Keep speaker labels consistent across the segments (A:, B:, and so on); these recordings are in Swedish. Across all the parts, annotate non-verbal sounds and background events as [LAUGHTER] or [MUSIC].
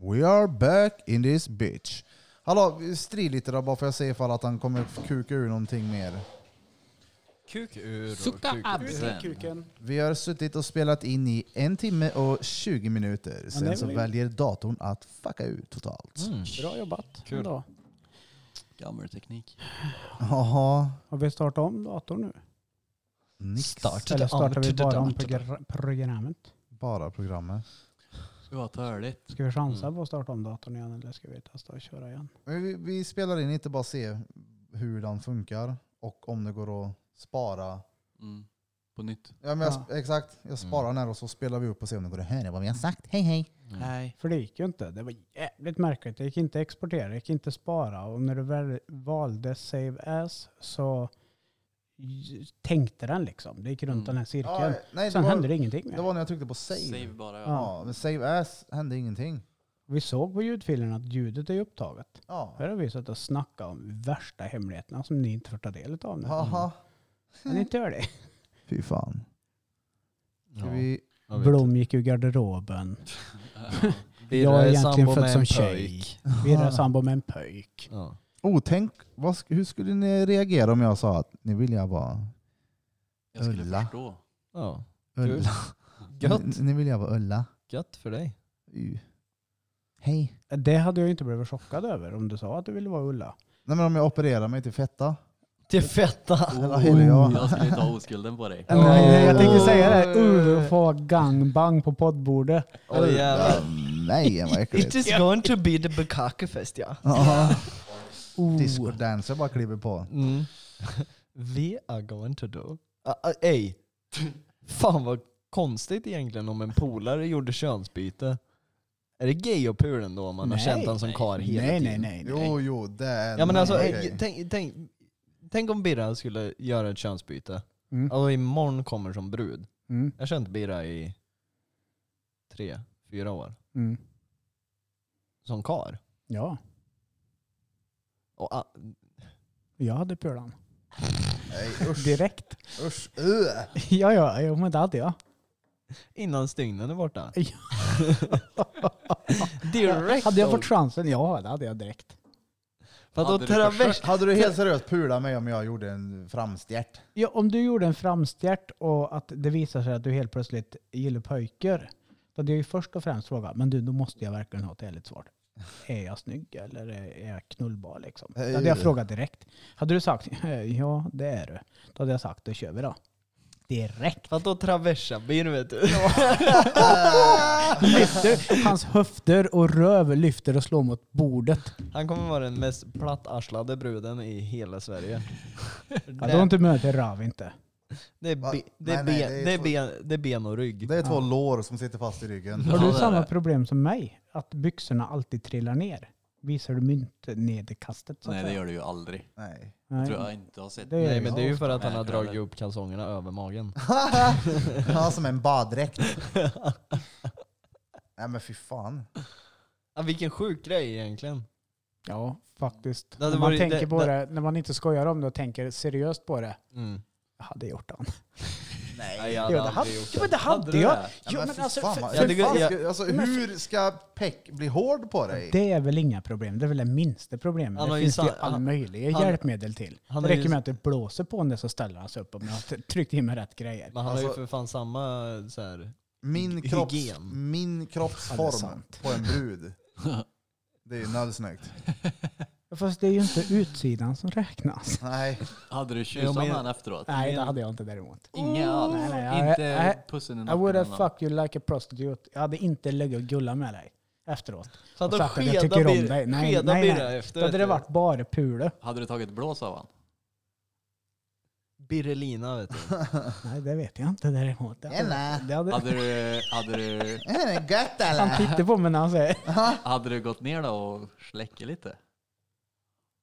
A: We are back in this bitch. Hallå, strid lite då bara för att se ifall att han kommer kuka ur någonting mer.
B: Kuk ur...
C: Sukta
D: Ut
C: absen.
D: med kuken.
A: Vi har suttit och spelat in i en timme och 20 minuter.
D: det
A: Sen
D: är
A: så
D: väl- Mm.
A: väljer datorn att fucka ut totalt.
D: Bra jobbat.
B: Kul.
D: Ändå.
C: Gammal teknik.
A: Jaha,
D: Har vi startat om datorn nu?
A: nix.
C: Start.
D: Eller startar vi bara om
C: Tudelant.
D: progr- programmet?
A: Bara programmet.
C: Det var törligt.
D: Ska vi chansa på att starta om datorn igen eller ska vi testa att köra igen?
A: Men vi, vi spelar in inte bara se hur den funkar och om det går att spara.
C: Mm. På nytt.
A: Ja, men jag, sp- Exakt,
D: Mm.
A: jag sparar den här och så spelar vi upp och ser om det går att höra vad vi har sagt. Hej hej!
B: Mm.
C: Nej.
D: För det gick ju inte. Det var jävligt märkligt. Det gick inte att exportera, det gick inte att spara. Och när du väl valde save as så j- tänkte den liksom. Det gick runt
C: Mm.
D: den här cirkeln.
A: Ja, nej, det,
D: Sen hände
A: var,
D: det ingenting mer.
A: det var när jag tryckte på save.
C: Save. bara. Ja.
A: Ja, men save as hände ingenting.
D: Vi såg på ljudfilen att ljudet är upptaget.
A: Ja.
D: Här har vi suttit och snackat om värsta hemligheterna som ni inte får ta del av nu.
A: Haha.
B: Mm.
D: Men inte gör det.
A: Fy fan. Ska
B: Ja,
A: vi...
B: jag vet.
D: Blom gick ur garderoben.
B: Birra är
D: egentligen
B: sambo
D: född
B: med
D: som
B: en
D: tjej.
B: pöjk. [LAUGHS]
D: Birra sambo med en pöjk.
B: Ja.
A: Oh, tänk, vad, sk- hur skulle ni reagera om jag sa att ni vill jag vara
C: Jag skulle
A: Ulla.
C: förstå.
B: Ja. Du.
A: Ulla?
B: Gött.
A: [LAUGHS] Ni, ni vill jag vara Ulla?
B: Gött för dig.
A: U. Hej.
D: Det hade jag ju inte blivit chockad över om du sa att du ville vara Ulla.
A: Nej men om jag opererar mig till fetta?
B: Till fetta!
D: Oh,
A: Eller hur är jag?
C: Jag skulle ta oskulden på
D: [LAUGHS]
C: dig.
B: Ja.
D: Nej, nej, jag tänkte
B: Åh.
D: säga det. Ulf har gangbang på poddbordet.
B: Åh jävlar.
A: Nej
B: [LAUGHS]
A: vad äckligt.
E: is going to be the bekakefest ja.
A: Ja,
D: Oh.
A: Discodancer bara kliver på.
B: [LAUGHS] Mm. We are going to do. Ah, ah, ey! Fan vad konstigt egentligen om en polare gjorde könsbyte. Är det gay att pula ändå om man har
D: Nej,
B: känt han som karl hela
D: Nej,
B: tiden?
D: nej, nej. nej.
A: Jo jo, det är...
B: Ja men alltså,
A: nej,
B: eh, tänk, tänk, tänk om Birra skulle göra ett könsbyte.
D: Mm.
B: Och imorgon kommer som brud.
D: Mm,
B: Jag har känt Birra i tre, fyra år.
D: mm.
B: Som kar.
D: Ja,
B: Och, ah,
D: jag hade pulan.
A: nej, usch,
D: Direkt. [LAUGHS]
A: usch, uh.
D: Ja, ja, jo, men det hade jag.
B: innan stygnen är borta. [LAUGHS]
D: Ja.
B: Direkt!
D: Hade jag fått chansen? Ja, det hade jag direkt.
B: För att då
C: Hade du
B: travers...
A: Hade du helt seriöst pulat mig om jag gjorde en framstjärt?
D: Ja, om du gjorde en framstjärt och att det visar sig att du helt plötsligt gillar pojkar. Då hade jag ju först och främst frågat, men du, då måste jag verkligen ha ett ärligt svar. Är jag snygg eller är jag knullbar liksom?
A: Hej.
D: Det hade jag frågat direkt. Hade du sagt, ja det är du. Då hade jag sagt, då kör vi då.
C: [LAUGHS]
D: Direkt.
B: För att då traversar bin vet du.
D: Lyfter, hans höfter och röv lyfter och slår mot bordet.
B: [LAUGHS] Han kommer vara den mest plattarslade bruden i hela Sverige.
D: Ja, då har inte mötet röv inte.
B: Det är
A: Va?
B: be- det är
A: Nej, nej, det är
B: ben- det är
A: två-
B: ben- det är ben och rygg.
A: Det är två lår som sitter fast i ryggen.
D: Har
C: Ja,
D: du
C: det är
D: samma
C: det.
D: problem som mig? Att byxorna alltid trillar ner? Visar du mynt ned i kastet? Så att
C: Nej det
D: säga?
C: gör du ju aldrig.
A: Nej. [LAUGHS]
D: Nej.
C: Tror jag inte har sett.
D: Det är-
B: Nej men det är ju för att han har
C: Nej,
B: dragit
C: eller-
B: upp kalsongerna över magen.
A: Ja, som en baddräkt. Nej men fy fan.
B: Ja, vilken sjuk grej egentligen.
D: Ja, faktiskt.
B: Det hade
D: när, man
B: varit-
D: tänker
B: det- det-
D: på det, när man inte skojar om det och tänker seriöst på det. Jag hade gjort den.
B: Mm. Nej, jag
D: Jo, det hade- jo, men det hade jag.
A: Ja,
D: Jo,
A: men
D: men
A: fy
D: alltså,
A: fan,
D: för-
A: vad-
B: jag
A: fy
B: tycker-
A: fan
B: jag-
A: ska- alltså, hur ska Peck bli hård på dig?
D: Det är väl inga problem. Det är väl det minsta problemet.
B: Han har
D: det
B: ju
D: finns det
B: sa-
D: ju alla
B: han-
D: möjliga
B: han-
D: hjälpmedel till.
B: han
D: det
B: har ju
D: räcker
B: s-
D: med att du blåser på den så ställer han sig upp om jag har tryckt in med [LAUGHS] rätt grejer.
B: Men han har ju
A: Alltså-
B: för fan samma så här.
A: Min,
B: Hy-
A: kropps,
B: hygien.
A: min
D: Ja, det är
A: kroppsform
D: sant.
A: på en brud. Det är ju nödsnyggt.
D: Fast det är ju inte utsidan
B: [LAUGHS]
D: som räknas.
A: Nej.
C: Hade du
B: Jo,
C: kysst
B: men-
C: honom efteråt?
D: Nej, det hade jag inte däremot.
C: Inga alls.
D: Nej, nej, jag-
C: inte
D: jag-
C: pussen i
D: I would have
C: eller något.
D: fucked you like a prostitute. Jag hade inte legat och gullat med dig efteråt.
B: Så att
D: Och
B: då
D: sagt att jag
B: skeda
D: tycker om
B: Bir-
D: dig. Nej,
B: skeda
D: nej,
B: Birra
D: nej.
B: efter,
D: Då hade
B: vet
D: det
B: du.
D: varit bara pule.
C: Hade du tagit blås av
D: [LAUGHS]
C: han?
B: Birrelina vet du.
D: Nej, det vet jag inte däremot. Det
A: Eller?
D: det hade,
C: Hade du, hade du,
A: Det är det gött
D: han
A: eller?
D: tittar på mig när han säger
C: hade du gått ner då och släckt lite?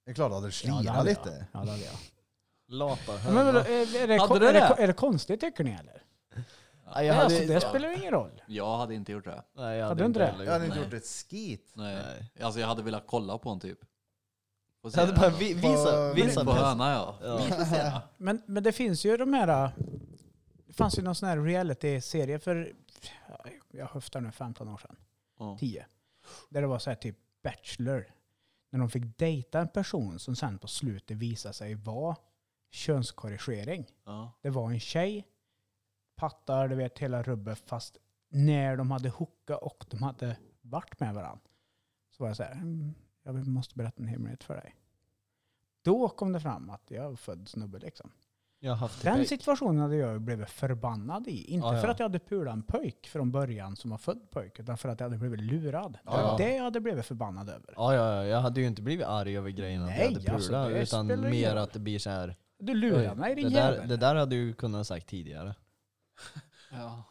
A: Det är klart, hade du slirat
D: hade jag.
A: lite?
D: Ja, det hade jag.
B: Lata
D: Men, vadå,
B: höna.
D: är, är, det,
C: Hade
D: ko-
C: du
D: är, det,
C: det?
D: ko- är det konstigt tycker ni eller?
B: Nej, jag
D: Nej, alltså,
B: hade-
D: det spelar ju ingen roll.
C: Jag hade inte gjort det.
B: Nej, jag
D: Hade
B: hade
D: du
B: inte
D: inte
B: heller
A: Jag hade
B: gjort
A: inte
B: det.
A: gjort ett skit.
C: Nej.
B: Nej.
C: Alltså jag hade velat kolla på en typ. Och
B: Jag hade bara vi- visa,
A: Vad-
B: visa.
C: På höna ja.
B: Ja.
D: Men, men det finns ju de här... äh, Det fanns ju någon sån här reality-serie för, ja, jag höftar nu, 15 år sedan.
C: Ja.
D: 10. Där det var så här typ Bachelor. När de fick dejta en person som sen på slutet visade sig vara könskorrigering.
C: Ja.
D: Det var en tjej, pattar, du vet hela rubbet, fast när de hade hookat och de hade varit med varandra så var jag så här, "Mm, jag måste berätta en hemlighet för dig. Då kom det fram att jag är född snubbe liksom.
B: Jag har haft
D: Den
B: det
D: situationen hade jag blivit förbannad i. Inte
B: Ja, ja.
D: för att jag hade pulat en pojk från början som var född pojk, utan för att jag hade blivit lurad.
B: Ja,
D: det var
B: ja.
D: det jag hade blivit förbannad över.
B: Ja, ja, ja, jag hade ju inte blivit arg över grejen att
D: Nej,
B: jag hade
D: alltså,
B: pulat,
D: det
B: utan
D: spelar ingen
B: mer
D: roll.
B: att det blir så här.
D: Du
B: "Oj,
D: lurar mig din
B: det, där,
D: jävel.
B: det där hade du kunnat ha sagt tidigare.
C: Ja.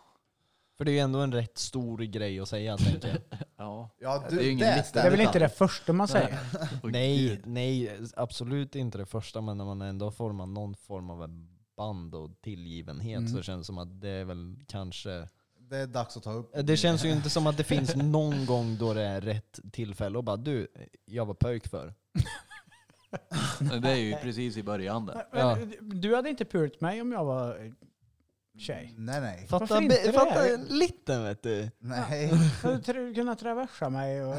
B: För det är ju ändå en rätt stor grej att säga, tänker jag.
C: ja.
A: Ja,
C: Det är ju ingen liten
D: det är väl inte
C: detalj.
D: det första man säger?
C: Åh,
B: nej,
C: gud.
B: nej, absolut inte det första, men när man ändå har format någon form av en band och tillgivenhet
D: Mm.
B: så känns det som att det är väl kanske...
A: Det är dags att ta upp.
B: Det känns ju inte som [LAUGHS] att det finns någon gång då det är rätt tillfälle och bara du, jag var pöjk för.
C: Men Det är ju precis i början där.
D: Men,
B: Ja.
D: Du hade inte pulat mig om jag var eh, tjej.
A: Nej, nej.
B: Fatta,
D: Varför inte
B: be-
D: det?
B: fatta liten vet du.
A: Nej.
D: Hade du kunnat traversa
C: [LAUGHS]
D: mig? Och,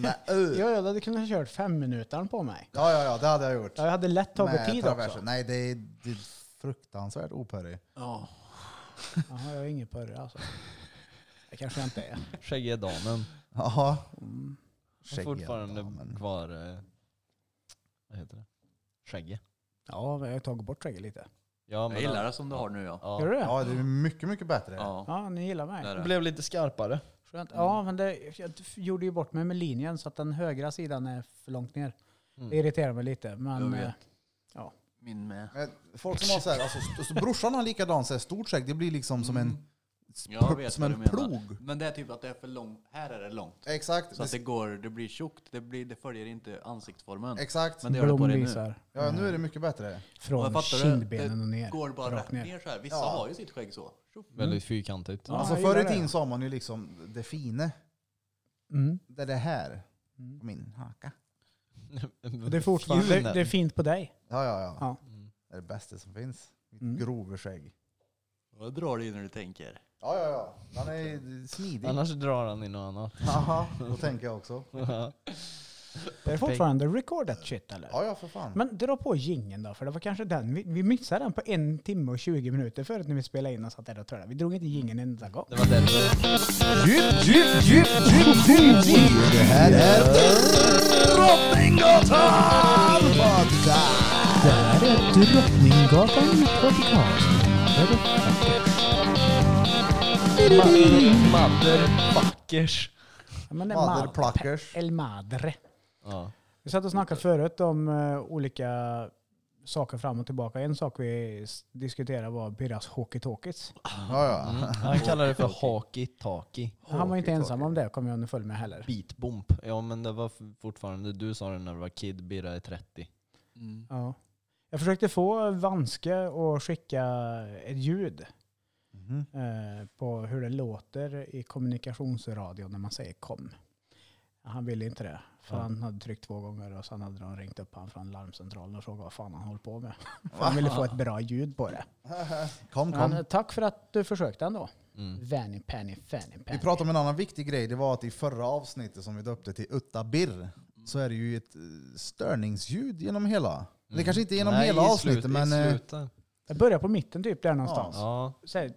A: nej. uh.
D: jag hade kunnat kört fem minuter på mig.
A: Ja, ja, ja, det hade jag gjort.
D: Jag hade lätt tagit
A: Med
D: tid
A: traversen.
D: också.
A: Nej, det är, det är fruktansvärt opörig.
C: [LAUGHS] Ja.
D: Jaha, jag är ingen purre alltså. Det kanske jag inte är.
B: Skäggiga damen.
A: Jaha.
D: Mm.
B: Har fortfarande
A: Skäggdamen.
B: kvar, eh, vad heter det? Skägge.
D: Ja, men jag har tagit bort skägget lite.
B: Ja,
C: Jag gillar det som du har nu ja.
D: Gör
B: Ja.
D: du det?
A: Ja, det är mycket, mycket bättre.
C: Ja.
D: Ja, ni gillar mig.
C: Där är det.
B: Blev lite skarpare.
D: Skönt. Ja, men det, jag gjorde ju bort mig med linjen så att den högra sidan är för långt ner. Det irriterar mig lite.
C: Mm. Jag
D: Men
C: vet.
D: eh,
C: Min med.
A: Men folk som har så här, alltså, st- så brorsan har likadant, så här, stort skägg, det blir liksom som
D: Mm.
A: en,
C: Jag vet
A: som
C: vad
A: en
C: du menar.
A: plog.
C: Men det är typ att det är för långt. Här är det långt.
A: Exakt.
C: Så att det
A: Det,
C: går, det blir tjockt. Det, blir, det följer inte ansiktsformen.
A: exakt.
C: Men det gör det på
D: Blom
C: dig nu.
D: visar.
A: Ja, nu är det mycket bättre.
C: Ja,
D: eh, Från
C: jag fattar det.
D: kindbenen
C: Det
D: och ner.
C: Går bara
D: Rakt
C: rätt
D: ner.
C: ner så här. Vissa
A: Ja.
C: har ju sitt skägg så. Tjoff.
B: Väldigt fyrkantigt.
D: Ja,
A: alltså
D: jag
A: förr i
D: gillar det.
A: tiden sa man ju liksom det fina.
D: Mm.
A: Det är det här.
D: Mm.
A: På min haka.
D: Och Det är fortfarande det, det är fint på dig.
A: Ja, ja, ja.
D: Ja.
A: Det är det bästa som finns. Mitt
D: Mm.
A: grova skägg.
C: Vad drar du in när du tänker?
A: Ja, ja, ja. Han är smidig.
B: Annars drar han i något annat. [LAUGHS]
A: Jaha, då tänker jag också.
D: Det är fortfarande recordat shit eller?
A: Ja, ja, för fan.
D: Men dra på gingen då, för det var kanske den. Vi, vi missade den på en timme och 20 minuter förut när vi spelade in och satt där och törlade. Vi drog inte gingen en enda gång.
B: Det var därför.
A: Djup, djup, djup, djup, djup, djup. Det här är Drottninggatan Podcast!
D: Det här är Drottninggatan podcast.
B: Motherfuckers.
D: Ja, men det är mad-
A: Motherpluckers.
D: El Madre.
B: Ja.
D: Vi satt och snackade förut om eh, olika saker fram och tillbaka. En sak vi s- diskuterade var Birras hockeytalkies.
A: Ja, ja.
B: Mm. Han kallar det för haki-taki.
D: Han var inte ensam om det, kom jag underfund med heller.
B: Beatbomb. Ja men det var f- fortfarande, du sa det när du var kid, Birra är 30.
C: Mm.
D: Ja. Jag försökte få Vanske att skicka ett ljud
A: Mhm.
D: eh, på hur det låter i kommunikationsradio när man säger kom. Han ville inte det, för
B: Ja.
D: han hade tryckt två gånger och sen hade de ringt upp han från larmcentralen och frågat vad fan han håller på med. [LAUGHS] för han ville få ett bra ljud på det.
A: Kom, kom.
D: Men, eh, tack för att du försökte ändå.
B: Mm.
D: Vanny Penny Fanny Penny.
A: Vi pratade om en annan viktig grej. Det var att i förra avsnittet som vi döpte till Utta Birr så är det ju ett eh, störningsljud genom hela.
B: Mm.
A: Det kanske inte genom
B: Nej,
A: hela
B: i slut-
A: avsnittet
B: i
A: men eh,
B: slutet.
D: Jag börjar på mitten typ där någonstans.
B: Ja,
D: Så här,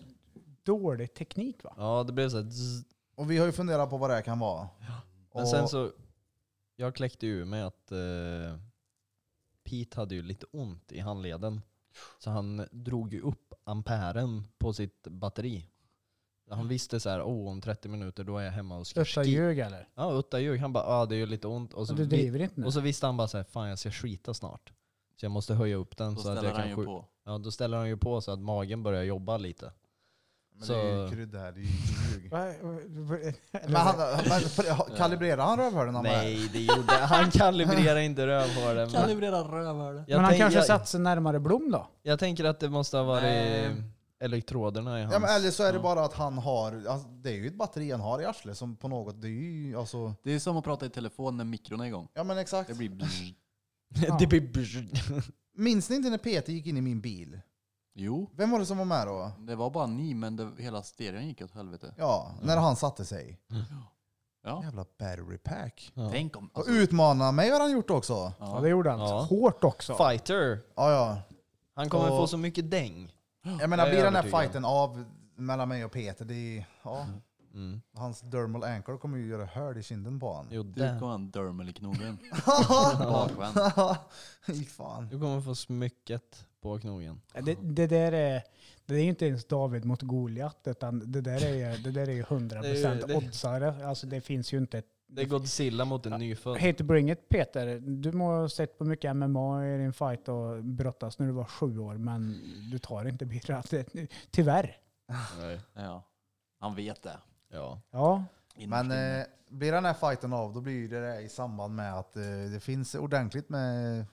D: dålig teknik va?
B: ja, det blev såhär zzz.
A: och vi har ju funderat på vad det här kan vara.
B: Men
A: Och-
B: sen så, jag kläckte ju med att eh, Pete hade ju lite ont i handleden. Så han drog ju upp amperen på sitt batteri. Han visste så här, oh, om 30 minuter då är jag hemma och ska
D: Största
B: ski-"
D: ljug eller?
B: Ja, utta ljug. Han bara, ah, det gör lite ont. Och så,
D: du
B: vi-
D: driver inte nu?
B: och så visste han bara så här, fan jag ska skita snart. Så jag måste höja upp den
C: Då
B: så att
C: ställer
B: jag
C: han
B: kan
C: ju
B: skjuta.
C: på.
B: Ja, då ställer han ju på så att magen börjar jobba lite.
A: Men det är ju
B: så-
A: krydda här, det är ju inte
B: [LAUGHS]
A: ljug.
D: Va- va- eller-
A: Men han, men, kalibrerade han rövhörnen?
B: Nej, det gjorde han. kalibrerar inte rövhålen. men-
C: Kalibrera rövhålet.
B: Jag
D: men han
B: tänk-
D: kanske
B: jag-
D: satt sig närmare Blom då?
B: Jag tänker att det måste ha varit
C: Nej.
B: elektroderna i hans...
A: Ja, men eller så är det bara att han har, alltså, det är ju ett batteri han har i arslet som på något, det är ju alltså,
C: Det är som att prata i telefon när mikron är igång.
A: ja men exakt.
C: Det blir bzzz.
B: [LAUGHS] det blir... [LAUGHS]
A: Minns ni inte när Peter gick in i min bil?
C: Jo,
A: Vem var det som var med då?
C: det var bara ni men det, hela stereon gick åt helvete.
A: Ja, när han satte sig.
C: Ja.
A: Jävla battery pack.
B: Ja.
C: Tänk om...
A: Och
C: Alltså,
A: utmana mig har han gjort också.
D: Ja, det gjorde han.
B: Ja.
D: Hårt också.
B: Fighter.
A: Ja, ja.
B: Han kommer
A: Och-
B: få så mycket däng.
A: Jag menar,
B: Jag är
A: blir den här
B: övertygad.
A: fighten av mellan mig och Peter, det är, ja,
B: Mm.
A: hans dermal ankle kommer ju göra hörd i kinden på honom.
B: Jo,
C: du
B: där.
C: kom han dermal i knogen. Bakskämt.
A: [LAUGHS] Fy fan.
B: Du kommer få smycket på knogen.
D: Det, det där är... Det är ju inte ens David mot Goliat, utan det där är ju- det där är ju 100%
B: Det är ju- det-
D: oddsare. Alltså det finns ju inte ett
B: Det är Godzilla mot en nyfödd.
D: Hate to bring it Peter, du må ha sett på mycket MMA i din fight och brottas när du var sju år, men du tar inte Birra. Det- Tyvärr.
B: Nej.
C: Ja. Han vet det.
B: Ja.
D: Ja,
A: Men
C: Innerst inne.
A: eh, blir den här fighten av, då blir det det i samband med att eh, det finns ordentligt med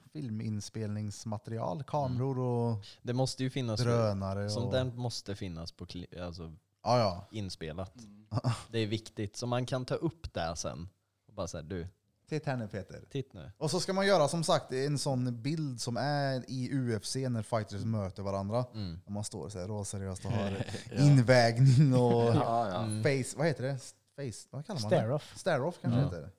A: filminspelningsmaterial. Kameror
B: Mm.
A: och
B: Det måste ju finnas.
A: drönare. Och,
B: Sånt där måste finnas på kli- alltså
A: Ja, ja.
B: inspelat. Det är viktigt. Så man kan ta upp det sen. Och bara såhär, du,
A: Titta här nu Peter.
B: titt nu.
A: Och så ska man göra som sagt en sån bild som är i UFC när fighters möter varandra.
B: Mm.
A: När man står så här råseriöst och
C: [LAUGHS]
A: har invägning och
C: Ja, ja.
B: Mm.
A: face, vad heter det? Face, vad kallar man det?
D: stare-off.
A: Stare-off kanske
B: Ja.
A: heter det.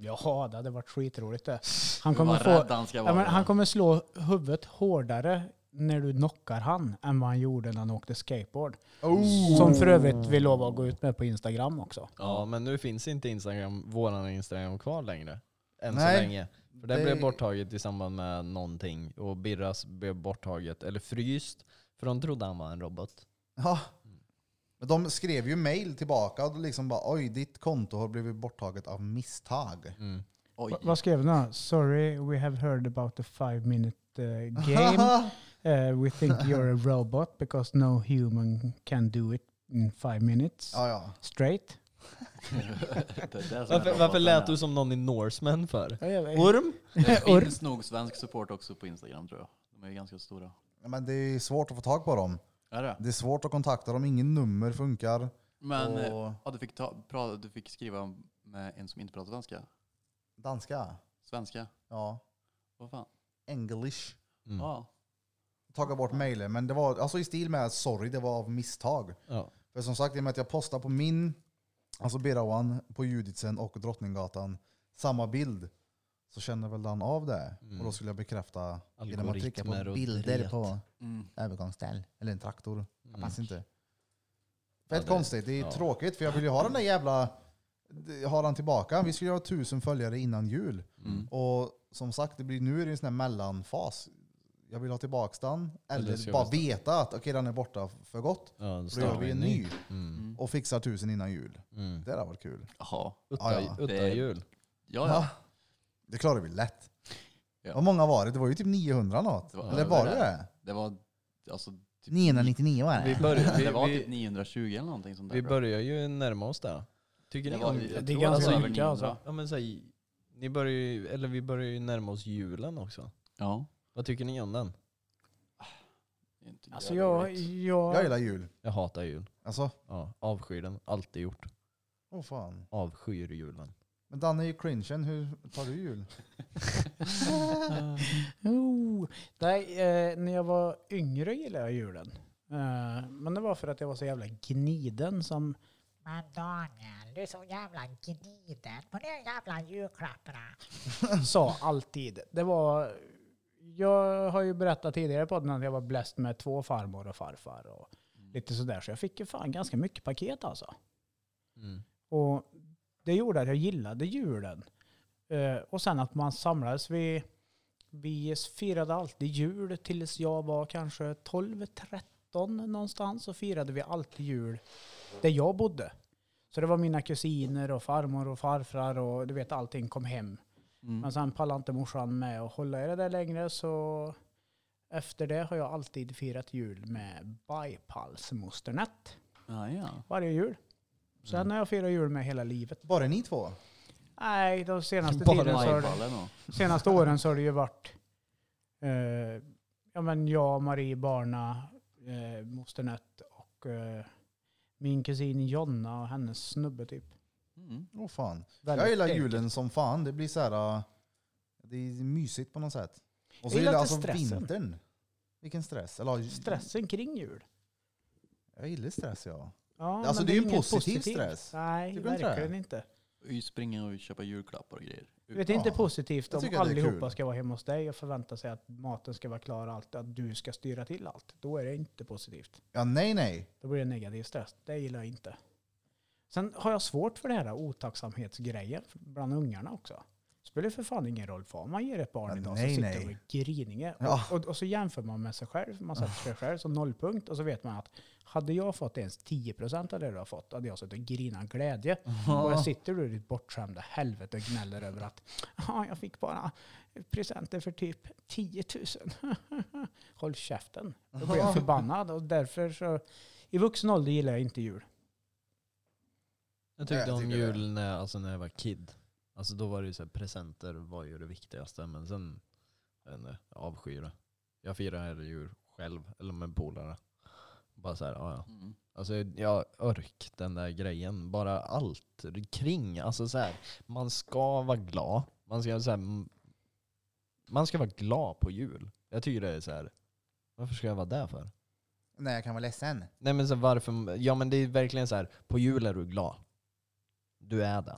D: Ja, det hade varit skitroligt det. Han
C: Han
D: kommer,
C: kommer
D: få,
C: rädd han ska
D: ja,
C: vara.
D: men han kommer slå huvudet hårdare när du knockar han än vad han gjorde när han åkte skateboard.
A: Oh.
D: Som för övrigt vi lovar att gå ut med på Instagram också.
B: Ja, men nu finns inte Instagram, våran Instagram kvar längre. Än
A: Nej.
B: så länge. För det,
A: Det-
B: blev borttaget i samband med någonting. Och Birras blev borttaget, eller fryst. För de trodde han var en robot.
A: Ja. Men de skrev ju mail tillbaka och liksom bara oj, ditt konto har blivit borttaget av misstag.
C: Oj.
D: Va- vad skrev han då? Sorry, we have heard about the five minute eh,
C: [LAUGHS]
D: game. Uh, we think you're a robot because no human can do it in five minutes
A: [LAUGHS] ja, ja.
D: straight.
C: [LAUGHS] Det är det som är
B: Varför, varför
C: roboten
B: lät
C: är.
B: du som någon i Norseman för?
D: Or-
B: Orm?
C: Det
D: Eh, Orr.
C: finns nog svensk support också på Instagram tror jag. De är ju ganska stora.
A: Men det är svårt att få tag på dem.
C: Är det?
A: Det är svårt att kontakta dem, ingen nummer funkar.
C: Men eh,
A: och
C: ja, du, fick ta, pra, du fick skriva med en som inte pratar svenska.
A: danska?
C: Svenska?
A: Ja.
C: Vad fan?
A: English.
B: Mm.
C: Ja.
A: Tagit bort mailen, men det var alltså i stil med sorry, det var av misstag.
B: Ja.
A: För som sagt, i och med att jag postar på min, alltså Birawan, på Juditsen och Drottninggatan, samma bild, så känner väl den av det.
B: Mm.
A: Och då skulle jag bekräfta genom att trycka
B: Algoritmer
A: på
B: och
A: bilder
B: dret.
A: på
C: Mm.
A: övergångsställ. Eller en traktor. Jag
B: Mm.
A: passar inte. Fett
B: Ja, det-
A: konstigt. Det är
B: ja.
A: tråkigt för jag vill ju ha den där jävla... Ha den tillbaka. Vi skulle ju ha tusen följare innan jul.
C: Mm.
A: Och som sagt, det blir, nu är det en sån här mellanfas. Jag vill ha tillbaka den.
B: Eller
A: Eller
B: ska
A: bara
B: jag rösta?
A: veta att okej, den är borta för gott.
B: Mm. Ja, då
A: Då gör
B: startar
A: vi en ny
B: Mm.
C: Mm.
A: och fixar tusen innan jul.
B: Mm.
A: Det där var kul.
C: Jaha.
A: Ja,
B: Utta,
A: ja.
B: utta
C: Det-
B: jul.
C: Ja, ja.
A: Det klarar vi lätt.
C: Ja.
A: Vad många var det? Det var ju typ 900 något.
C: Det var
A: Eller
C: över
A: var det
C: där.
A: det?
C: Det var alltså... Typ,
A: 999 var
B: Vi
A: det.
B: börjar,
C: [LAUGHS] det var
B: vi,
C: typ
B: vi,
C: 920 eller någonting sånt där.
B: vi
C: tror jag.
B: börjar ju närma oss det. Tycker ni
C: Det var-
B: om
C: jag
B: det?
D: det
C: tror
D: är
C: att det
D: ganska
C: var över
D: mycket alltså.
C: 900.
B: Ja, men så här, ni börjar ju, eller vi börjar ju närma oss julen också.
C: Ja.
B: Vad tycker ni om den?
C: Det är inte
D: Alltså
C: jävla
D: jag,
C: roligt.
A: Jag
D: jag,
A: gillar jul.
B: Jag hatar jul.
A: Alltså,
B: Ja, avskyr den. Alltid gjort.
A: åh fan.
B: Avskyr julen.
A: Men Danne är ju cringen. Hur tar du jul?
D: [LAUGHS] oh, nej, eh, när jag var yngre gillade jag julen. Eh, men det var för att jag var så jävla gniden som...
F: Men Daniel, du är så jävla gniden på de jävla julklapparna.
D: [LAUGHS] sa alltid. Det var, jag har ju berättat tidigare på podden att jag var bläst med två farmor och farfar och lite sådär. Så jag fick ju fan ganska mycket paket alltså.
B: Mm.
D: Och det gjorde att jag gillade julen. Eh, och sen att man samlades. Vi, vi firade alltid jul tills jag var kanske 12-13 någonstans. Så firade vi alltid jul där jag bodde. Så det var mina kusiner och farmor och farfar och du vet allting kom hem.
C: [LAUGHS] Mm.
D: Men sen pallade inte morsan med att hålla i det där längre så efter det har jag alltid firat jul med bajpalsmosternät
C: Ja, ja.
D: varje jul. Sen har jag firat jul med hela livet.
A: Bara ni två?
D: Nej, de senaste,
B: Bara
D: tiden så har, det-
C: Majballen och...
D: senaste åren så har det ju varit eh, ja, men jag, Marie, Barna, eh, mosternät och eh, min kusin Jonna och hennes snubbe typ.
C: Mm.
A: Åh fan.
D: Väldigt
A: jag gillar
D: enkelt.
A: julen som fan. Det blir så här, äh, det är mysigt på något sätt. Och så gillar
D: Jag gillar
A: jag
D: inte
A: alltså
D: stressen.
A: vintern. Vilken stress. Eller, ja,
D: Stressen kring jul.
A: Jag gillar stress ja.
D: Ja,
A: Alltså,
D: men
A: det är ju en
D: inget
A: positiv
D: positivt.
A: stress.
D: Nej,
A: Tycker du inte det?
D: verkligen inte.
C: Vi springer och köper julklappar och grejer.
D: Du vet, det är inte
A: Ja,
D: positivt
A: jag
D: om
A: tycker det är
D: allihopa
A: kul.
D: ska vara hemma hos dig och förvänta sig att maten ska vara klar och allt, att du ska styra till allt. Då är det inte positivt.
A: Ja, nej, nej.
D: Då blir det negativ stress. Det gillar jag inte. Sen har jag svårt för det här otacksamhetsgrejen bland ungarna också. Spelar ju för fan ingen roll vad man ger ett barn
A: Ja,
D: idag
A: nej,
D: som sitter
A: nej.
D: och är griniga.
A: Ja.
D: Och, och, och så jämför man med sig själv. Man sätter sig själv som nollpunkt och så vet man att hade jag fått ens 10% av det du har fått hade jag suttit och grinat av glädje. Och jag sitter du i ditt bortskämda helvete och gnäller över att ja, jag fick bara presenter för typ 10 000. [LAUGHS] Håll käften. Då blir jag förbannad och därför så i vuxen ålder gillar jag inte jul.
B: Jag
A: Nej,
B: tyckte
A: jag
B: om
A: tycker det.
B: jul när, alltså när jag var kid. Alltså då var det ju så här, presenter var ju det viktigaste. Men sen, jag vet inte, jag avskyr det. Jag firar hellre jul själv eller med polare. Bara så här, ja ja.
C: Mm.
B: Alltså jag örk den där grejen. Bara allt kring. Alltså så här, man ska vara glad. Man ska, så här, m- man ska vara glad på jul. Jag tycker det är så här. varför ska jag vara där för?
A: [LAUGHS] Nej, jag kan vara ledsen.
B: Nej men så varför, ja men det är verkligen så här. på jul är du glad. Du är det.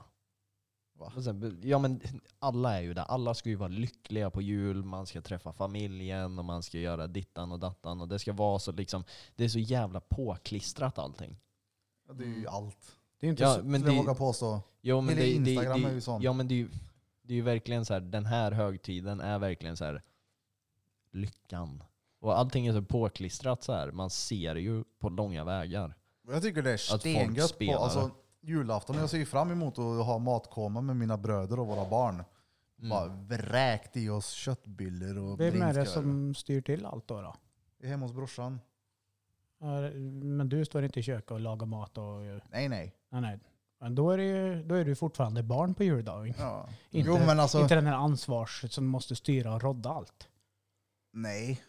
A: Va?
B: Och sen, ja men alla är ju det. Alla ska ju vara lyckliga på jul, man ska träffa familjen och man ska göra dittan och dattan. Och det ska vara så liksom, det är så jävla påklistrat allting.
A: Ja, det är
D: Mm.
A: ju allt.
D: Det är inte
B: Ja,
D: så.
B: men
A: Skulle jag
B: det,
A: vågar påstå.
B: jo, men
A: hela
B: det, det,
A: Instagram
B: det,
A: är ju sånt.
B: Ja men det är ju det är ju verkligen så här, den här högtiden är verkligen så här lyckan. Och allting är så påklistrat så här. man ser ju på långa vägar.
A: Jag tycker det är
B: folk
A: stengött på
B: spelar.
A: alltså, julafton. Jag ser ju fram emot att ha matkoma med mina bröder och våra barn.
B: Mm.
A: Bara vräkt i oss köttbullar och
D: Vem är det
A: prinskorv.
D: som styr till allt då? då?
A: Vi är hemma hos brorsan.
D: Ja, Men du står inte i köket och lagar mat och...
A: Nej, nej.
D: Nej, nej. Men då är, det ju, då är du fortfarande barn på juldag. Inte,
A: Ja. jo, men alltså,
D: inte den här ansvars som måste styra och rodda allt.
A: nej.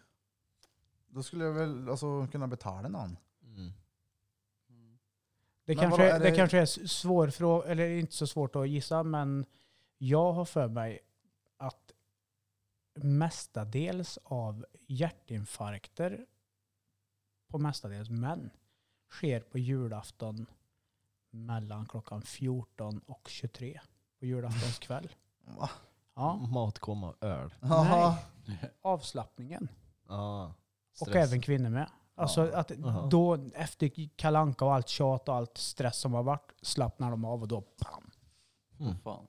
A: Då skulle jag väl alltså, kunna betala någon.
B: Mm.
D: Det,
A: Men
D: kanske,
A: vadå, är
D: det...
A: det-
D: kanske är s- svår frå- eller inte så svårt att gissa, men jag har för mig att mestadels av hjärtinfarkter på mestadels män sker på julafton mellan klockan 14 och 23 på
A: [LAUGHS]
D: julaftons kväll.
A: Va?
D: Ja,
B: Matkomma och öl.
A: Jaha.
D: avslappningen.
B: Ja.
D: Och även kvinnor med. Alltså
A: Ja.
D: att
B: Jaha.
D: då efter kalanka och allt tjat och allt stress som har varit slappnar de av och då pam.
B: Mm.
C: Fan.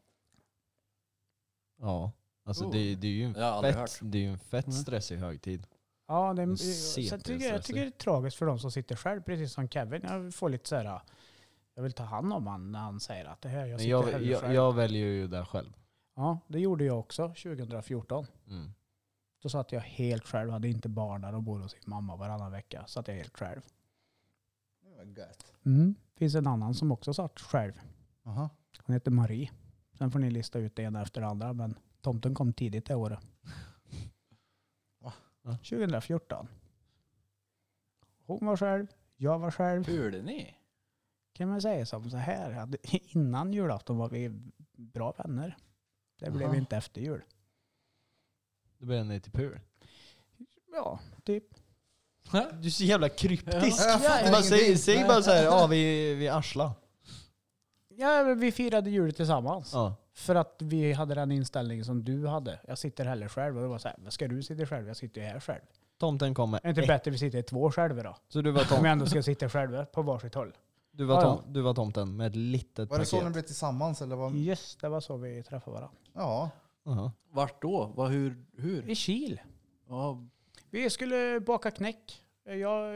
B: Ja. Alltså
C: Oh.
B: det, det är ju en
C: Det har jag aldrig
B: fett, det är ju en fett
D: Mm.
B: stressig högtid.
D: Ja, det
B: Det är
D: är,
B: CP,
D: sen tycker jag, jag tycker det är tragiskt för de som sitter själv, precis som Kevin. Jag får lite så här, jag vill ta hand om han när han säger att det här, jag
B: Men
D: sitter
B: jag,
D: hellre
B: jag,
D: själv.
B: jag väljer ju det själv.
D: Ja, det gjorde jag också 2014.
B: Mm.
D: Då satt jag helt själv, hade inte barn där och bodde hos sin mamma varannan vecka. Satt jag helt själv.
A: Det var gött.
D: Mm. Finns en annan som också satt själv.
A: Jaha.
D: Hon heter Marie. Sen får ni lista ut det ena efter det andra, men tomten kom tidigt det året.
A: Va?
D: 2014. Hon var själv, jag var själv.
C: Hörde ni?
D: Kan man säga som så här, att [LAUGHS] innan julafton var vi bra vänner. Det blev
A: Jaha.
D: vi inte efter jul.
B: Då blir jag nej till pur.
D: Ja, typ.
B: Du är så jävla kryptisk.
A: Ja, jag fattar
B: bara, säg,
A: ingenting.
B: säg bara såhär, ja vi, vi arsla.
D: Ja, men vi firade jul tillsammans.
B: Ja.
D: För att vi hade den inställningen som du hade. Jag sitter hellre själv. Och det var så här, "Men ska du sitta själv? Jag sitter ju här själv.
B: Tomten kommer.
D: Är det inte bättre vi sitter två själva då?
B: Så du var,
D: Om
B: tom,
D: jag ändå ska sitta själva på varsitt håll.
B: du, var
D: Ja,
B: tom, du var tomten med ett litet
A: Var det så ni
B: paket.
A: blev tillsammans? Eller vad?
D: Yes, det var så vi träffade varandra.
A: Ja.
B: Jaha.
C: Vart då? Vad, hur? hur?
D: I Kil.
C: Ja,
D: Vi skulle baka knäck. Jag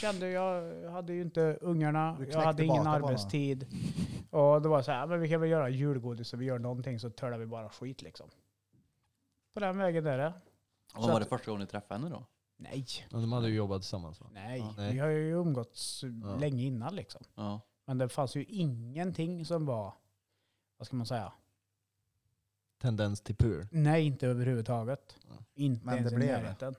D: kände, jag hade ju inte ungarna,
A: Du
D: jag hade
A: knäckte
D: ingen
A: baken bara.
D: arbetstid. Och det var så här, men vi kan väl göra julgodis så vi gör någonting så tölar vi bara skit liksom. På den vägen är det.
C: och
D: Så
C: var
D: att-
C: det första gången ni träffade henne då?
D: Nej,
B: Ja, de hade ju jobbat tillsammans va?
D: nej,
C: Ja,
B: nej.
D: vi har ju umgåtts länge innan liksom.
C: Ja. [LAUGHS]
D: Men det fanns ju ingenting som var, vad ska man säga?
B: Tendens till pur.
D: Nej, inte överhuvudtaget.
B: Ja.
D: Inte
A: Men
D: ens
A: det
D: i
A: blev det.
D: närheten.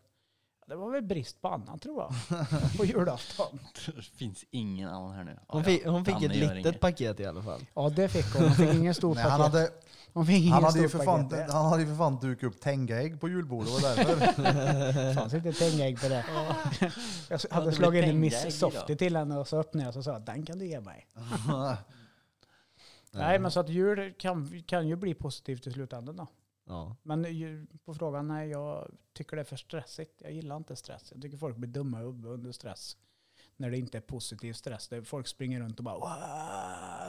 D: Det var väl brist på annat tror
A: [LAUGHS]
D: jag, på julafton.
C: Det finns ingen annan här nu. Ja,
B: Hon
C: ja.
B: fick, [LAUGHS] hon fick
C: Danne
B: ett
C: gör
B: litet
C: inget.
B: paket i alla fall.
D: Ja, det fick hon. Hon fick ingen stor
A: Nej, han,
D: paket.
A: hade,
D: Hon fick ingen
A: han, hade ju
D: stor
A: för fan,
D: paket.
A: han hade ju för fan dukat upp tängaägg på julbordet. Var det därför?
D: [LAUGHS] Det fanns inte pengaägg på det. Jag
C: det
D: hade
C: blir
D: slagit in
C: pengaägg
D: en Miss
A: [LAUGHS]
C: idag.
D: Softy till henne och så öppnade jag och så sa jag, den kan du ge mig. Nej,
A: Mm.
D: men så att jul kan, kan ju bli positivt i slutändan då.
B: Ja.
D: Men ju- på frågan, nej jag tycker det är för stressigt. Jag gillar inte stress. Jag tycker folk blir dumma i huvudet under stress. När det inte är positiv stress. Där folk springer runt och bara "Wow!"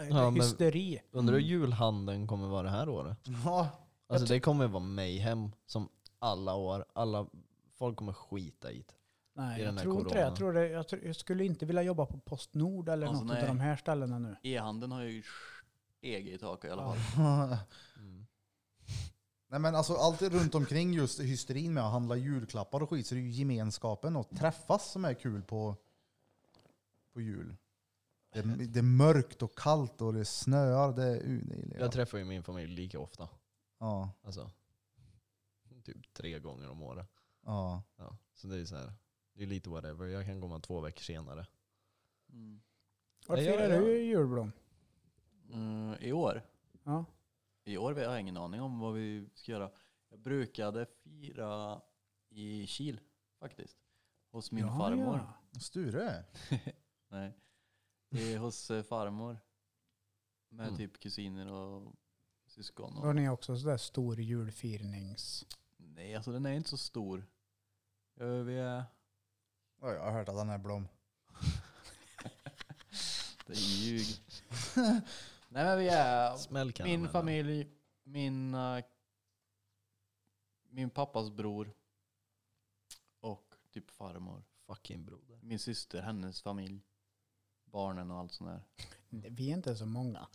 B: Ja, men-
D: hysteri.
B: Undrar
C: Mm.
B: hur julhandeln kommer vara det här året?
A: Ja,
B: Alltså det kommer vara mayhem som alla år. Alla, folk kommer skita i det.
D: Nej,
B: i den här
D: jag tror inte det.
B: coronan.
D: Jag, tror det jag, tror, jag skulle inte vilja jobba på Postnord eller
C: Alltså,
D: något av
C: nej.
D: de här ställena nu.
C: [LAUGHS] E-handeln har ju eget i taket i alla fall.
A: Nej men alltså allt runt omkring just hysterin med att handla julklappar och skit så det är ju gemenskapen och träffas som är kul på, på jul. Det, är- det är mörkt och kallt och det snöar. Det är, uh, det gillar
B: Jag
A: jag.
B: träffar ju min familj lika ofta.
A: Ja,
B: Alltså, typ tre gånger om året.
A: ja.
B: Ja. Så det är så här, det är lite whatever. Jag kan komma två veckor senare.
C: Mm.
D: Vart
B: Nej, jag-
D: firar
B: jag-
D: du julblom?
C: Mm, I år?
D: Ja.
C: I år har jag ingen aning om vad vi ska göra. Jag brukade fira i Kil faktiskt. Hos min
D: ja,
C: farmor.
D: Ja.
A: Sture?
C: Nej. Det är hos eh, farmor. Med
B: Mm.
C: typ kusiner och syskon.
D: Har
C: Och...
D: ni också sådär stor julfirnings...
C: Nej, alltså den är inte så stor. Eh, Vi är...
A: Ja, jag har hört att han är blom.
C: Det är ljug. Nej men vi är
B: Smäll kan
C: min
B: jag
C: familj, min, eh, min pappas bror och typ farmor.
B: Fucking broder.
C: Min syster, hennes familj. Barnen och allt sånt där.
D: Vi är inte
C: [LAUGHS]
D: så många.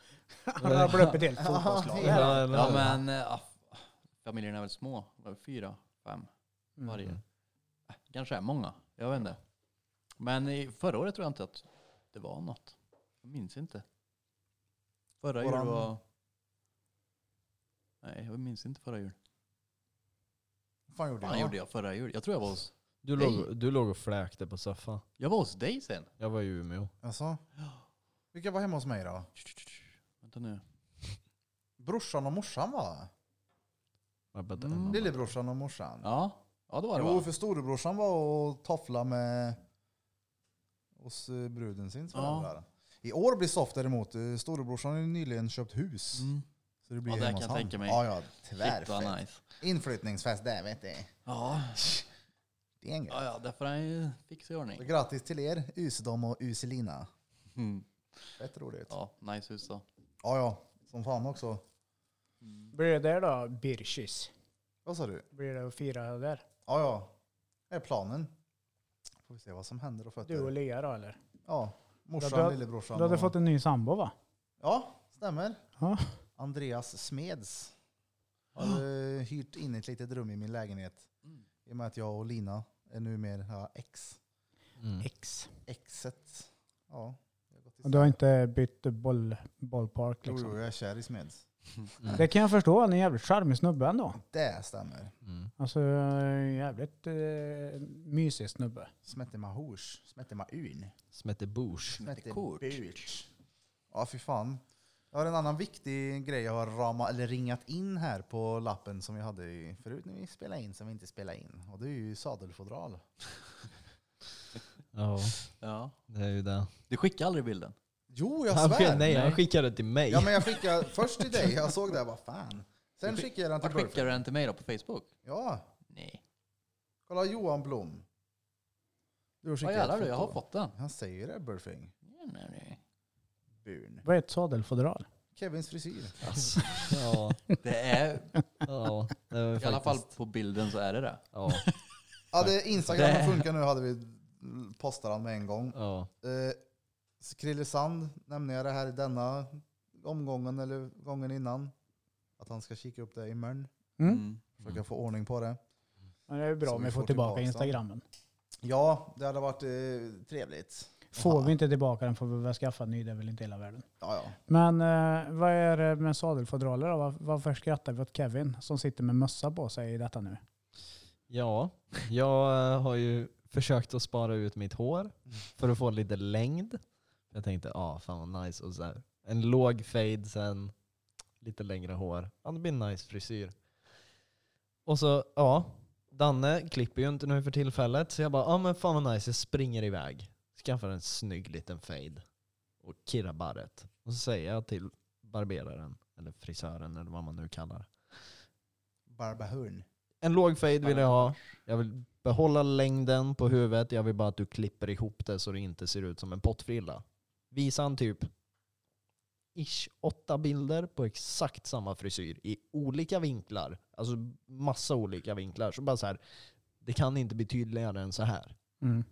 D: Han rabblar upp ett helt fotbollslag.
A: Ja,
D: här.
B: eller
C: Ja
B: hur?
C: men eh, ah, familjen är väl små. Var det Fyra, fem
D: Mm.
C: varje. Eh, Kanske är många. Jag vet inte. Men i förra året tror jag inte att det var något. Jag minns inte. Förra jul
A: Våran-
C: var... Nej, jag minns inte förra jul.
A: Vad fan gjorde
C: Vad fan
A: jag?
C: gjorde jag förra jul? Jag tror jag var hos...
B: Du, låg, du låg och fläkte på soffan.
C: Jag var hos dig sen.
B: Jag var i Umeå.
A: Alltså, vilka var hemma hos mig då?
C: Vänta nu.
A: Brorsan och morsan va?
B: Jag bara,
C: Mm.
B: "Mamma."
A: Lillebrorsan och morsan.
C: Ja, ja det var det
A: Jo,
C: va?
A: för storebrorsan var och toffla med hos eh, bruden sin föräldrar. I år blir soft däremot. Eh, Storebrorsan har ju nyligen köpt hus.
C: Mm.
A: Så det blir
C: Ja, det
A: hemma hos
C: kan jag
A: han.
C: tänka mig.
A: Ja, ja,
C: Shit
A: tvärfett.
C: vad nice.
A: Inflyttningsfest där vet du.
C: Ja,
A: Det är en grej.
C: ja, ja därför är han ju fixa i
A: Så
C: ordning.
A: grattis till er, Usedom och Uselina.
C: Mm.
A: Fett roligt. Ja.
C: Ja, nice hus då.
A: ja, Som fan också.
C: Mm.
D: Blir det där då, Birchis?
A: Vad sa du?
D: Blir det att fira där?
A: Ja, ja. Det är planen. Får vi se vad som händer och
D: Du och
A: fötter.
D: Lea då eller?
A: Ja, morsan,
D: Ja, du har- Du
A: lillebrorsan.
D: hade
A: och-
D: fått en ny sambo va?
A: Ja, stämmer.
D: Ja.
A: Andreas Smeds har eh, hyrt in ett litet rum i min lägenhet.
C: Mm.
A: I och med att jag och Lina är numera ex.
B: Mm.
D: X.
A: Exet. Ja, vi har gått
D: Och du har
A: isär.
D: inte bytt boll, bollpark
A: Jo, jo,
D: liksom?
A: jag är kär i Smeds.
C: Mm.
D: Det kan jag förstå, han är en jävligt charmig snubbe ändå.
A: Det stämmer.
B: Mm.
D: Alltså jävligt eh, mysig snubbe.
A: Smette Mahors. Smette Maun.
B: Som heter Bush.
A: Smette
C: Kort.
A: Burt. Ja, fy fan. Jag har en annan viktig grej jag har rama, eller ringat in här på lappen som vi hade i- förut när vi spelade in, som vi inte spelade in. Och det är ju sadelfodral.
B: Ja,
C: Ja.
B: det är ju det.
C: Du skickade aldrig bilden?
A: Jo, jag
B: Han,
A: svär!
B: nej, han
C: Nej.
B: skickade det till mig.
A: Ja men jag skickade först till dig, jag såg det, vad fan. Sen
C: Du skick-
A: skickade jag den
C: Vart
A: till
C: skickade
A: Burfing.
C: du den till mig då? På Facebook?
A: Ja,
C: Nej.
A: kolla Johan Blom. Du har
C: Vad
A: ett
C: jävlar du, jag har
A: foto.
C: fått den.
A: Han säger det Burfing.
C: Ja, nej, nej.
A: Burn.
D: Vad är ett sadelfodral?
A: Kevins frisyr.
B: Alltså, ja,
C: Det är, [LAUGHS]
B: ja, det var
C: i alla fall
B: faktiskt-
C: på bilden så är det det.
B: Ja,
A: Ja, det, Instagram har funkat nu hade vi postat den med en gång.
B: ja.
A: Eh, Krille Sand nämnde jag det här i denna omgången eller gången innan. Att han ska kika upp det imorgon.
D: Mm.
A: Försöka få ordning på det.
D: Ja, Det är ju bra
A: Så
D: om
A: vi
D: vi
A: får
D: får tillbaka
A: tillbaka
D: instagrammen.
A: Ja, det hade varit eh, trevligt.
D: Får vi inte tillbaka den får vi väl skaffa en ny, det är väl inte hela världen.
A: Ja, ja.
D: Men eh, vad är det med sadelfodraler då? Var- Varför skrattar vi åt Kevin som sitter med mössa på sig i detta nu?
B: ja, jag eh, har ju försökt att spara ut mitt hår för att få lite längd. Jag tänkte, ja ah, fan vad nice. Och så här, en låg fade sen, lite längre hår. Ja, det blir en nice frisyr. Och så, ja, Danne klipper ju inte nu för tillfället. Så jag bara, ja ah, men fan vad nice, jag springer iväg. Skaffar en snygg liten fade och kirrar barret. Och så säger jag till barberaren, eller frisören eller vad man nu kallar det.
A: Barbahun.
B: En låg fade vill jag ha. Jag vill behålla längden på huvudet. Jag vill bara att du klipper ihop det så det inte ser ut som en pottfrilla. Visa han typ ish åtta bilder på exakt samma frisyr i olika vinklar. Alltså massa olika vinklar. Så bara så här, det kan inte bli tydligare än så här.
D: Mm.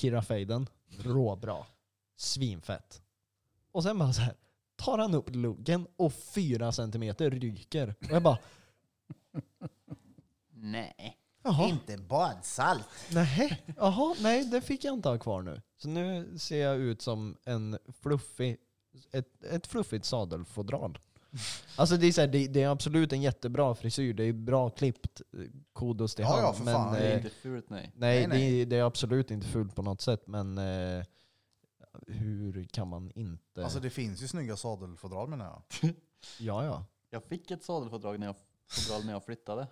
B: Kirra-fejden, råbra. Svinfett. Och sen bara så här, tar han upp luggen och fyra centimeter ryker. Och jag bara,
C: Nej.
B: jaha,
A: Inte badsalt.
B: nej, jaha, nej, det fick jag inte ha kvar nu. Så nu ser jag ut som en fluffig, ett, ett fluffigt sadelfodral. Alltså det är, så här, det, det är absolut en jättebra frisyr, det är bra klippt, eh, kudos till
A: Ja,
B: han.
A: ja, för fan.
C: Det är
B: eh,
C: inte fult nej.
B: Nej,
A: Nej,
B: Det, det är absolut inte fult på något sätt, men eh, hur kan man inte...
A: Alltså det finns ju snygga sadelfodral menar jag.
B: ja, ja.
C: Jag fick ett sadelfodral när jag, fodral när jag flyttade.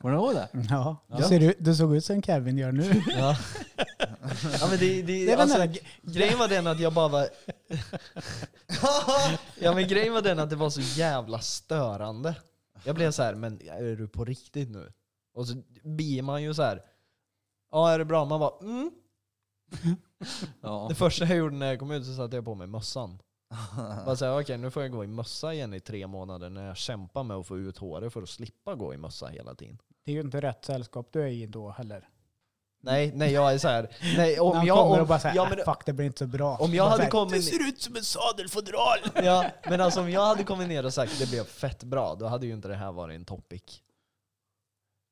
C: Kommer du ihåg det?
D: Mm. Ja,
C: Ja.
D: Du, ser ut, du såg ut som Kevin gör nu. [LAUGHS]
B: ja. men det, det,
D: Det är
B: alltså,
D: väl-
B: gre- grejen var den att jag bara var... [LAUGHS] ja, men grejen var den att det var så jävla störande. Jag blev så här, men är du på riktigt nu? Och så blir man ju så här. Ja, är det bra? Man bara, mm.
C: Ja.
B: Det första jag gjorde när jag kom ut så satte jag på mig
D: [LAUGHS]
B: mössan. Bara såhär, okej nu får jag gå i mössa igen i tre månader när jag kämpar med att få ut håret för att slippa gå i mössa hela tiden.
D: Det är ju inte rätt sällskap du är i då heller.
B: Nej, nej jag är såhär, nej om
D: Om
B: jag...
D: kommer
B: Om,
D: och bara säger
B: ja,
D: ja,
B: men,
D: fuck det blir inte så bra.
B: om jag
D: Bara så
B: hade
D: här,
B: kommit...
E: ut som en sadelfodral!
B: [LAUGHS] Ja, men alltså om jag hade kommit ner och sagt det blev fett bra, då hade ju inte det här varit en topic.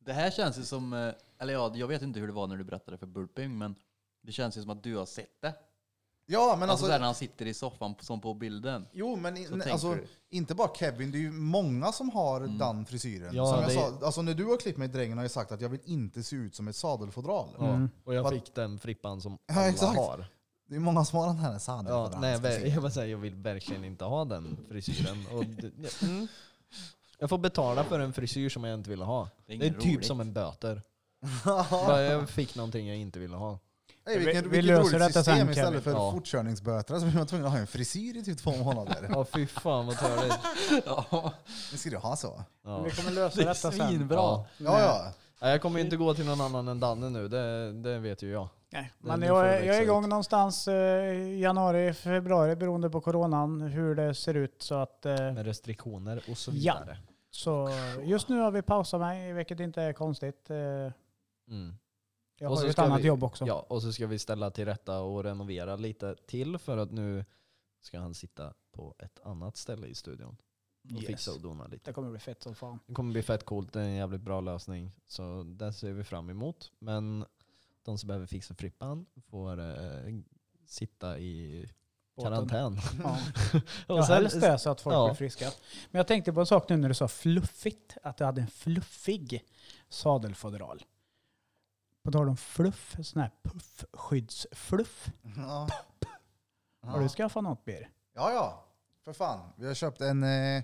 C: Det här känns ju som, eh, eller ja, jag vet inte hur det var när du berättade för Burping, men det känns ju som att du har sett det.
A: Ja men
C: Alltså,
A: alltså,
C: där när han sitter i soffan på- som på bilden.
A: jo men i-
C: Så tänker
A: alltså,
C: du.
A: inte bara Kevin, det är ju många som har den frisyren.
B: Mm. Ja,
A: som jag
B: det-
A: sa, alltså när du har klippt mig i drängen har jag sagt att jag vill inte se ut som ett sadelfodral.
C: Mm.
B: Ja, och jag
A: Vad-
B: fick den frippan som
A: Ja,
B: alla
A: exakt.
B: har.
A: Det är många som har den här
B: Ja,
A: sadelfodralen.
B: nej, jag, vill, jag, bara säger, jag vill verkligen inte ha den frisyren. Och [LAUGHS] d- ja, mm. Jag får betala för en frisyr som jag inte ville ha.
C: Det
B: Det
C: är
B: är,
C: inget
B: typ
C: roligt.
B: som en [LAUGHS] böter. Bara Jag fick någonting jag inte ville ha.
A: Nej, vilken,
D: Vi- vi
A: vilket
D: löser
A: roligt
D: detta
A: system.
D: sen,
A: Istället
D: Kevin.
A: för
B: Ja.
A: fortkörningsböter Alltså, så blir man tvungen att ha en frisyr i typ två månader.
D: [LAUGHS]
B: Ja fy fan vad [LAUGHS] törligt.
C: [LAUGHS] Ja,
A: Nu ska du ha så.
B: Ja.
D: Vi kommer lösa
C: det är
D: detta sen.
C: svinbra.
B: Ja.
A: Ja, ja.
B: Nej, Jag kommer ju inte gå till någon annan än Danne nu, det, det vet ju jag.
D: Nej,
B: Nu-
D: men
B: nu får
D: jag,
B: det
D: är-
B: växa
D: jag är igång
B: ut.
D: någonstans eh, januari, februari beroende på coronan, hur det ser ut. Så, att, eh,
B: Med restriktioner och så
D: Ja.
B: vidare.
D: så just nu har vi pausat mig, vilket inte är konstigt. Eh,
B: Mm.
D: jag
B: Och
D: har
B: så
D: ju ett
B: ska
D: annat
B: vi-
D: jobb också.
B: Ja, och så ska vi ställa till rätta och renovera lite till för att nu ska han sitta på ett annat ställe i studion och
D: Yes.
B: fixa och dona lite.
D: Det kommer bli fett som fan.
B: Det kommer bli fett coolt, det är en jävligt bra lösning. Så det ser vi fram emot. Men de som behöver fixa frippan får eh, sitta i
D: Båten.
B: karantän.
D: Ja.
B: [LAUGHS] Och
D: Ja,
B: sen-
D: helst det så att folk
B: ja.
D: blir friska. Men jag tänkte på en sak nu när du sa fluffigt, att du hade en fluffig sadelfodral. På tal om fluff, sån här puffskyddsfluff.
A: Ja,
D: [LAUGHS] Har du skaffat något Bir?
A: ja. ja. För fan. Vi har köpt en eh,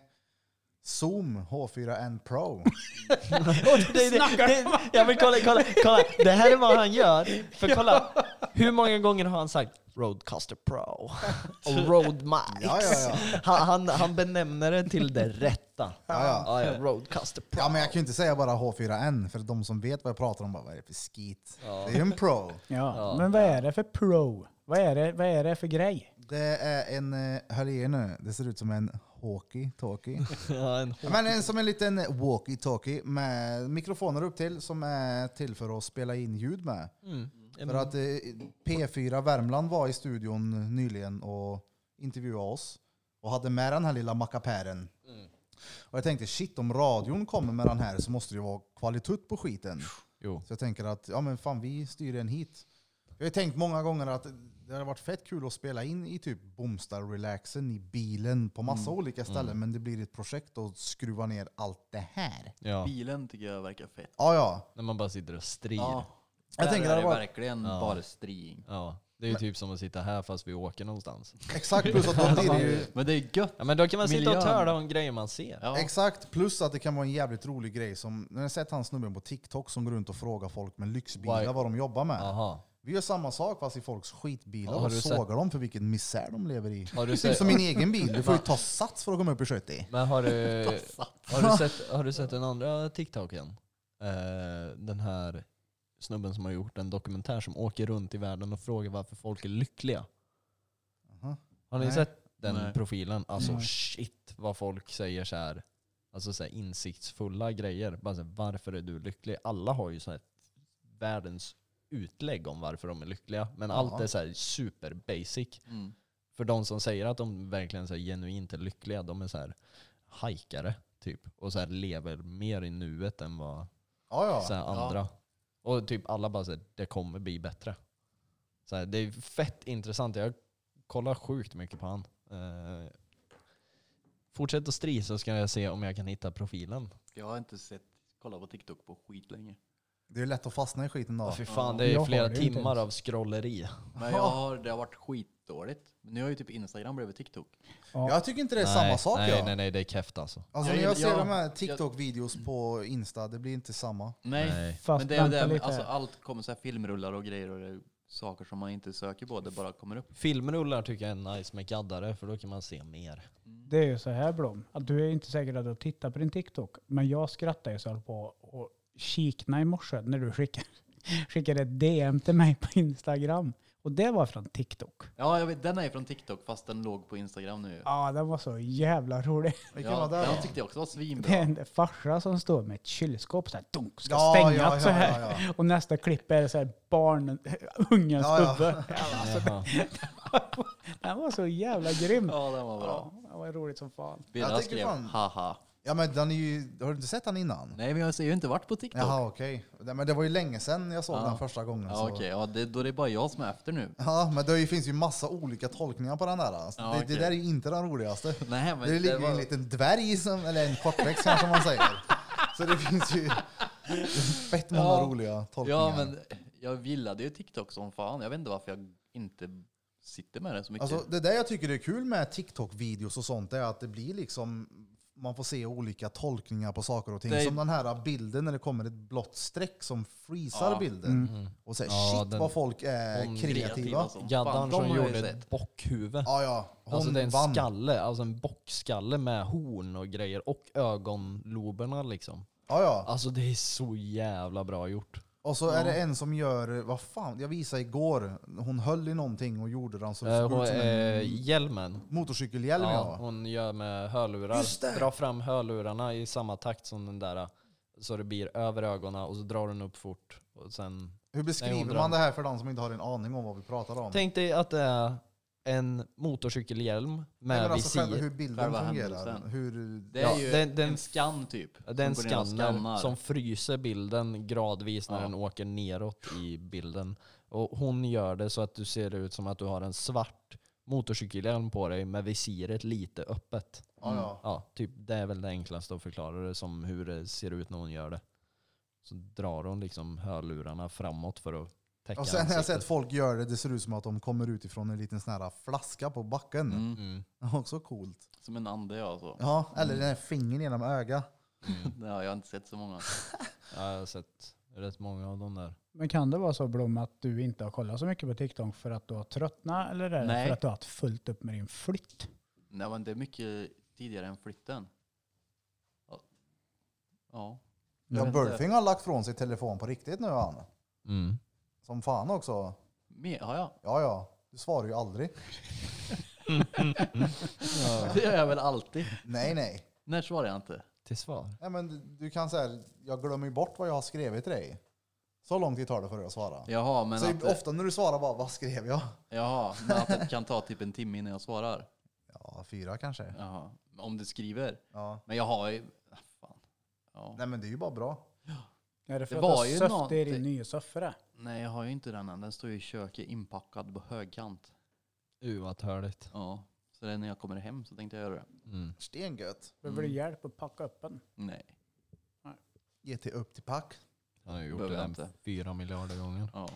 A: Zoom H4N
D: [LAUGHS]
A: Pro.
B: det, det, det, jag vill kolla, kolla, kolla. Det här är vad han gör. För kolla, hur många gånger har han sagt Roadcaster
A: [LAUGHS]
B: Pro och Road Max?
A: Ja, ja, ja.
B: Han, han, han benämner det till det rätta.
A: Ja, ja.
B: Roadcaster Pro.
A: Ja, men jag kan ju inte säga bara H4N, för de som vet vad jag pratar om bara, vad är det för skit? Det är ju en Pro.
D: Ja.
B: Ja.
D: Men vad är det för pro? Vad är det, vad är det för grej?
A: Det är en, eh, hör i er nu, det ser ut som en walkie-talkie.
D: [LAUGHS]
B: Ja, en
A: Ja, Men en, som en liten walkie-talkie med mikrofoner upp till som är till för att spela in ljud med.
B: mm,
A: För att eh, P4 Värmland var i studion nyligen och intervjuade oss och hade med den här lilla mackapären. Och jag tänkte shit, om radion kommer med den här så måste det ju vara kvalitet på skiten.
B: Jo.
A: Så jag tänker att, ja men fan vi styr en hit. Jag har ju tänkt många gånger att det hade varit fett kul att spela in i typ Bomstar-relaxen i bilen på massa olika ställen. Men det blir ett projekt att skruva ner allt det här.
B: Ja.
C: Bilen tycker jag verkar fett.
A: Ja, ja.
B: När man bara sitter och strir.
C: Ja.
B: Ja.
A: Jag
C: Där
A: tänker
C: är
A: det
C: det
A: var-
C: verkligen
B: Ja.
C: bara string.
B: Det är ju typ som att sitta här fast vi åker någonstans.
A: Exakt, plus att då blir det ju...
C: Men det är gött.
B: Ja, men då kan man sitta och
C: Miljön.
B: töla om grejer man ser.
C: Ja.
A: Exakt, plus att det kan vara en jävligt rolig grej som... När jag har sett han snubben på TikTok som går runt och frågar folk med lyxbilar
B: Why-
A: vad de jobbar med.
B: Aha.
A: Vi gör samma sak fast i folks skitbilar
B: Ja, har
A: och
B: du sett-
A: sågar dem för vilken misär de lever
B: [LAUGHS]
A: i.
B: Har du
A: Typ
B: sett,
A: som min egen bil, du får ju ta sats för att komma upp i 70.
B: men
A: [LAUGHS]
B: har du, har, du sett, har du sett den andra TikToken? Eh, den här snubben som har gjort en dokumentär som åker runt i världen och frågar varför folk är lyckliga.
A: Jaha.
B: Har ni
A: Nej.
B: sett den
C: Nej.
B: profilen? Alltså
D: Nej.
B: shit vad folk säger så här. Alltså så här insiktsfulla grejer. Bara så här, varför är du lycklig? Alla har ju så här världens utlägg om varför de är lyckliga. Men allt
A: Ja.
B: är så här super basic.
C: Mm.
B: För de som säger att de verkligen så här genuint är lyckliga, de är så här hajkare typ. Och så här lever mer i nuet än vad
A: Ja,
B: så
A: ja.
B: här andra. Och typ alla bara säger det kommer bli bättre. Så här, det är fett intressant. Jag kollar sjukt mycket på han. Eh, fortsätt att stri så ska jag se om jag kan hitta profilen.
C: Jag har inte sett, kollat på TikTok på skit länge.
A: Det är lätt att fastna i skiten då.
B: Ja. Fy fan, det är
D: Jag har
B: flera
D: det ju inte
B: timmar
D: ens.
B: av scrolleri.
C: Men jag har, det har varit skitdåligt. Men nu har ju typ Instagram blivit TikTok.
A: Jag tycker inte det är
B: nej,
A: samma sak.
B: nej,
A: ja.
B: nej, nej, det är keft alltså.
A: Alltså,
C: Jag
A: när jag
C: gillar-
A: ser
C: ja,
A: de här
C: jag-
A: TikTok-videos på Insta, det blir inte samma.
C: Nej,
B: Nej.
D: Fast
C: men det är ju
D: vänta
C: det,
D: lite
C: alltså,
D: här.
C: allt kommer så här filmrullar och grejer och det är saker som man inte söker på. Det bara kommer upp.
B: Filmrullar tycker jag är nice med gaddare för då kan man se mer.
D: Det är ju så här Blom, att du är inte säkert att du tittar på din TikTok, men jag skrattar ju så här på och kikna i morse när du skickade, [LAUGHS] skickade ett DM till mig på Instagram. Och det var från TikTok.
C: Ja, jag vet, den är ju från TikTok fast den låg på Instagram nu.
D: Ja, den var så jävla rolig.
A: Vilken
C: Ja,
A: var det? då?
C: den tyckte jag också var
D: [LAUGHS] Det är
C: svinbra.
D: en farsa som står med ett kylskåp så här, dunk, ska
A: Ja,
D: stänga
A: ja, ja,
D: så här.
A: ja,
D: Och nästa klipp är så här barn, [LAUGHS] ungens
A: Ja, ja. [LAUGHS]
D: huvud. Alltså,
B: Jaha.
D: den var så jävla grym.
C: Ja, den var bra.
D: Ja, det var roligt som fan.
C: Birra
A: tänker
C: skrev
A: fan-
C: haha.
A: Ja, men den är ju, har du inte sett den innan?
C: Nej, men jag har ju inte varit på TikTok.
A: Jaha, okej. Nej, Men det var ju länge sedan jag såg
C: Ja.
A: den första gången.
C: Ja,
A: så.
C: okej. Ja, det, då är det bara jag som är efter nu. [LAUGHS]
A: Ja, men det är ju- finns ju massa olika tolkningar på den där. Alltså.
C: Ja,
A: det,
C: okej.
A: det där är ju inte den roligaste.
C: Nej, [LAUGHS] men
A: det
C: det
A: ligger ju
C: var-
A: en liten dvärg, som, eller en kortväxt kanske man säger. Så det finns ju fett många
C: Ja.
A: roliga tolkningar.
C: Ja, men jag gillade ju TikTok som fan. Jag vet inte varför jag inte sitter med det så mycket.
A: Alltså, det där jag tycker är kul med TikTok-videos och sånt är att det blir liksom man får se olika tolkningar på saker och ting.
C: Det-
A: Som den här bilden när det kommer ett blått streck som freezar
C: Ja. Mm.
A: bilden. Och säger
B: Ja,
A: shit
B: den-
A: vad folk är
B: Hon-
A: Eh, kreativa.
C: som fan.
B: Gaddan
C: De
B: som
C: har jag ju
B: gjorde
C: sett.
B: ett bockhuvud.
A: Ja, ja. Hon
B: Alltså det är en
A: vann.
B: skalle, alltså en bockskalle med horn och grejer och ögonloberna liksom.
A: Ja, ja.
B: Alltså det är så jävla bra gjort.
A: Och så är det en som gör, vad fan, jag visade igår, hon höll i någonting och gjorde den så det
B: Eh,
A: såg
B: hon,
A: ut som
B: eh,
A: en
B: hjälmen.
A: motorcykelhjälm.
B: Ja,
A: Ja.
B: hon gör med hörlurar.
A: Just det!
B: Dra fram hörlurarna i samma takt som den där. Så det blir över ögonen och så drar hon upp fort. Och sen...
A: Hur
B: Nej,
A: beskriver
B: hon drar-
A: man det här för den som inte har en aning om vad vi pratar om?
B: Tänk dig att det är en motorcykelhjälm
A: Nej,
B: med
A: men alltså själva
B: visir.
A: hur bilden
C: Själva
A: fungerar.
C: händelsen.
A: Hur,
C: Det är
B: Ja,
C: ju
B: den- den-
C: en skan typ.
B: Den
C: som går ner och
B: skannar
C: skannar.
B: som fryser bilden gradvis när
C: Ja.
B: den åker neråt i bilden. Och hon gör det så att du ser ut som att du har en svart motorcykelhjälm på dig med visiret lite öppet.
A: ja, ja.
B: Ja, typ, det är väl det enklaste att förklara det som hur det ser ut när hon gör det. Så drar hon liksom hörlurarna framåt för att täcka
A: Och sen har jag
B: ansiktet.
A: sett folk göra det, det ser ut som att de kommer ut ifrån en liten sån här flaska på backen. [LAUGHS]
C: Mm.
B: Mm.
A: Också coolt.
C: Som en ande ja. Så.
A: Ja, eller den här fingern genom ögat.
C: [LAUGHS] ja. Jag har inte sett så många.
B: Ja, jag har sett rätt många av dem där.
D: Men kan det vara så Blom att du inte har kollat så mycket på TikTok för att du har tröttnat eller är det
C: Nej.
D: för att du har haft fullt upp med din flytt?
C: Nej, men det är mycket tidigare än flytten. Ja. Ja.
A: Ja,
C: vet inte.
A: Burfing har lagt från sig telefon på riktigt nu han.
B: Mm.
A: Som fan också.
C: Me- har jag?
A: Ja, ja. Du svarar ju [LAUGHS] aldrig.
C: [LAUGHS] Det gör jag väl alltid.
A: Nej, nej.
C: När svarar jag inte?
B: Till svar.
A: Nej, men du- du kan säga, jag glömmer ju bort vad jag har skrivit till dig. Så lång tid tar det för dig att svara.
C: Jaha, men
A: så
C: att, det-
A: ofta när du svarar bara, vad skrev jag?
C: jaha, men att det kan ta typ en timme innan jag svarar.
A: Ja, fyra kanske.
C: Jaha. Om du skriver.
A: Ja.
C: Men jag har ju... Ah, Fan. Ja.
A: Nej, men det är ju bara bra.
D: Är det för
C: Det
D: att
C: var
D: du
C: ju
D: har söft
C: någonting-
D: i din nya soffra?
C: Nej, jag har ju inte den än. Den står ju i köket inpackad på högkant.
B: Uh, vad törligt.
C: Ja. Så det är när jag kommer hem så tänkte jag göra det.
B: Mm.
A: Stengött.
D: Behöver
C: Mm.
D: du hjälp att packa upp den?
C: Nej.
A: Ge till upp till pack.
B: Han har ju gjort
C: Behöver jag
B: det
C: inte.
B: där fyra miljarder gånger.
C: Ja.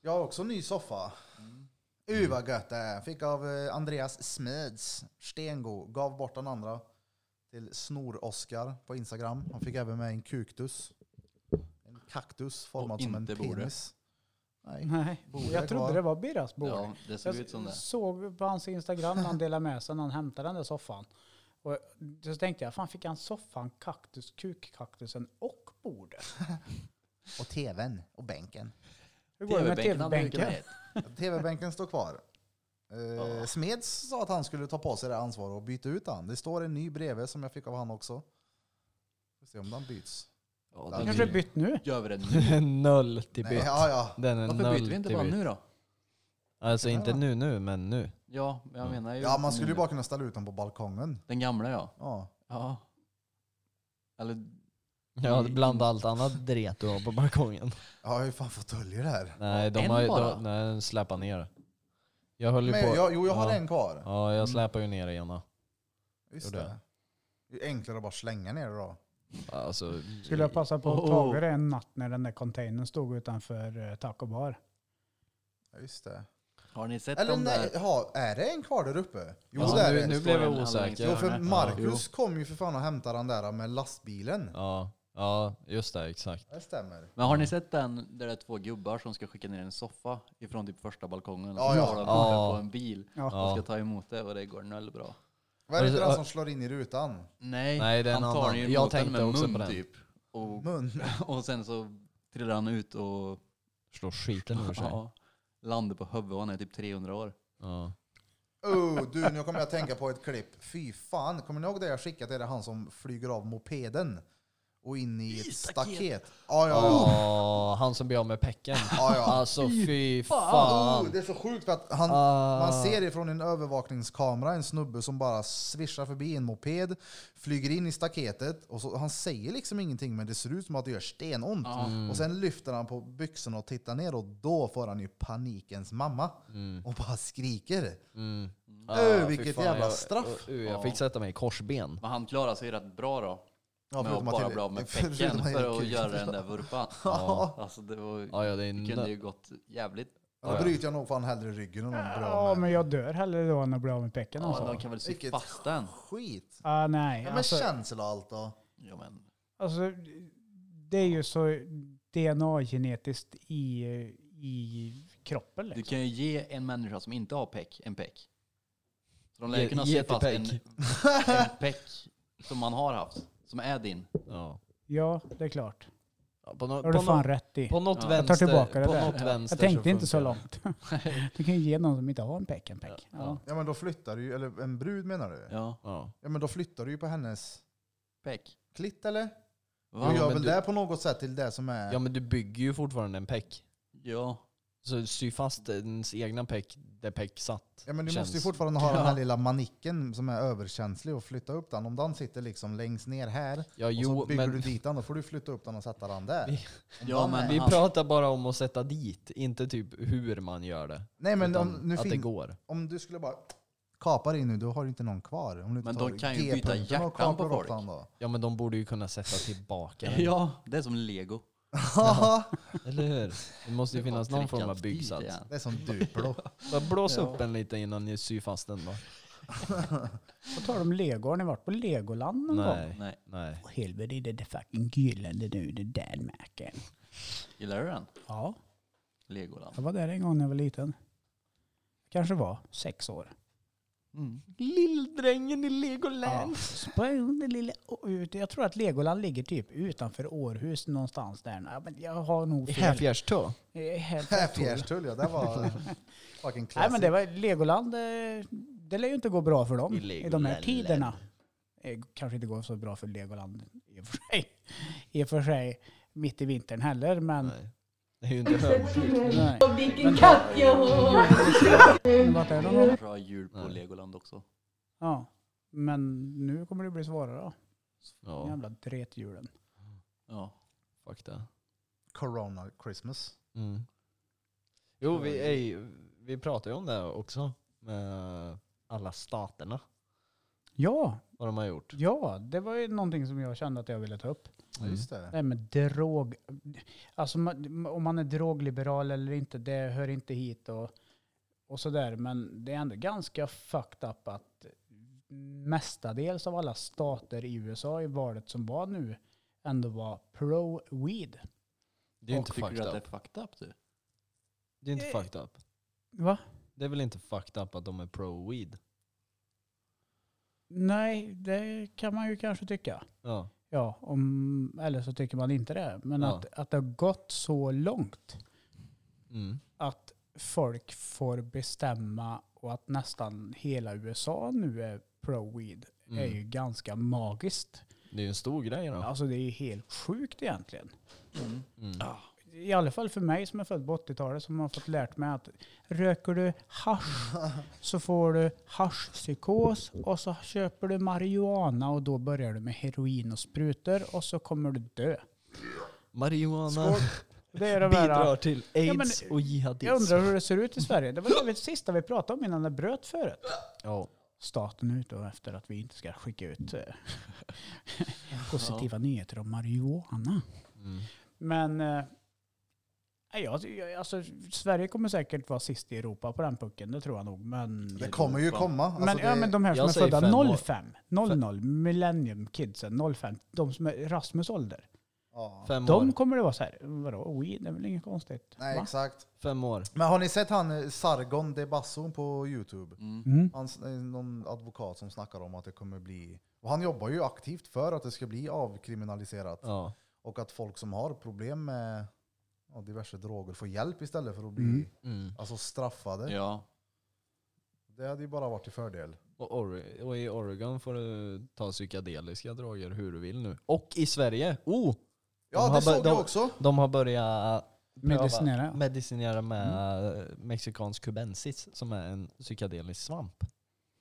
A: Jag har också en ny soffa. Mm. U vad gött det är. Fick av eh, Andreas Smeds. Stengo. Gav bort den andra till Snor-Oskar på Instagram. Han fick även med en kuktus. En kaktus formad
C: Och
A: som en
C: inte borde.
A: penis. Nej.
D: Nej.
A: Borde det
D: Jag trodde
A: vara.
D: det var Birras bord.
C: Ja, det såg ut som det.
D: Jag såg på hans Instagram när han delade med sig när han hämtade den där soffan. Och så tänkte jag, fan fick han soffan, kaktus, kukkaktusen och bordet?
A: Och tvn och bänken.
D: Hur går det med
C: TV-bänken hade du
D: tv-bänken?
C: kunnat ha.
A: Tv-bänken står kvar. Eh, Smeds sa att han skulle ta på sig det ansvaret och byta ut han. Det står en ny bredvid som jag fick av han också. Får se om den byts.
B: Ja,
A: den
D: Kanske är bytt nu?
C: Gör vi det nu?
B: Den är [LAUGHS] noll till
A: Nej,
B: byt.
A: ja, ja.
B: Den är
C: Varför
B: noll
C: byter vi inte
B: till
C: bara
B: byt.
C: nu då?
B: Alltså inte nu nu, men nu.
C: Ja, men jag menar ju...
A: ja, man skulle ju
C: nu.
A: bara kunna ställa ut den på balkongen.
C: Den gamla ja.
A: Ja.
C: Ja. Eller
B: Ja,
A: Mm.
B: bland allt annat dret du har på balkongen.
A: Jag har ju fan fåtöljer här.
B: Nej, de
C: En
B: har ju,
C: bara?
B: de, nej, släpa ner. Jag höll ju
A: Men
B: på.
A: jag, jo, jag har
B: ja.
A: en kvar.
B: Ja, jag släpar ju ner ena.
A: Just
B: gjorde
A: det. Det är enklare att bara slänga ner det då.
B: Alltså,
D: Skulle jag passa på att
C: Oh.
D: ta det en natt när den där containern stod utanför eh, Taco Bar?
A: Ja, Just det.
C: har ni sett
A: Eller
C: de
A: nej,
C: där?
A: ja, är det en kvar där uppe? Jo,
B: Ja,
A: det är
B: alltså, nu-
A: det.
B: nu-
C: Står
B: blev jag
C: en
B: osäker.
C: anläggning-
A: Jo, för
C: Ja,
A: Marcus kom ju för fan och hämtade den där med lastbilen.
B: ja, ja, just det, exakt.
A: Det stämmer.
C: Men har ni sett den där det är två gubbar som ska skicka ner en soffa ifrån typ första balkongen?
A: Ja,
C: och så
A: ja.
C: har de
B: Ja.
C: uppe på en bil
D: Ja.
C: och ska ta emot det och det går noll bra.
A: Vad är det
B: Alltså,
A: för den
B: ö-
A: som slår in i rutan?
C: Nej,
B: Nej, det är en
C: han tar
B: annan.
C: ju
B: Jag
C: emot den
B: tänkte
C: med
B: också
C: mun
B: på den.
C: typ. Och,
A: Mun.
C: [LAUGHS] och sen så trillar han ut och
B: Slår skiten ur sig.
C: ja, landar på huvudet och han är typ 300 år.
B: Ja.
A: Oh, du, nu kommer jag att tänka på ett klipp. Fy fan, kommer ni ihåg det jag skickade till er? Han som flyger av mopeden och in i ett staket. Ja, ja,
B: Åh, han som blir av med pecken.
A: ja. ja.
B: Alltså fy
A: Oh,
B: fan.
A: det är så sjukt för att han,
B: Ah.
A: man ser ifrån en övervakningskamera en snubbe som bara svischar förbi en moped, flyger in i staketet och så, han säger liksom ingenting men det ser ut som att det gör stenont.
C: Ah. Mm.
A: Och sen lyfter han på byxorna och tittar ner och då får han ju panikens mamma
C: Mm.
A: och bara skriker.
B: Mm.
A: Öh,
B: fy
A: vilket jävla
B: jag,
A: straff.
B: Uh, jag
C: Ja.
B: fick sätta mig i korsben.
C: Men han klarar sig rätt bra då.
A: Ja,
C: med att
A: förutom
C: bara
A: till-
C: bli av
A: [LAUGHS]
C: med
A: förutom
C: pecken
A: han
C: för att
A: kuken.
C: göra den där vurpan.
A: [LAUGHS] Ja.
C: Alltså det, var,
B: Ja, ja, det är
C: det kunde
B: nö-
C: ju gått jävligt.
A: Ja, Då bryter jag nog fan hellre ryggen än någon bra
D: Ja, men jag dör hellre då än att bli av med pecken.
C: Ja,
D: alltså.
C: de kan väl sy
A: Vilket-
C: fast den.
A: Skit.
D: Ah, nej,
A: Ja, men
D: alltså,
A: känsla och allt då.
C: Ja, men,
D: alltså, det är ju så DNA-genetiskt i, i kroppen.
C: du
D: Liksom.
C: kan ju ge en människa som inte har peck en peck. Så de lär
B: Ge-
C: ju kunna
B: ge
C: sy
B: till
C: fast en,
B: peck. [LAUGHS]
C: en peck som man har haft, som är din.
B: Ja.
D: Ja, det är klart.
B: Ja, På, no,
D: Det har du
B: på, no,
D: fan rätt i.
B: på något
C: Ja.
D: Jag tar
B: vänster.
D: tillbaka det
B: på
D: där.
B: något vänster
D: Jag tänkte inte så
B: funkar det.
D: långt.
B: [LAUGHS]
D: Du kan ju ge någon som inte har en peck en peck.
B: Ja.
D: Ja.
A: Ja men då flyttar du ju, eller en brud menar du? Ja,
C: Ja,
B: Ja.
A: men då flyttar du ju på hennes
C: peck. Mm.
A: klitt eller?
C: Va?
A: du gör
B: men
A: väl
B: du-
A: det på något sätt till det som är...
B: ja, men du bygger ju fortfarande en peck.
C: Ja,
B: Så sy fast ens egna peck där peck satt.
A: Ja, men du
B: Känns-
A: måste ju fortfarande ha den här
C: Ja.
A: lilla manicken som är överkänslig och flytta upp den. Om den sitter liksom längst ner här
B: Ja,
A: och
B: jo,
A: så bygger
B: men
A: du dit den, då får du flytta upp den och sätta den där.
B: Vi-
A: Om
C: Ja,
A: den
C: men
A: är-
B: [LAUGHS] vi
C: han-
B: pratar bara om att sätta dit, inte typ hur man gör det.
A: Nej men om,
B: utan
A: nu
B: att det
A: fin,
B: går.
A: om du skulle bara kapa dig nu, då har du inte någon kvar. Om du inte
C: Men
A: tar
C: de kan ju byta
A: G-punkten och
C: hjärtan
A: kapar
C: på
A: upp
C: folk.
A: den Då.
B: Ja, men de borde ju kunna sätta
D: [LAUGHS]
B: tillbaka den.
C: ja det är som lego.
B: Eller hur? Det måste ju
C: Det
B: finnas
C: var
B: någon form av
C: prickat dit
B: byggsats.
C: igen.
A: [LAUGHS] det är som Duplo.
B: Bara blås upp en lite innan ni syr fast den då.
D: På tal om lego, har ni varit på Legoland någon gång?
B: Nej.
C: Nej,
B: Nej.
D: Åh, Helvete, det är det fucking gyllene nu, det där mäken.
C: gillar du den?
D: Ja,
C: Legoland.
D: jag var där en gång när jag var liten. Kanske var sex år.
C: Mm.
B: Lilldrängen i
D: Ja.
B: Legoland.
D: Spring, det lilla- och ut- Jag tror att Legoland ligger typ utanför Århus någonstans där. Ja, men jag har nog
B: I
D: fel.
B: Häfjärstå.
D: Eh, helt fel.
A: Fjärstull ja, det var fucking
D: Nej men
A: classic.
D: det var Legoland, eh, det lär ju inte gå bra för dem
B: I
D: i de här
B: Legoland.
D: tiderna. Eh, Kanske inte går så bra för Legoland i och för sig. I och för sig mitt i vintern heller men
B: Nej. Det är ju inte högtryck.
D: nej.
G: Vilken katt jag har!
D: Men vart är de då?
C: Jag har jul på
B: Nej.
C: Legoland också.
D: Ja. Men nu kommer det bli svårare då.
B: Ja,
D: Jävla drethjulen.
C: Ja.
B: fuck det.
A: Corona Christmas.
B: Mm. Jo, vi, ej, vi pratar ju om det också. Med alla staterna.
D: Ja,
B: Vad de har gjort.
D: ja, det var ju någonting som jag kände att jag ville ta upp.
A: Ja, just det.
D: Nej men drog, alltså man- om man är drogliberal eller inte, det hör inte hit och, och sådär. Men det är ändå ganska fucked up att mestadels av alla stater i USA i valet som var nu ändå var pro-weed.
B: Det är ju inte
C: Tycker du
B: fucked
C: att det
B: up.
C: är fucked up du?
B: Det är inte
D: Eh.
B: fucked up.
D: Va?
B: Det är väl inte fucked up att de är pro-weed?
D: Nej, det kan man ju kanske tycka.
B: Ja.
D: Ja, om, eller så tycker man inte det. Men
B: Ja.
D: att, att det har gått så långt
B: Mm.
D: att folk får bestämma och att nästan hela USA nu är pro-weed är ju
B: Mm.
D: ganska magiskt.
B: Det är ju en stor grej då.
D: Alltså det är ju helt sjukt egentligen.
B: Mm.
D: I alla fall för mig som är född på 80-talet som har fått lärt mig att röker du hasch så får du haschpsykos och så köper du marijuana och då börjar du med heroin och sprutor och så kommer du dö.
B: Marijuana
D: Det är det
B: bidrar
D: värsta.
B: till
D: men-
B: aids och jihadism.
D: Jag undrar hur det ser ut i Sverige. Det var det sista vi pratade om innan det bröt förut.
B: Ja.
D: Staten ut och efter att vi inte ska skicka
B: [LAUGHS]
D: ut eh, positiva nyheter om marijuana.
B: Mm.
D: Men eh, ja, jag- alltså, Sverige kommer säkert vara sist i Europa på den pucken, det tror jag nog. Men,
A: Det kommer ju komma. Alltså
D: men,
A: det,
D: ja, men de här som
B: Jag
D: är
B: säger
D: födda
B: fem år.
D: 05, 00, millennium kidsen 05, de som är Rasmus ålder.
A: ja.
B: Fem
D: De
B: år.
D: kommer det vara så här, vadå, weed, det är väl inget konstigt?
A: Nej,
D: va?
A: exakt.
B: Fem år.
A: Men har ni sett han eh, Sargon de Basso på Youtube?
D: Mm.
A: Han, eh, någon advokat som snackar om att det kommer bli... Och han jobbar ju aktivt för att det ska bli avkriminaliserat.
B: Ja.
A: Och att folk som har problem med ja, diverse droger får hjälp istället för att bli
D: Mm.
B: Mm.
A: alltså, straffade.
C: Ja.
A: Det hade ju bara varit till fördel.
B: Och, Ore- och i Oregon får du ta psykedeliska droger hur du vill nu. Och i Sverige! Oh!
A: Ja,
B: De
A: det
B: har
A: såg
B: bör-
A: jag
B: de- Mm.
A: också.
B: De har börjat pröva-
D: Medicinera.
B: medicinera med mexikansk kubensis som är en psykedelisk svamp.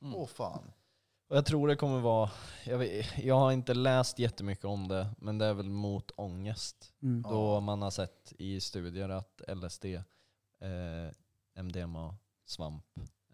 C: Mm.
A: Åh fan.
B: Och jag tror det kommer vara, jag, vet, jag har inte läst jättemycket om det, men det är väl mot ångest.
D: Mm.
B: Då man har sett i studier att LSD, eh, MDMA, svamp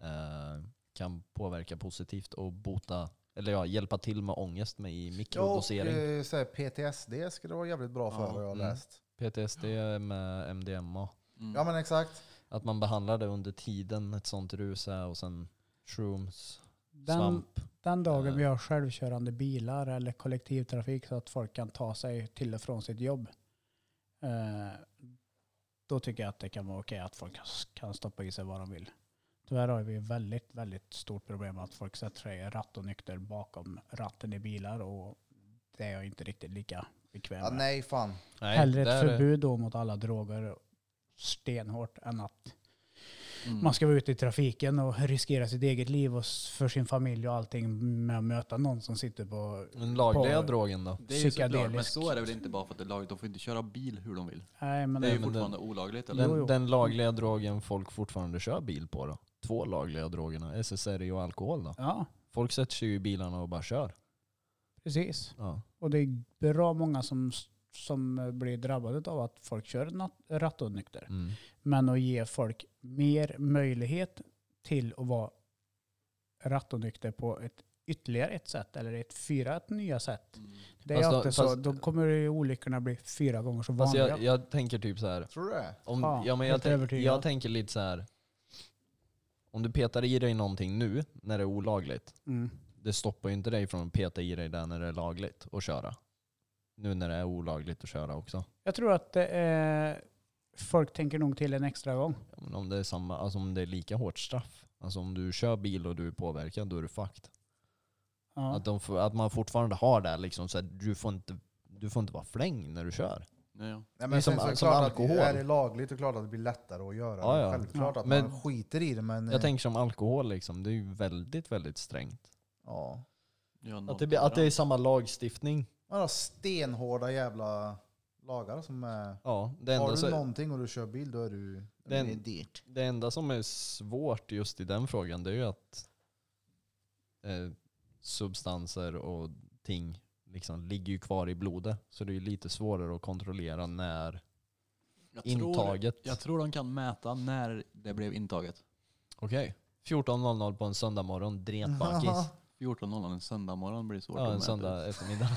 B: eh, kan påverka positivt och bota, eller ja, hjälpa till med ångest med i
A: Ja, och
B: mikrodosering.
A: eh, så här, PTSD skulle vara jävligt bra för
C: Ja,
A: vad jag har
B: mm.
A: läst.
B: PTSD med MDMA.
C: Mm.
A: Ja men exakt.
B: Att man behandlar det under tiden ett sånt rus är och sen shrooms,
D: Den,
B: svamp.
D: den dagen
B: Eh.
D: vi har självkörande bilar eller kollektivtrafik så att folk kan ta sig till och från sitt jobb. Eh, då tycker jag att det kan vara okej att folk kan stoppa i sig vad de vill. Tyvärr har vi väldigt, väldigt stort problem att folk sätter sig rattonykter bakom ratten i bilar och det är jag inte riktigt lika bekväm
A: Ja,
D: med.
A: nej fan.
B: Nej,
D: Hellre
B: där
D: ett
B: är-
D: förbud då mot alla droger stenhårt än att
C: Mm.
D: man ska vara ute i trafiken och riskera sitt eget liv och s- för sin familj och allting med att möta någon som sitter på...
B: Den lagliga
D: på-
B: drogen då?
C: Det är ju såklart, men
D: psykedelisk.
C: så är det väl inte bara för att det är lagligt. De får inte köra bil hur de vill.
D: Nej, men
C: Det är ju
B: men det-
C: fortfarande olagligt eller?
D: jo,
B: Den,
D: jo.
B: den lagliga drogen folk fortfarande kör bil på då? Två lagliga drogerna, SSRI och alkohol då?
D: Ja,
B: Folk sätter sig ju i bilarna och bara kör.
D: precis.
B: Ja.
D: Och det är bra många som, som eh, blir drabbade av att folk kör nat- rattonykter.
B: Mm.
D: Men att ge folk mer möjlighet till att vara rattonykter på ett ytterligare ett sätt eller ett fyra ett nya sätt.
C: Mm.
D: Det är
B: Fast då-
D: alltid så.
B: fast-
D: Då kommer ju olyckorna bli fyra gånger så
B: Fast
D: vanliga.
B: jag, jag tänker typ så här.
A: Tror du det?
B: Om,
D: Ja,
B: ja, men
D: helt
B: jag, tänk,
D: övertygad.
B: jag tänker lite så här. Om du petar i dig någonting nu när det är olagligt,
D: Mm.
B: det stoppar ju inte dig från att peta i dig det när det är lagligt och köra. Nu när det är olagligt att köra också.
D: Jag tror att det är, folk tänker nog till en extra gång.
B: Ja, men om det är samma, alltså om det är lika hårt straff. Alltså om du kör bil och du är påverkad, då är du fucked.
D: Ja.
B: Att, de, får- att man fortfarande har det här liksom, så här, du, får inte, du får inte vara fläng när du kör.
C: Nej, ja.
A: Nej,
B: Det är
A: men sen
B: som-
A: så är det
B: som
A: klart
B: alkohol.
A: Att, är det lagligt och klart att det blir lättare att göra
B: Ja,
A: det.
B: ja.
A: Självklart
D: Ja.
A: att
B: Men-
A: man skiter i det men... eh,
B: Jag tänker som alkohol, liksom, det är ju väldigt, väldigt strängt.
A: ja.
C: Ja,
B: Att det, blir- att det är samma lagstiftning.
A: Man har stenhårda jävla lagar som är...
B: Ja, det, enda
A: Har du
B: så,
A: någonting och du kör bil då är du...
B: Den-
A: det är dyrt.
B: det enda som är svårt just i den frågan, det är ju att eh, substanser och ting liksom ligger ju kvar i blodet. Så det är ju lite svårare att kontrollera när
C: jag
B: intaget...
C: Tror, jag tror de kan mäta när det blev intaget.
B: Okej. 14.00 på en söndag morgon, drent bakis.
C: 14.00 en söndag morgon blir det svårt
B: Ja,
C: att
B: en
C: mäta.
B: söndag [LAUGHS]
C: [LAUGHS]
B: eftermiddag.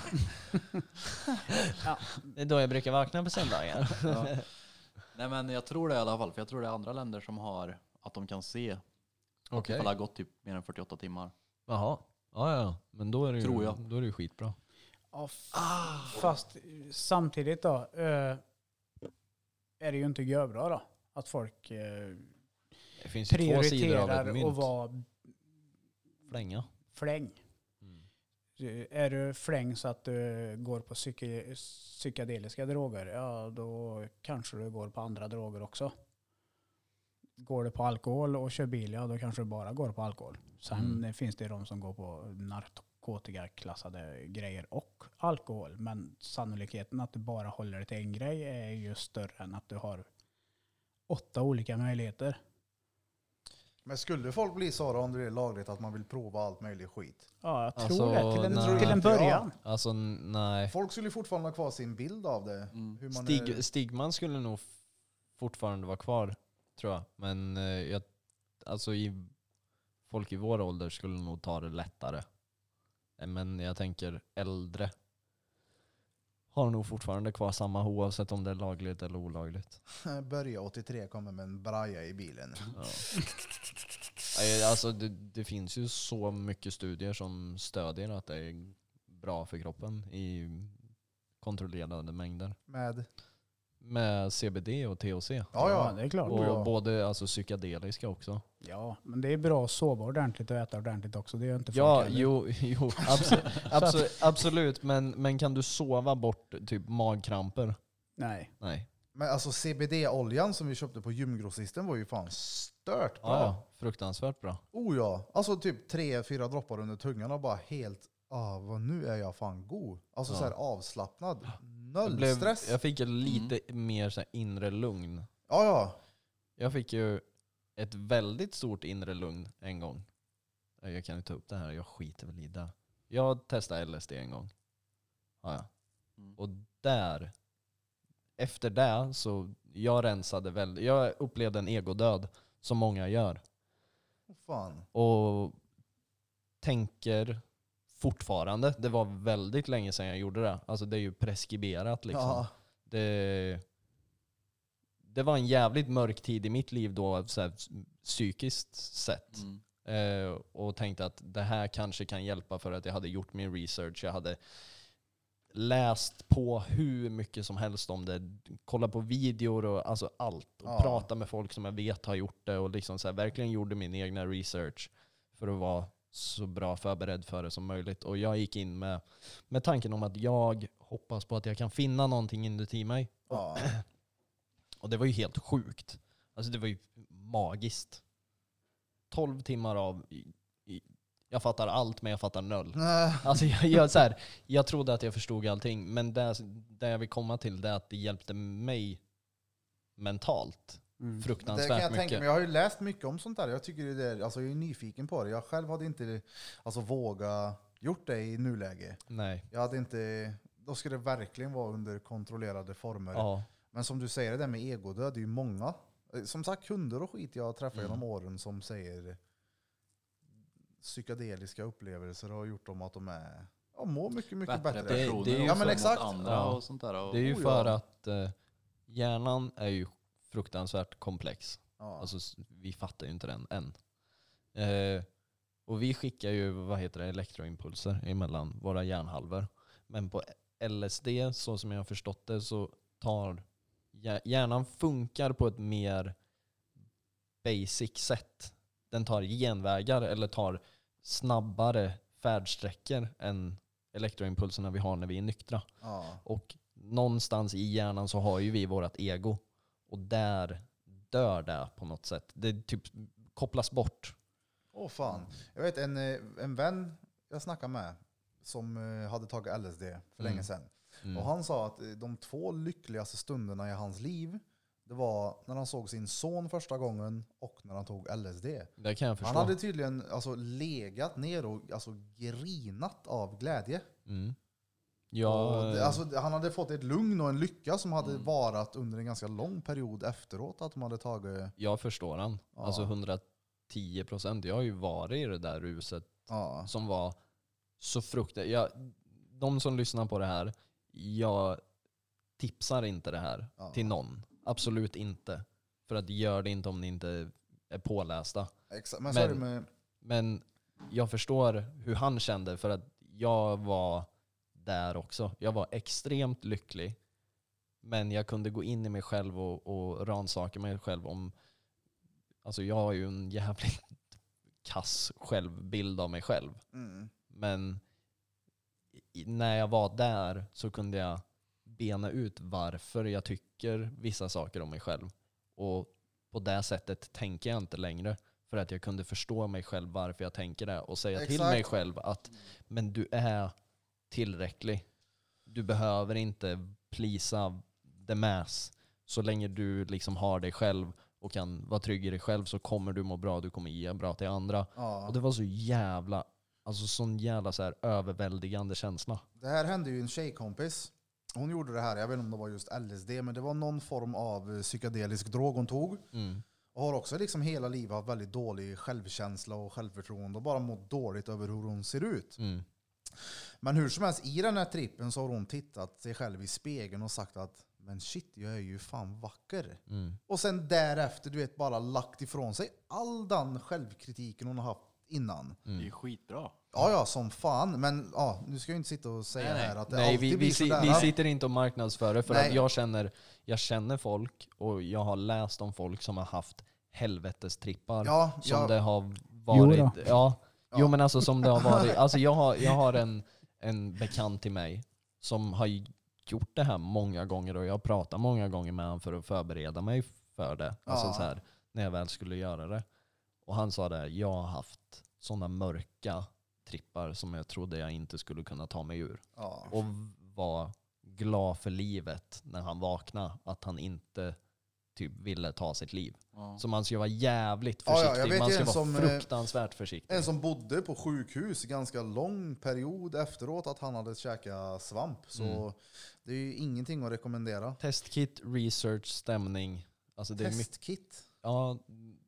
B: Det är då jag brukar vakna på söndagar.
C: Ja. Nej men jag tror det i alla fall, för jag tror det är andra länder som har att de kan se
B: Okej.
C: ifall det har gått typ mer än 48 timmar.
B: Jaha. Ja, ja. Men då är det ju,
C: Tror jag.
B: Då är det ju skitbra.
D: Ja, f- Fast samtidigt då, eh, är det ju inte görbra då. Att folk eh,
B: Det finns ju två sidor av ett
D: prioriterar
B: mynt.
D: att vara
B: Flänga.
D: fläng.
B: Mm.
D: Du- Är du fläng så att du går på psyke, psykedeliska droger, ja då kanske du går på andra droger också. Går du på alkohol och kör bil, ja då kanske du bara går på alkohol. Sen
B: Mm.
D: eh, finns det de som går på narkotikaklassade grejer och alkohol. Men sannolikheten att du bara håller dig till en grej är ju större än att du har åtta olika möjligheter.
A: Men skulle folk bli sådana om det är lagligt att man vill prova allt möjligt skit?
D: Ja, jag tror
B: Alltså,
D: det. Till
B: nej.
D: en, till en början.
B: Alltså n- nej.
A: Folk skulle ju fortfarande ha kvar sin bild av det.
C: Mm.
A: Hur man är...
B: Stig, Stigman skulle nog f- fortfarande vara kvar, tror jag. Men eh, jag, alltså i, folk i vår ålder skulle nog ta det lättare. Eh, Men jag tänker äldre har nog fortfarande kvar samma oavsett om det är lagligt eller olagligt.
A: [LAUGHS] Börja 83 kommer med en braja i bilen.
B: Ja. Nej, Alltså, det, det finns ju så mycket studier som stödjer att det är bra för kroppen i kontrollerade mängder.
A: Med...
B: Med CBD och THC.
A: Ja,
D: ja,
A: ja.
D: det är klart.
B: Och
A: Oh, ja.
B: både alltså, psykedeliska också.
D: Ja, men det är bra att sova ordentligt och äta ordentligt också. Det gör inte
B: Ja,
D: folk heller.
B: jo, [LAUGHS] jo absolut, absolut, absolut. Men, men kan du sova bort typ magkramper?
D: Nej.
B: Nej.
A: Men alltså CBD-oljan som vi köpte på gymgrossisten var ju fan stört bra.
B: Ja, fruktansvärt bra.
A: Oh ja. Alltså typ tre, fyra droppar under tungan och bara helt, ah, vad nu är jag fan god. Alltså
B: Ja.
A: så här avslappnad.
B: Jag,
A: Noll
B: blev,
A: stress.
B: jag fick ju lite mer så här, inre lugn.
A: Ja, ja.
B: Jag fick ju ett väldigt stort inre lugn en gång. Nej, Jag kan ju ta upp det här, jag skiter väl i det. Jag testade LSD en gång. Ja, ja.
C: Mm.
B: Och där, efter det så jag rensade väldigt, jag upplevde en egodöd som många gör.
A: Oh, fan.
B: Och tänker fortfarande, det var väldigt länge sedan jag gjorde det. Alltså det är ju preskriberat liksom
A: Ja.
B: det, det var en jävligt mörk tid i mitt liv då, så här, psykiskt sett.
C: Mm.
B: Eh, och tänkte att det här kanske kan hjälpa för att jag hade gjort min research. Jag hade läst på hur mycket som helst om det. Kolla på videor och alltså allt. Och
A: Ja.
B: prata med folk som jag vet har gjort det. Och liksom så här, verkligen gjorde min egna research för att vara så bra förberedd för det som möjligt. Och jag gick in med, med tanken om att jag hoppas på att jag kan finna någonting inuti mig. [LAUGHS]
A: Ja.
B: Och det var ju helt sjukt. Alltså det var ju magiskt. 12 timmar av, i- i- jag fattar allt men jag fattar noll.
A: Nej.
B: Alltså jag, jag, så här, jag trodde att jag förstod allting men det, det jag vill komma till det är att det hjälpte mig mentalt
D: Mm.
A: Det kan
B: fruktansvärt
A: jag tänka
B: mycket.
A: mig. Jag har ju läst mycket om sånt där. Jag, tycker det är, alltså jag är nyfiken på det. Jag själv hade inte alltså, vågat gjort det i nuläge.
B: Nej.
A: Jag hade inte... Då skulle det verkligen vara under kontrollerade former.
B: Ja.
A: Men som du säger, det där med egodöd, det är ju många. eh, Som sagt, kunder och skit jag träffar
B: Mm.
A: genom åren som säger psykedeliska upplevelser har gjort dem att de är, ja, mår mycket, mycket bättre.
C: Bättre personer
B: Det- det är ju
C: också
A: Ja, men
C: mot
A: exakt.
C: andra
B: Ja.
C: och sånt där. Och,
B: Det är ju
A: Oh,
B: för
A: ja.
B: att eh, hjärnan är ju fruktansvärt komplex.
A: Ja.
B: Alltså, s- vi fattar ju inte den än. Eh, och vi skickar ju vad heter det, elektroimpulser emellan våra hjärnhalvor. Men på LSD, så som jag har förstått det, så tar hjär- hjärnan funkar på ett mer basic sätt. Den tar genvägar eller tar snabbare färdsträckor än elektroimpulserna vi har när vi är nyktra.
A: ja.
B: Och någonstans i hjärnan så har ju vi vårt ego. Och där dör det på något sätt. Det typ kopplas bort.
A: Åh fan. Jag vet en, eh, en vän jag snackade med som eh, hade tagit LSD för länge sedan. Och han sa att eh, de två lyckligaste stunderna i hans liv, det var när han såg sin son första gången och när han tog LSD.
B: Det kan jag förstå.
A: Han hade tydligen alltså, legat ner och alltså, grinat av glädje.
B: mm.
A: Och
B: ja,
A: det, alltså, han hade fått ett lugn och en lycka som hade
C: Mm.
A: varat under en ganska lång period efteråt. Att de hade tagit...
B: jag förstår han.
A: Ja.
B: Alltså 110 procent. Jag har ju varit i det där ruset
A: Ja.
B: som var så fruktansvärt. Jag, de som lyssnar på det här, jag tipsar inte det här
A: Ja.
B: till någon. Absolut inte. För att gör det inte om ni inte är pålästa.
A: Exakt. Men, så är det
B: Men-
A: med...
B: Men jag förstår hur han kände för att jag var där också. Jag var extremt lycklig. Men jag kunde gå in i mig själv och, och ransaka mig själv om... Alltså jag har ju en jävligt [LAUGHS] kass självbild av mig själv.
A: Mm.
B: Men i- när jag var där så kunde jag bena ut varför jag tycker vissa saker om mig själv. Och på det sättet tänker jag inte längre. För att jag kunde förstå mig själv varför jag tänker det och säga till
A: Exakt.
B: mig själv att men du är tillräcklig. Du behöver inte plisa the mass. Så länge du liksom har dig själv och kan vara trygg i dig själv så kommer du må bra, du kommer ge bra till andra.
A: Ja.
B: Och det var så jävla, alltså sån jävla så här överväldigande känsla.
A: Det här hände ju en tjejkompis. Hon gjorde det här, jag vet inte om det var just LSD, men det var någon form av eh, psykedelisk drog hon tog. Och har också liksom hela livet haft väldigt dålig självkänsla och självförtroende och bara mått dåligt över hur hon ser ut.
B: Mm.
A: Men hur som helst, i den här trippen så har hon tittat sig själv i spegeln och sagt att men shit, jag är ju fan vacker.
B: Mm.
A: Och sen därefter, du vet, bara lagt ifrån sig all den självkritiken hon har haft innan.
B: Mm.
C: Det är ju skitbra.
A: Ja, ja, som fan. Men ja, nu ska jag ju inte sitta och säga
C: Nej, nej.
A: här att det
B: Nej,
A: alltid
B: vi,
A: blir
B: vi, si,
A: sådär.
B: vi sitter inte och marknadsför det för
A: Nej.
B: att jag känner, jag känner folk och jag har läst om folk som har haft helvetestrippar
A: Ja,
B: som
A: ja.
B: det har varit.
D: Jo då.
B: ja, Jo men alltså som det
A: [LAUGHS]
B: har varit. Alltså jag har, jag har en, en bekant till mig som har gjort det här många gånger och jag har pratat många gånger med honom för att förbereda mig för det. Alltså
A: Ja.
B: så här, när jag väl skulle göra det. Och han sa det, här, jag har haft sådana mörka trippar som jag trodde jag inte skulle kunna ta mig ur
A: Ja.
B: och var glad för livet när han vaknade. Att han inte typ ville ta sitt liv.
C: Ja.
B: Så man ska vara jävligt
A: Ja, ja, jag
B: försiktig.
A: vet
B: man
A: ju
B: ska
A: en
B: vara
A: som, eh,
B: fruktansvärt försiktig.
A: En som bodde på sjukhus ganska lång period efteråt att han hade käkat svamp. Så
B: Mm.
A: det är ju ingenting att rekommendera.
B: Testkit, research, stämning. Alltså det är mycket,
A: Testkit.
B: ja,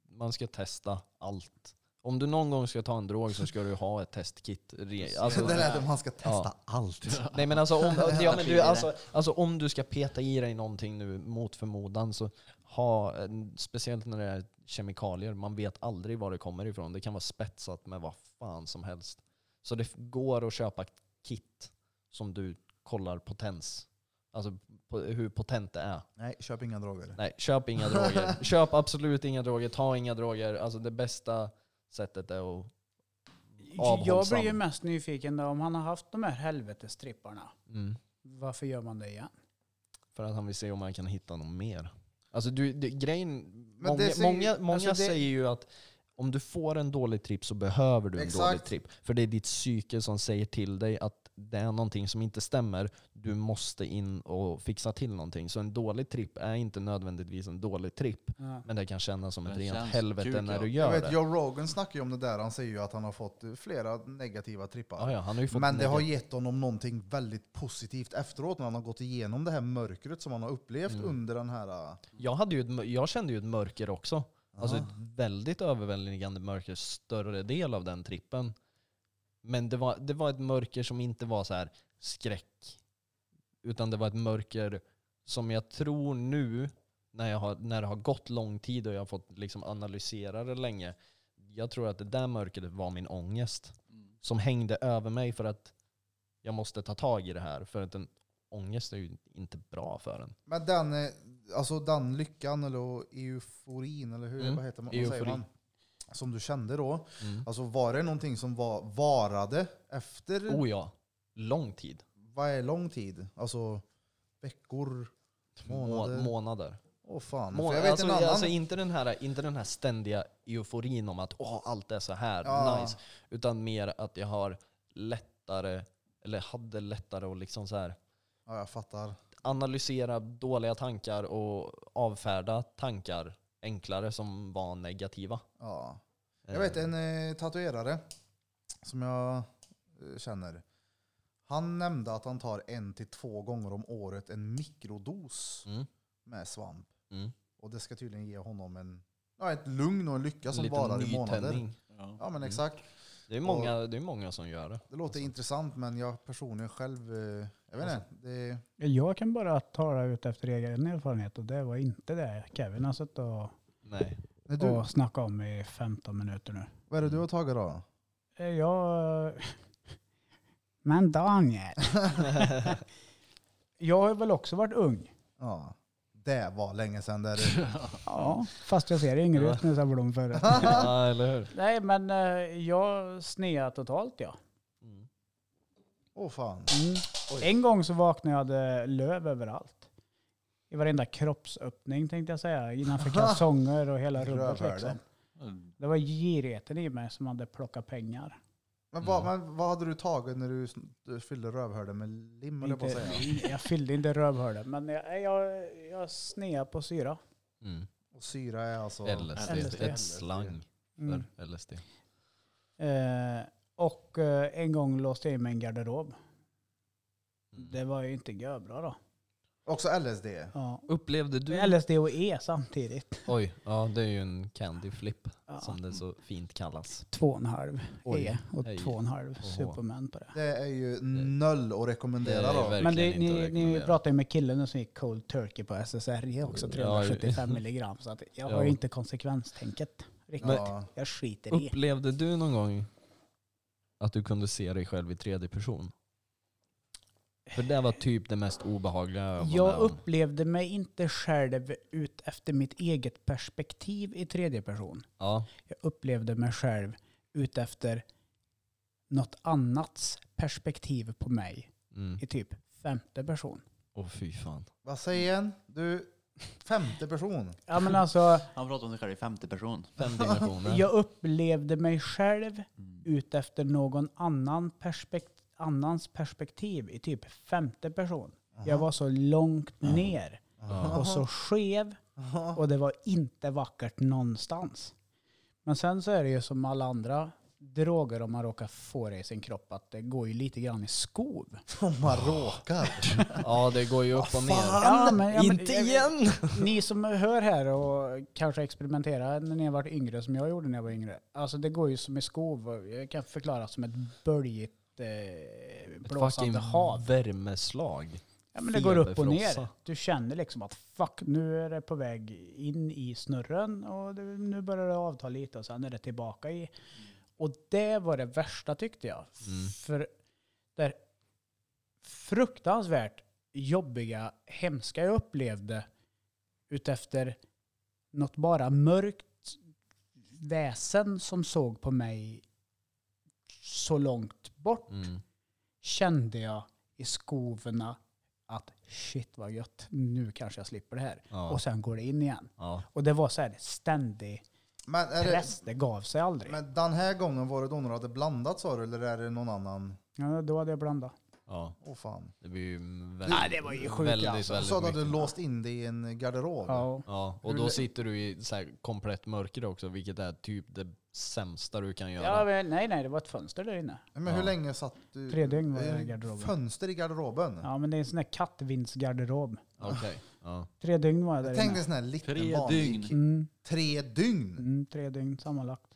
B: man ska testa allt. Om du någon gång ska ta en drog så ska du ha ett testkit. Re- alltså,
A: det lät om han ska testa
B: Ja.
A: allt.
B: Nej men alltså om, ja, men du, alltså, alltså om du ska peta i dig någonting nu mot förmodan så ha, en- speciellt när det är kemikalier, man vet aldrig var det kommer ifrån. Det kan vara spetsat med vad fan som helst. Så det f- går att köpa kit som du kollar potens. Alltså på, hur potent det är.
A: Nej, köp inga droger.
B: Nej, köp inga droger. köp absolut inga droger, ta inga droger. Alltså det bästa sättet är att...
D: Jag
B: Avhållsam.
D: blir ju mest nyfiken då, om han har haft de här helvetestripparna.
B: mm.
D: Varför gör man det igen?
B: För att han vill se om han kan hitta någon mer. Alltså du, det, grejen,
A: det
B: många,
A: säger-
B: många, många
D: alltså det-
B: säger ju att om du får en dålig tripp så behöver du en
A: Exakt.
B: dålig tripp. För det är ditt psyke som säger till dig att det är någonting som inte stämmer. Du måste in och fixa till någonting. Så en dålig tripp är inte nödvändigtvis en dålig tripp.
D: Ja.
B: Men det kan kännas som
C: Det
B: ett rent
C: känns
B: helvete
C: kul,
B: när
C: ja.
B: du
A: Jag
B: gör
A: vet,
B: det.
A: Joe Rogan snackar ju om det där. Han säger ju att han har fått flera negativa trippar.
B: Ja, ja, han har ju fått
A: Men det har
B: negativ-
A: gett honom någonting väldigt positivt efteråt när han har gått igenom det här mörkret som han har upplevt
B: Mm.
A: under den här... äh,
B: jag, hade ju ett, mör- jag kände ju ett mörker också. Alltså ett väldigt överväldigande mörker, större del av den trippen. Men det var, det var ett mörker som inte var så här skräck. Utan det var ett mörker som jag tror nu, när, jag har, när det har gått lång tid och jag har fått liksom analysera det länge. Jag tror att det där mörkret var min ångest.
C: Mm.
B: Som hängde över mig för att jag måste ta tag i det här. För att en ångest är ju inte bra för en.
A: Men den, eh, alltså den lyckan eller euforin eller hur
B: Mm,
A: vad heter man, vad säger
B: eufori. Mm.
A: man? Som du kände då. Alltså var det någonting som var, varade efter,
B: Oh ja, lång tid.
A: vad är lång tid? Alltså veckor,
B: Månader.
A: månader?
B: månader.
A: Åh fan.
B: Mån
A: För jag vet
B: alltså,
A: en annan.
B: alltså inte, den här, inte den här ständiga euforin om att Åh, allt är så här
A: Ja.
B: nice. Utan mer att jag har lättare, eller hade lättare att liksom så här
A: ja, jag fattar.
B: analysera dåliga tankar och avfärda tankar enklare som var negativa.
A: Ja. Jag vet en eh, tatuerare som jag eh, känner. Han nämnde att han tar en till två gånger om året en mikrodos
B: Mm.
A: med svamp.
B: Mm.
A: Och det ska tydligen ge honom en, ja, ett lugn och en lycka som
B: Lite
A: varar i månader.
B: nytändning. Mm.
C: Ja.
A: Ja men exakt.
B: Det är, många, det är många som gör det.
A: Det låter intressant men jag personligen själv, eh, jag vet
B: Alltså.
A: inte. Det,
D: Jag kan bara tala ut efter egen erfarenhet och det var inte det Kevin har suttit och,
B: Nej.
A: men du,
D: och snackat om i 15 minuter nu.
A: vad är det du
B: Mm.
A: har tagit då?
D: Eh, Jag... [LAUGHS]
B: [LAUGHS]
D: Men Daniel. jag har väl också varit ung.
A: Ja. Det var länge sedan.
B: [LAUGHS]
A: Där.
D: Ja, fast jag ser yngre ut nu så jag var de förut.
B: [LAUGHS] ja, eller hur?
D: Nej, men eh, jag snear totalt ja.
B: Mm.
A: Åh fan.
D: Mm. En gång så vaknade jag hade löv överallt. I varenda kroppsöppning tänkte jag säga. Innanför kalsonger och hela rubbet
A: Rövhål,
D: liksom.
A: det.
D: Det var girigheten i mig som hade plockat pengar.
A: Men vad,
B: Mm.
A: men vad hade du tagit när du sn- du fyllde rövhålet med lim? höll Jag, på att
D: Inte,
A: säga.
D: jag fyllde inte rövhålet, men jag, jag, jag snear på syra.
B: Mm.
A: Och syra är alltså...
B: LSD.
D: LSD.
B: Ett slang
D: Mm.
B: för LSD.
D: Eh, och eh, en gång låste jag in mig i en garderob.
B: Mm.
D: Det var ju inte görbra då.
A: Också LSD.
D: Ja.
B: Upplevde du...
D: LSD och E samtidigt.
B: Oj, ja det är ju en candy flip
D: Ja.
B: som det så fint kallas.
D: Två och en halv
B: Oj.
D: E och
B: Hej.
D: två och en halv
B: Oho.
D: Superman på det.
A: Det är ju noll att rekommendera
B: Det är
A: då.
B: verkligen
D: Men det,
B: inte att
D: ni, ni
B: rekommendera.
D: pratade ju med killen nu som gick cold turkey på SSRI E också,
B: Ja, [LAUGHS]
D: 375 milligram. Så att jag har
B: Ja.
D: ju inte konsekvenstänket riktigt.
A: Ja.
D: Jag skiter i.
B: Upplevde du någon gång att du kunde se dig själv i tredje person? För det var typ det mest obehagliga jag var
D: Jag
B: med om.
D: upplevde mig inte själv ut efter mitt eget perspektiv i tredje person.
B: Ja,
D: Jag upplevde mig själv ut efter något annats perspektiv på mig
B: mm.
D: i typ femte person.
B: Åh fy fan.
A: Vad säger en? Du, femte person.
D: Ja men alltså,
C: Han pratar om sig själv i femte person.
D: [LAUGHS]
B: Fem dimensioner.
D: jag upplevde mig själv ut efter någon annan perspekt- annans perspektiv i typ femte person. Jag var så långt ner och så skev och det var inte vackert någonstans. Men sen så är det ju som alla andra droger om man råkar få det i sin kropp att det går ju lite grann i skov.
A: Om man råkar.
B: Ja, det går ju upp och ner.
D: Ja, men- ja, men-
B: Inte igen!
D: Ni som hör här och kanske experimenterar när ni har varit yngre som jag gjorde när jag var yngre. Alltså det går ju som i skov. och Jag kan förklara som ett böljigt eh,
B: Ett fucking
D: blåsande hav.
B: värmeslag.
D: Ja, men det går upp och ner.
B: feberfrossa.
D: Du känner liksom att fuck, nu är det på väg in i snurren och det, nu börjar det avta lite och sen är det tillbaka i. Och det var det värsta tyckte jag.
B: Mm.
D: För det fruktansvärt jobbiga, hemska jag upplevde utefter något bara mörkt väsen som såg på mig så långt bort
B: Mm.
D: kände jag i skovorna att shit vad gött, nu kanske jag slipper det här.
B: Ja,
D: Och sen går det in igen.
B: ja.
D: Och det var så här ständig
A: Men, är det,
D: press, det gav sig aldrig.
A: men den här gången var det då när du hade blandat sa du, eller är det någon annan?
D: ja, då hade jag blandat.
B: ja.
A: Åh fan.
B: Det blir ju väldigt,
D: Nej, det var ju sjukt,
B: väldigt,
D: alltså.
A: Du
B: väldigt
A: sa att du
B: mycket.
A: låst in dig i en garderob.
D: Ja.
B: Ja,
A: Hur
B: och
D: Mm.
B: då
A: lä-
B: sitter du i så här komplett mörker också, vilket är typ det sämsta du kan göra.
D: Ja, men, nej, nej, det var ett fönster där inne.
A: Men hur
B: Ja.
A: länge satt du?
D: Tre dygn var jag i
A: Eh,
D: garderoben.
A: Fönster i garderoben?
D: Ja, men det är en sån där kattvindsgarderob.
B: Okej. Ja.
D: Tre dygn var jag
A: Jag
D: där
A: tänkte
D: inne.
A: en sån här liten
C: Tre
A: vanlig-
C: dygn.
D: Mm,
A: Tre dygn?
D: mm, tre dygn sammanlagt.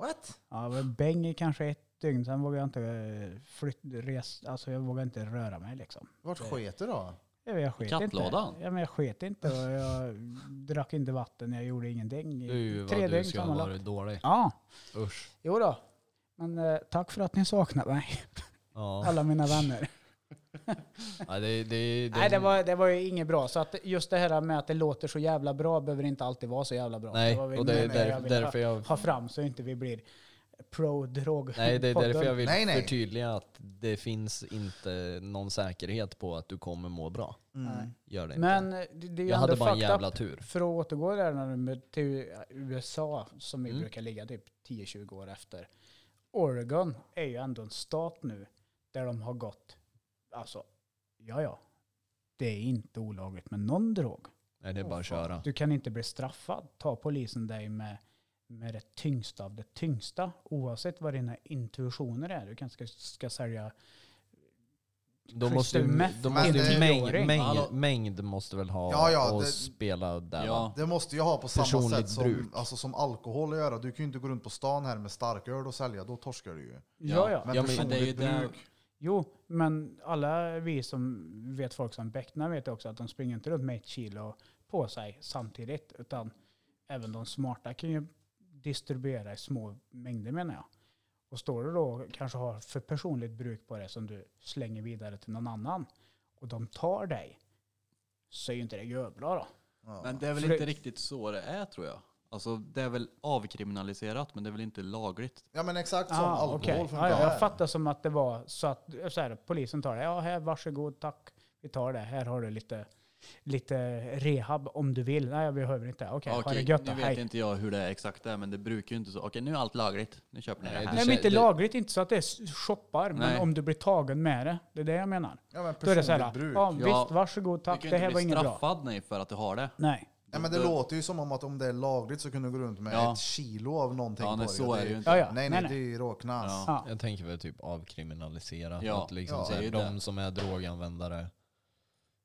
A: What?
D: Ja, det var bäng i kanske ett dygn, sen vågade jag inte eh, flytt, res, alltså jag vågade inte röra mig liksom.
A: Vart sket du då?
D: Ja, men Jag sket
C: Kattlådan?
D: Inte. Ja, men jag sket inte och jag drack inte vatten, jag gjorde ingenting. i
B: Det är ju
D: Tre
B: vad du
D: dygn
B: ska ha
D: sammanlagt.
B: varit dålig.
D: Ja,
B: Usch.
D: jo då. Men eh, tack för att ni saknade mig,
B: Ja.
D: alla
B: [LAUGHS]
D: mina vänner.
B: Ja, det, det, det,
D: Nej, det var, det var ju inget bra. Så att just det här med att det låter så jävla bra behöver inte alltid vara så jävla bra.
B: Nej,
D: det var väl
B: och det är
D: mer det
B: där,
D: jag ville
B: därför
D: ha-
B: jag...
D: ha fram så inte vi blir pro-drog.
B: Nej, det är därför jag vill
A: Nej, nej.
B: förtydliga att det finns inte någon säkerhet på att du kommer må bra.
A: Mm.
B: Gör det inte.
D: Men det, det är ju
B: Jag hade
D: ändå
B: bara en
D: fucked up
B: jävla tur.
D: För att återgå där när de- till USA, som vi
B: Mm.
D: brukar ligga typ 10-20 år efter. Oregon är ju ändå en stat nu där de har gått, alltså, ja ja, det är inte olagligt med någon drog.
B: Nej, det är bara att köra.
D: Du kan inte bli straffad. Ta polisen dig med, med det tyngsta av det tyngsta, oavsett vad dina intuitioner är. Du kanske ska, ska sälja
B: De
D: Crystal
B: måste, ju-
D: meth
B: de
A: för
B: måste ju,
D: 50-åring.
B: mängd, mängd,
C: Hallå.
B: mängd måste väl ha
A: Ja, ja,
B: och
A: det-
B: spela där va?
C: Ja.
A: Det måste jag ha på samma
B: Personligt
A: sätt som,
B: bruk.
A: alltså, som alkohol att göra. Du kan ju inte gå runt på stan här med starköl och sälja, då torskar du ju.
D: Ja, ja.
A: Men
B: Ja, men
A: personligt
C: det är ju där-
A: bruk.
D: Jo, men alla vi som vet folk som becknar vet också att de springer inte runt med ett kilo på sig samtidigt, utan även de smarta kan ju distribuera i små mängder menar jag. Och står du då och kanske har för personligt bruk på det som du slänger vidare till någon annan och de tar dig, Säg inte det jävla då.
A: Ja.
C: Men det är väl
D: För det-
C: inte riktigt så det är tror jag. Alltså det är väl avkriminaliserat men det är väl inte lagligt.
A: ja men exakt som
D: Ah,
A: alkohol
D: okej.
A: funkar.
D: ja, ja,
A: här.
D: jag fattar som att det var så att så här, polisen tar det. Ja, här, varsågod, tack. Vi tar det. Här har du lite, lite rehab om du vill. Nej, jag behöver inte. Okej, ha det gött. då.
C: nu vet
D: Hej.
C: inte jag hur det är exakt är men det brukar ju inte så. Okej nu är allt lagligt. Nu köper ni
B: Nej,
C: det
B: du
C: här.
D: Nej,
B: känner-
D: men inte
B: det-
D: lagligt. Inte så att det är shoppar,
C: Nej.
D: men om du blir tagen med det. Det är det jag menar.
A: Ja, men
D: Då är det
A: personligt
D: så här,
A: bruk.
D: ja,
C: Ja.
D: visst, varsågod,
C: Du
D: tack.
C: kan
D: Det
C: ju
D: här
C: inte
D: var
C: bli
D: inget bra.
C: straffad nej för att du har det.
D: Nej.
A: Ja, men det
C: Då-
A: låter ju som om att om det är lagligt så kunde du gå runt med
C: Ja.
A: ett kilo av någonting
C: Ja,
A: på
C: nej,
A: dig.
C: så
A: Det
C: är det ju inte.
D: Ja, ja.
A: Nej, nej, det är ju råknas.
C: Ja.
D: Ja.
B: Jag tänker väl typ avkriminalisera.
C: Ja,
B: Att liksom
A: ja,
B: så här,
C: det är ju
B: de
C: det.
B: som är droganvändare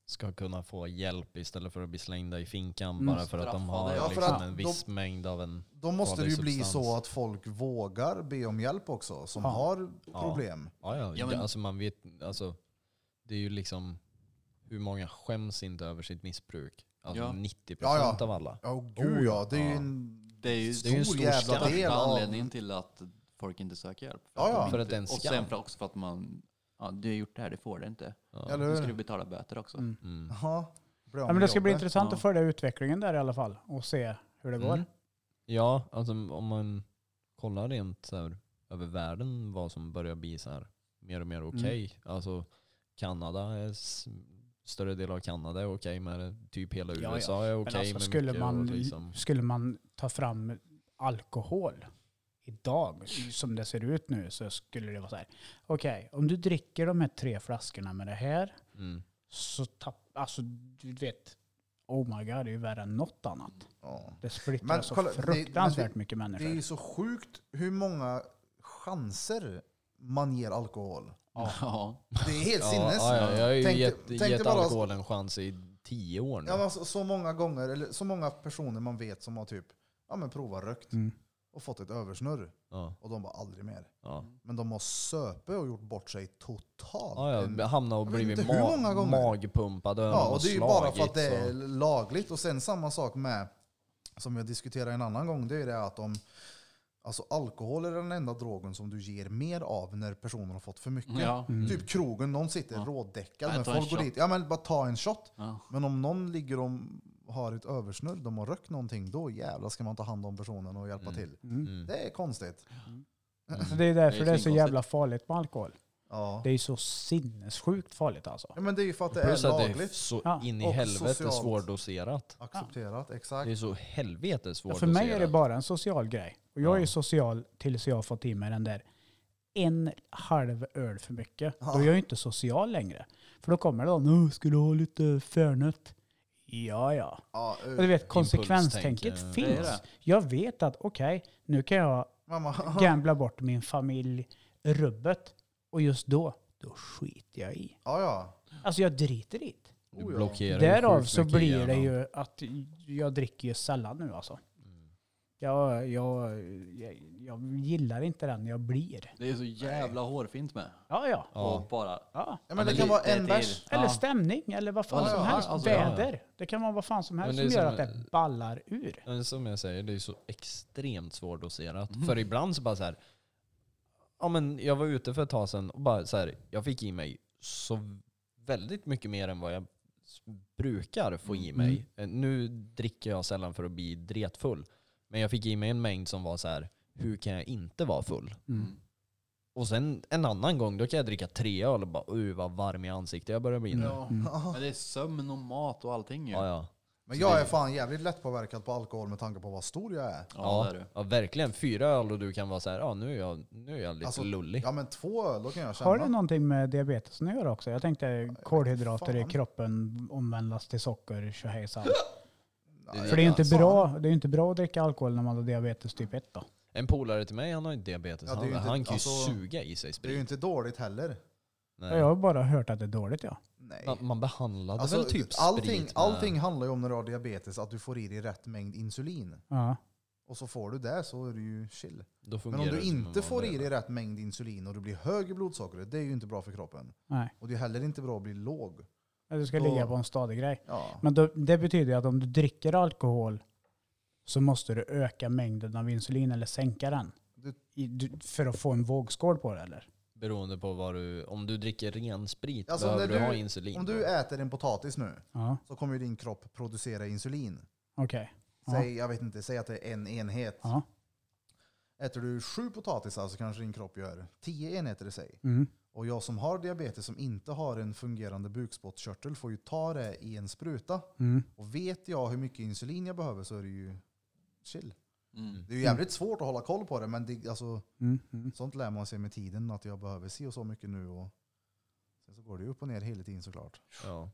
B: ska kunna få hjälp istället för att bli slängda i finkan
D: Mm.
B: bara för att de har
C: Straffade, ja.
B: liksom
A: Ja, för att
B: en
A: de-
B: viss mängd av en...
A: Då måste det ju
B: Farlig
A: bli
B: substans.
A: så att folk vågar be om hjälp också, som
D: Ja.
A: har
B: Ja.
A: problem.
B: Ja, ja,
C: Ja, men-
B: alltså man vet, alltså, det är ju liksom, hur många skäms inte över sitt missbruk? Alltså
C: Ja.
B: 90%
A: Ja, ja.
B: av alla.
A: Ja, oh, gud ja. Det är ju
B: ja.
A: en
C: Det är ju
B: Det är ju en stor
A: jävla
B: skam.
A: del
C: största
A: av-
C: anledningen till att folk inte söker hjälp.
A: Ja, ja.
C: de
B: För att
C: inte-
B: det är en
C: Och
B: skam.
C: sen för också för att man, ja du har gjort det här, det får du inte.
B: Ja.
A: Eller
C: Nu ska du
A: hur?
C: betala böter också.
D: Mm.
B: Mm.
A: Ja, bra
D: Ja, men det ska bli intressant
C: Ja.
D: att följa utvecklingen där i alla fall och se hur det går.
B: Mm. Ja, alltså om man kollar rent så här, över världen vad som börjar bli så här, mer och mer
A: Mm.
B: okej. Alltså Kanada, är s- större del av Kanada är okej med det. Typ hela
D: Ja, ja.
B: USA är okej
D: Men alltså,
B: med
D: skulle,
B: mycket. och
D: man,
B: liksom,
D: skulle man ta fram alkohol idag, som det ser ut nu, så skulle det vara så här. Okej, om du dricker de här tre flaskorna med det här,
B: mm.
D: så tapp, alltså du vet, oh my god, det är ju värre än något annat.
A: Ja.
D: Det splittrar
A: Men
D: så
A: kolla, det-
D: fruktansvärt
A: men
D: mycket
A: Det är
D: människor.
A: ju så sjukt hur många chanser man ger alkohol.
C: [LAUGHS] Ja.
A: Det är helt
B: [LAUGHS] ja,
A: sinnes.
B: ja, ja, jag har ju
A: Tänk dig-
B: gett,
A: tänk dig
B: gett
A: bara-
B: alkohol en chans i tio år nu.
A: Ja, men alltså, så många gånger, eller så många personer man vet som har typ ja, men provat rökt
D: Mm.
A: och fått ett översnurr
B: ja,
A: och de var aldrig mer.
B: ja.
A: Men de har söpe och gjort bort sig totalt.
B: Ja,
A: En-
B: ja, hamna och
A: jag vet
B: blivit
A: inte hur många
B: ma-
A: gånger.
B: magpumpad och
A: Ja, och det är ju bara för att det är
B: slagit, så-
A: lagligt. Och sen samma sak med, som jag diskuterade en annan gång, det är det att om Alltså alkohol är den enda drogen som du ger mer av när personen har fått för mycket.
C: Ja. Mm.
A: Typ krogen, någon sitter rådäckad.
C: Nej,
A: Men
C: ta en
A: folk går
C: shot.
A: dit, ja men bara ta en shot.
C: Ja.
A: Men om någon ligger och har ett översnurr, de har rökt någonting, då jävlar ska man ta hand om personen och hjälpa till.
B: Mm.
A: Det är konstigt.
D: Så Alltså, det är därför
C: Det är
D: det är så
C: svinkonstigt.
D: jävla farligt med alkohol.
A: Ja.
D: Det är ju så sinnessjukt farligt alltså.
A: ja men det är ju för att det
B: Plus
A: är
B: att det är
A: lagligt.
B: så
D: Ja,
B: in i
A: och
B: helvete
A: socialt.
B: svårdoserat.
A: Accepterat,
B: Det är
A: exakt.
B: så helvete
D: Ja,
B: svårdoserat.
D: för mig är det bara en social grej. Och jag är
B: Ja.
D: ju social tills jag har fått i mig den där en halv öl för mycket.
A: Ja.
D: Då är jag ju inte social längre. För då kommer det någon, "Åh, ska du ha lite Fairnet? Ja, ja.
A: Ja, uh,
D: Och du vet, konsekvenstänket
B: Impulstänk,
D: finns.
C: eh, det är det.
D: Jag vet att okej, nu kan jag
A: mamma. [LAUGHS]
D: gambla bort min familj, rubbet. Och just då, då skiter jag i.
A: Ja, ja.
D: Alltså jag driter i det.
B: Du
A: Oh ja.
B: blockerar ju
D: Därav
B: sjukt
D: så
B: mycket i
D: blir det
B: hjärnan.
D: ju att jag dricker ju sällan nu alltså. Jag, jag, jag, jag gillar inte den jag blir.
C: Det är så jävla hårfint med.
D: Ja, ja.
B: Ja.
C: Och bara
D: ja.
A: Ja, men det kan vara en
C: till.
A: bärs.
D: Eller
C: Ja.
D: stämning, eller vad fan
C: Ja,
D: som
C: ja,
D: helst.
C: alltså, ja, ja.
D: Väder. Det kan vara vad fan som helst
B: Men
D: som
B: det är
D: gör att
B: som-
D: det ballar ur.
B: Men som jag säger, det är så extremt svårdoserat. För ibland så bara så här. Ja, men jag var ute för ett tag sedan och bara så här, jag fick i mig så väldigt mycket mer än vad jag s- brukar få i mig. Eh, Nu dricker jag sällan för att bli dretfull. Men jag fick i mig en mängd som var så här, hur kan jag inte vara full?
D: Mm.
B: Och sen en annan gång, då kan jag dricka tre öl och bara, uh vad varm i ansiktet jag börjar bli nu. Ja,
C: Men det är sömn och mat och allting ju.
B: ja. ja.
A: Men jag är fan jävligt lättpåverkad på alkohol med tanke på vad stor jag är.
C: Ja, det är det.
B: ja, verkligen. Fyra öl och du kan vara så här, ja nu är jag, nu är jag lite lullig.
A: Alltså, Ja men två öl, då kan jag känna.
D: Har det någonting med diabetesen att göra också? Jag tänkte kolhydrater i
A: fan.
D: kroppen omvandlas till socker, tjohejsan.
A: Ja,
D: För det är ju inte bra, det är ju inte bra att dricka alkohol när man har diabetes typ 1 då.
B: En polare till mig, han har ju diabetes.
A: Ja, det är
B: han,
A: ju inte-
B: han kan ju
A: alltså,
B: suga i sig
A: Det är ju
B: sprit.
A: inte dåligt heller.
B: Nej.
D: Jag har bara hört att det är dåligt ja.
A: Nej.
B: Man, man behandlade
A: Alltså,
B: väl typ
A: allting,
B: sprit med-
A: allting handlar ju om när du har diabetes, att du får i dig rätt mängd insulin.
D: ja.
A: Och så får du det så är du ju chill.
B: Då
A: Men
B: fungerar
A: om du
B: det som en
A: inte får
B: vanlig
A: i dig
B: öl.
A: rätt mängd insulin och du blir hög i blodsockret, det är ju inte bra för kroppen.
D: Nej.
A: Och det är heller inte bra att bli låg.
D: Du ska
A: Då-
D: ligga på en stadig grej.
A: Ja.
D: Men då, det betyder ju att om du dricker alkohol så måste du öka mängden av insulin eller sänka den.
A: Du-
D: I, du, för att få en vågskål på det eller?
B: Beroende på vad du... Om du dricker ren sprit
A: Alltså,
B: behöver
A: när
B: du,
A: du-
B: ha insulin.
A: Om du äter en potatis nu
D: Ja,
A: så kommer ju din kropp producera insulin.
D: okej. Ja.
A: Säg, jag vet inte, säg att det är en enhet.
D: Ja.
A: Äter du sju potatisar så kanske din kropp gör tio enheter i sig.
D: Mm.
A: Och jag som har diabetes som inte har en fungerande bukspottkörtel får ju ta det i en spruta.
D: Mm.
A: Och vet jag hur mycket insulin jag behöver så är det ju chill.
C: [LAUGHS] Mm.
A: Det är ju jävligt svårt att hålla koll på det men det, alltså,
D: Mm. Mm.
A: sånt lär man sig med tiden att jag behöver se och så mycket nu. Och sen så går det ju upp och ner hela tiden såklart.
B: Ja.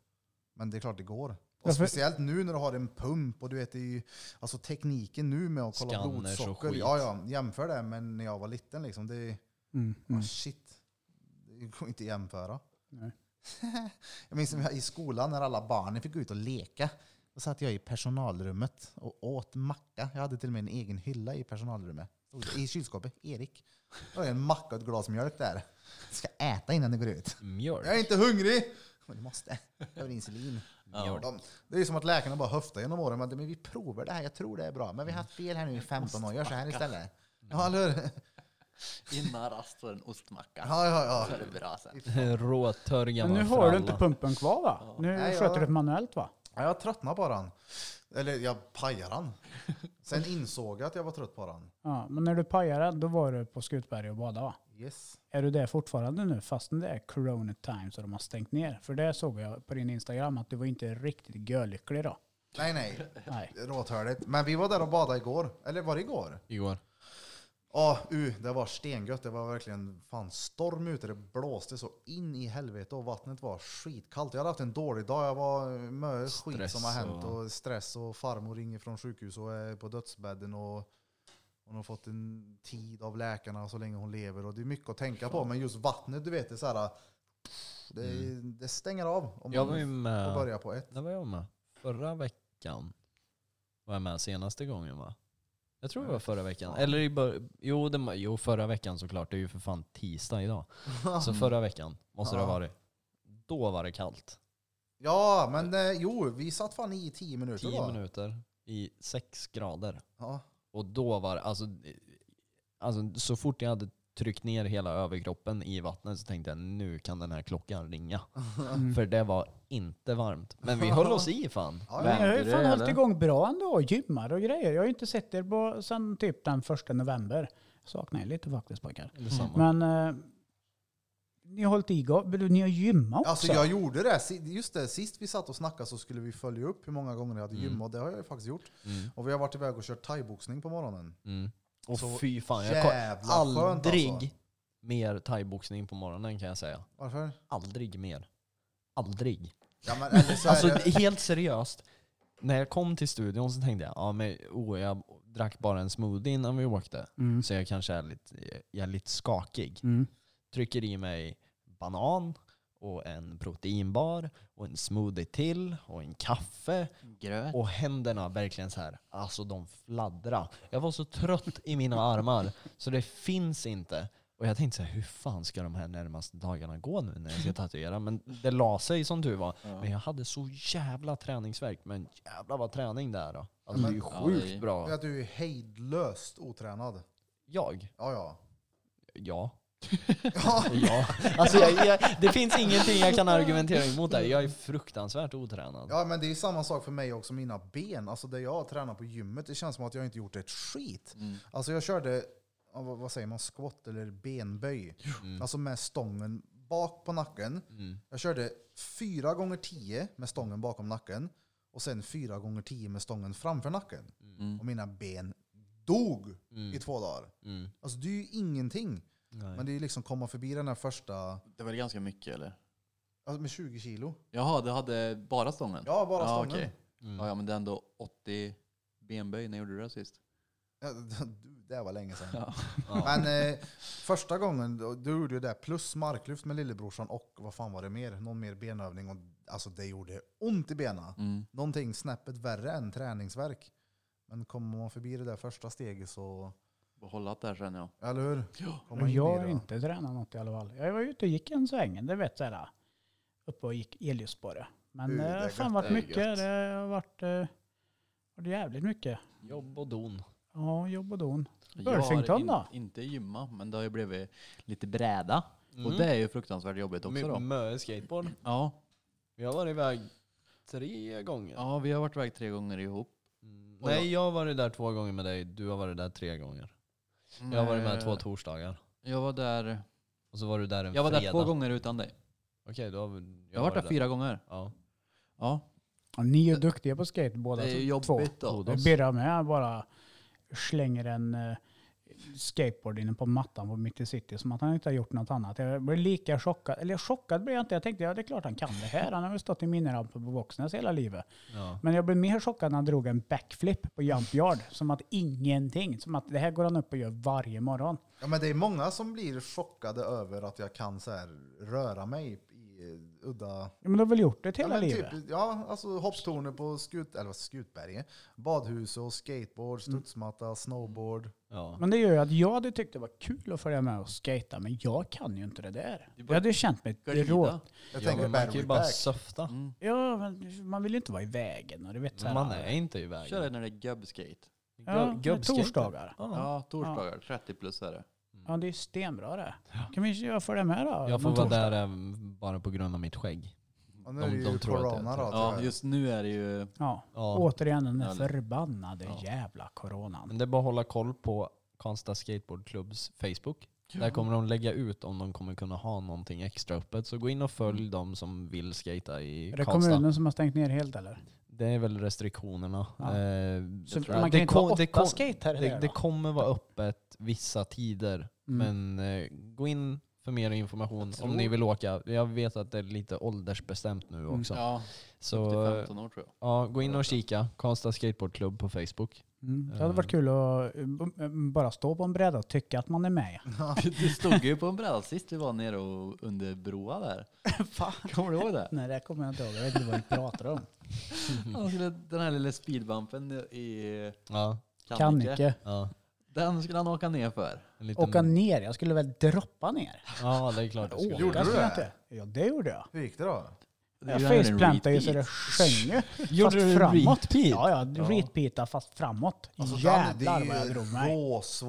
A: Men det är klart det går.
D: Ja,
A: Och
D: för-
A: speciellt nu när du har en pump och du vet det är ju, alltså tekniken nu med att kolla
B: Scanners och
A: blodsocker.
B: skit.
A: Ja, ja, jämför det med när jag var liten liksom. Det är,
D: Mm.
A: ah,
D: Mm.
A: shit. Det går inte att jämföra.
D: Nej.
A: [LAUGHS] jag minns när jag- i skolan när alla barnen fick gå ut och leka. Då satt jag i personalrummet och åt macka. Jag hade till och med en egen hylla i personalrummet. Stod det I kylskåpet, Erik. Då är det en macka och ett glas mjölk där. Ska äta innan du går ut.
B: Mjölk.
A: Jag är inte hungrig! Men du måste. Jag behöver insulin.
B: Ja.
A: De, det är ju som att läkarna bara höftar genom åren. Men, men vi provar det här, jag tror det är bra. Men vi har haft fel här nu i 15 år, gör så här istället. Ja, eller hur?
C: Innan rast var det en ostmacka.
A: Ja, ja,
C: Så
A: ja.
C: är det bra
B: [LAUGHS]
C: sen.
B: Råtörja
D: Men nu
B: man
D: har
B: för
D: du
B: alla.
D: inte pumpen kvar va? Nu
A: Nej,
D: sköter
A: jag-
D: du det manuellt va?
A: Ja, jag tröttnade på den. Eller jag pajade den. Sen insåg jag att jag var trött på den.
D: Ja, men när du pajade då var du på Skutberg och badade va?
A: Yes.
D: Är du det fortfarande nu fastän det är corona times och de har stängt ner? För det såg jag på din Instagram att du var inte riktigt görlycklig då.
A: Nej, nej.
D: Nej.
A: Råtörligt. Men vi var där och badade igår. Eller var det igår?
B: Igår.
A: Ja, uh, det var stengött. Det var verkligen fan storm ute. Det blåste så in i helvete och vattnet var skitkallt. Jag hade haft en dålig dag. Jag var mycket skit
B: Stress
A: som har hänt
B: och-
A: och stress och farmor ringer från sjukhus och är på dödsbädden och hon har fått en tid av läkarna så länge hon lever och det är mycket att tänka på. Men just vattnet, du vet, det är så här. Det, det stänger av om
B: Mm. Jag
A: man
B: var ju med...
A: får börja på ett.
B: När var jag med? Förra veckan var jag med senaste gången va? Jag tror det var förra veckan. Eller i bör- jo, det var, jo, förra veckan såklart. Det är ju för fan tisdag idag. Så förra veckan måste det ha
A: Ja.
B: varit. Då var det kallt.
A: Ja, men eh, jo, vi satt fan i tio minuter.
B: Tio
A: då.
B: minuter i sex grader.
A: Ja.
B: Och då var det, alltså, alltså så fort jag hade tryckt ner hela överkroppen i vattnet så tänkte jag nu kan den här klockan ringa. För det var inte varmt. Men vi höll oss i fan.
A: Ja,
D: Men jag har ju
C: Vände
D: fan
C: det,
D: hållit
C: eller?
D: igång bra ändå. Gymmar och grejer. Jag har ju inte sett er på, sen typ den första november. Saknar er lite faktiskt pojkar.
B: Detsamma.
D: Men eh, ni har hållit igång. Men du, Ni har gymmat också.
A: Alltså jag gjorde det. Si- Just det, sist vi satt och snackade så skulle vi följa upp hur många gånger jag hade gymmat och det har jag ju faktiskt gjort.
B: Mm.
A: Och vi har varit iväg och kört thaiboxning på morgonen.
B: Mm. Och
A: Så
B: fy fan, jag kom
A: jävla skönt
B: aldrig
A: alltså.
B: mer thaiboxning på morgonen kan jag säga.
A: Varför?
B: Aldrig mer. Aldrig.
A: Ja, men, eller så är
B: [LAUGHS] Alltså
A: det,
B: helt seriöst. När jag kom till studion så tänkte jag, ja men oh, jag drack bara en smoothie innan vi åkte.
D: Mm.
B: Så jag kanske är lite, jag är lite skakig.
D: Mm.
B: Trycker i mig banan och en proteinbar och en smoothie till och en kaffe.
C: Gröt.
B: Och händerna verkligen så här, alltså de fladdra. Jag var så trött i mina armar så det finns inte. Och jag tänkte så här, hur fan ska de här närmaste dagarna gå nu när jag ska tatuera? Men det la sig som tur var. Men jag hade så jävla träningsvärk. Men jävla vad träning det är då. Alltså det är ju
C: Ja, det är-
B: sjukt
A: det är
B: bra.
A: att du är hejdlöst otränad.
B: Jag?
A: Ja, ja.
B: Ja.
A: Ja.
B: [LAUGHS] ja. Alltså jag, jag, det finns ingenting jag kan argumentera emot där. Jag är fruktansvärt otränad.
A: Ja, men det är ju samma sak för mig också, mina ben. Alltså det jag tränar på gymmet, det känns som att jag inte gjort ett skit. Alltså jag körde, ja, vad vad säger man, squat eller benböj. Alltså med stången bak på nacken. Jag körde fyra gånger 10 med stången bakom nacken och sen fyra gånger 10 med stången framför nacken. Och mina ben dog i två dagar.
B: Mm.
A: Alltså det är ju ingenting. Men det är ju liksom komma förbi den här första,
C: Det var ganska mycket eller?
A: alltså med 20 kilo.
C: Jaha, du hade bara stången?
A: Ja, bara
C: Ja,
A: stången.
C: okej.
B: Mm.
C: Ja, ja, men det är ändå 80 benböj. När gjorde du det sist?
A: Ja, [LAUGHS] du, det var länge sedan.
C: Ja.
B: Ja.
A: Men eh, första gången, då, då gjorde jag det plus marklyft med lillebrorsan och vad fan var det mer? Någon mer benövning. Och, alltså det gjorde ont i benen.
C: Mm.
A: Någonting snäppet värre än träningsverk. Men kommer man förbi det där första steget så,
C: Behållat där sen ja.
A: eller hur?
C: Ja.
A: Kommer man in
D: jag
A: i det
D: har
A: då.
D: inte tränat något i alla fall. Jag var ute och gick en sväng. Det vet jag. Uppe och gick elljusspåret. Men
A: Uh,
D: det
A: det är
D: har fan
A: gött,
D: varit
C: det är
D: mycket.
C: gött.
D: Det har varit, eh, varit jävligt mycket.
B: Jobb och don.
D: Ja, jobb och don.
C: Jag
D: Burfington
C: har in,
D: då?
C: inte gymma, men det har ju blivit lite bräda.
B: Mm.
C: Och det är ju fruktansvärt jobbigt också
B: My-
C: då.
B: Möe skateboard.
C: Ja,
B: Jag har varit iväg tre gånger.
C: ja vi har varit iväg tre gånger ihop.
B: Mm. Nej, jag har varit där två gånger med dig. Du har varit där tre gånger. Jag har varit
C: Eh.
B: med två torsdagar.
C: Jag var där,
B: Och så var du där en
C: jag var där
B: fredag.
C: två gånger utan dig.
B: Okej, då har vi,
C: Jag har varit där
B: där.
C: fyra gånger.
B: Ja.
C: Ja,
D: Ja, Ni är ju duktiga på skate båda
C: det är ju
D: två.
C: jobbigt Alltså, Oh, då.
B: Todos.
D: Birra med bara slänger en eh, skateboard inne på mattan på mitt i city som att han inte har gjort något annat. Jag blev lika chockad. Eller chockad blev jag inte. Jag tänkte ja det är klart han kan det här. Han har väl stått i minirampen på Våxnäs hela livet.
B: Ja.
D: Men jag blev mer chockad när han drog en backflip på jump yard. Som att ingenting. Som att det här går han upp och gör varje morgon.
A: Ja, men det är många som blir chockade över att jag kan så här, röra mig i eh, udda...
D: Ja, men du har väl gjort det hela
A: ja, men
D: livet?
A: Typ, ja, alltså hopptornet på skut, eller vad, Skutberget, badhus och skateboard,
B: Mm.
A: studsmatta, snowboard.
B: Ja.
D: Men det gör ju att jag hade tyckt det var kul att följa med och skata, men jag kan ju inte det där. Jag hade ju känt mig
C: glida.
D: rå.
A: Jag
B: ja,
A: tänker
B: men man kan
A: battery
B: ju bara
A: pack.
B: söfta.
C: Mm.
D: Ja, men man vill ju inte vara i vägen. Och du vet, så här,
B: Man är inte i
C: Kör det
B: vägen.
C: när det är gubbskate.
D: ja,
B: Gubb-
D: men
B: gubbskate.
D: torsdagar.
B: Ja.
C: Ja, torsdagar. 30 plus är det.
D: Ja, det är ju stenbra det. Kan vi inte följa med då?
B: Jag får
D: någon
B: vara
D: torsdag?
B: där även bara på grund av mitt skägg.
A: Och nu är det
B: de- de
A: ju
B: tror att det är
A: corona då.
B: tråkigt.
A: tyvärr.
C: Ja, just nu är det ju...
D: Ja.
B: Ja.
D: Återigen den där
C: Ja, det-
D: förbannade
C: ja.
D: jävla coronan.
B: Men det är bara att hålla koll på Karlstad Skateboardklubbs Facebook. Där kommer de lägga ut om de kommer kunna ha någonting extra öppet. Så gå in och följ de som vill skata i
D: Är det
B: Karlstad.
D: kommunen som har stängt ner helt eller?
B: Det är väl restriktionerna.
D: Ja.
B: Eh,
D: Så
B: jag tror
D: man
B: att
D: kan
B: det
D: inte
B: kom-
D: vara
B: det
D: åtta
B: kom-
D: skate här
B: det,
D: där,
B: det
D: va?
B: kommer vara öppet vissa tider.
D: Mm.
B: Men eh, gå in för mer information
C: Jag
B: om
C: tror-
B: ni vill åka. Jag vet att det är lite åldersbestämt nu också.
C: Ja, upp till
B: Så eh,
C: 15 år tror jag.
B: ja, gå in och kika. Karlstad Skateboardklubb på Facebook.
D: Mm. Det hade varit kul att eh, bara stå på en bräda och tycka att man
B: [LAUGHS]
D: är med.
C: [LAUGHS] Du stod ju på en bräda sist vi var nere och under broa där. Kommer du ihåg det?
D: Nej, det kommer jag inte ihåg. Jag vet inte vad vi pratar om.
C: Han skulle, den här lilla speedbumpen i
B: Ja,
D: Kan
C: Kannike.
D: inte.
B: ja.
C: Den skulle han åka ner för.
B: En liten,
D: Åka ner? Jag skulle väl droppa ner?
B: Ja, det är klart. Alltså, det skulle-
A: Gjorde
D: Åka
A: du
D: skulle jag
A: det?
D: inte. Ja, det gjorde jag.
A: Hur gick det då?
D: Jag
C: gjorde en
D: faceplantade ju så det
C: repeat.
D: sjöng [LAUGHS] ju.
B: Gjorde du en repeat?
D: Ja, ja. Repeata fast framåt.
A: Alltså,
D: Jävlar
A: det
D: vad jag
A: är ju
D: drog mig.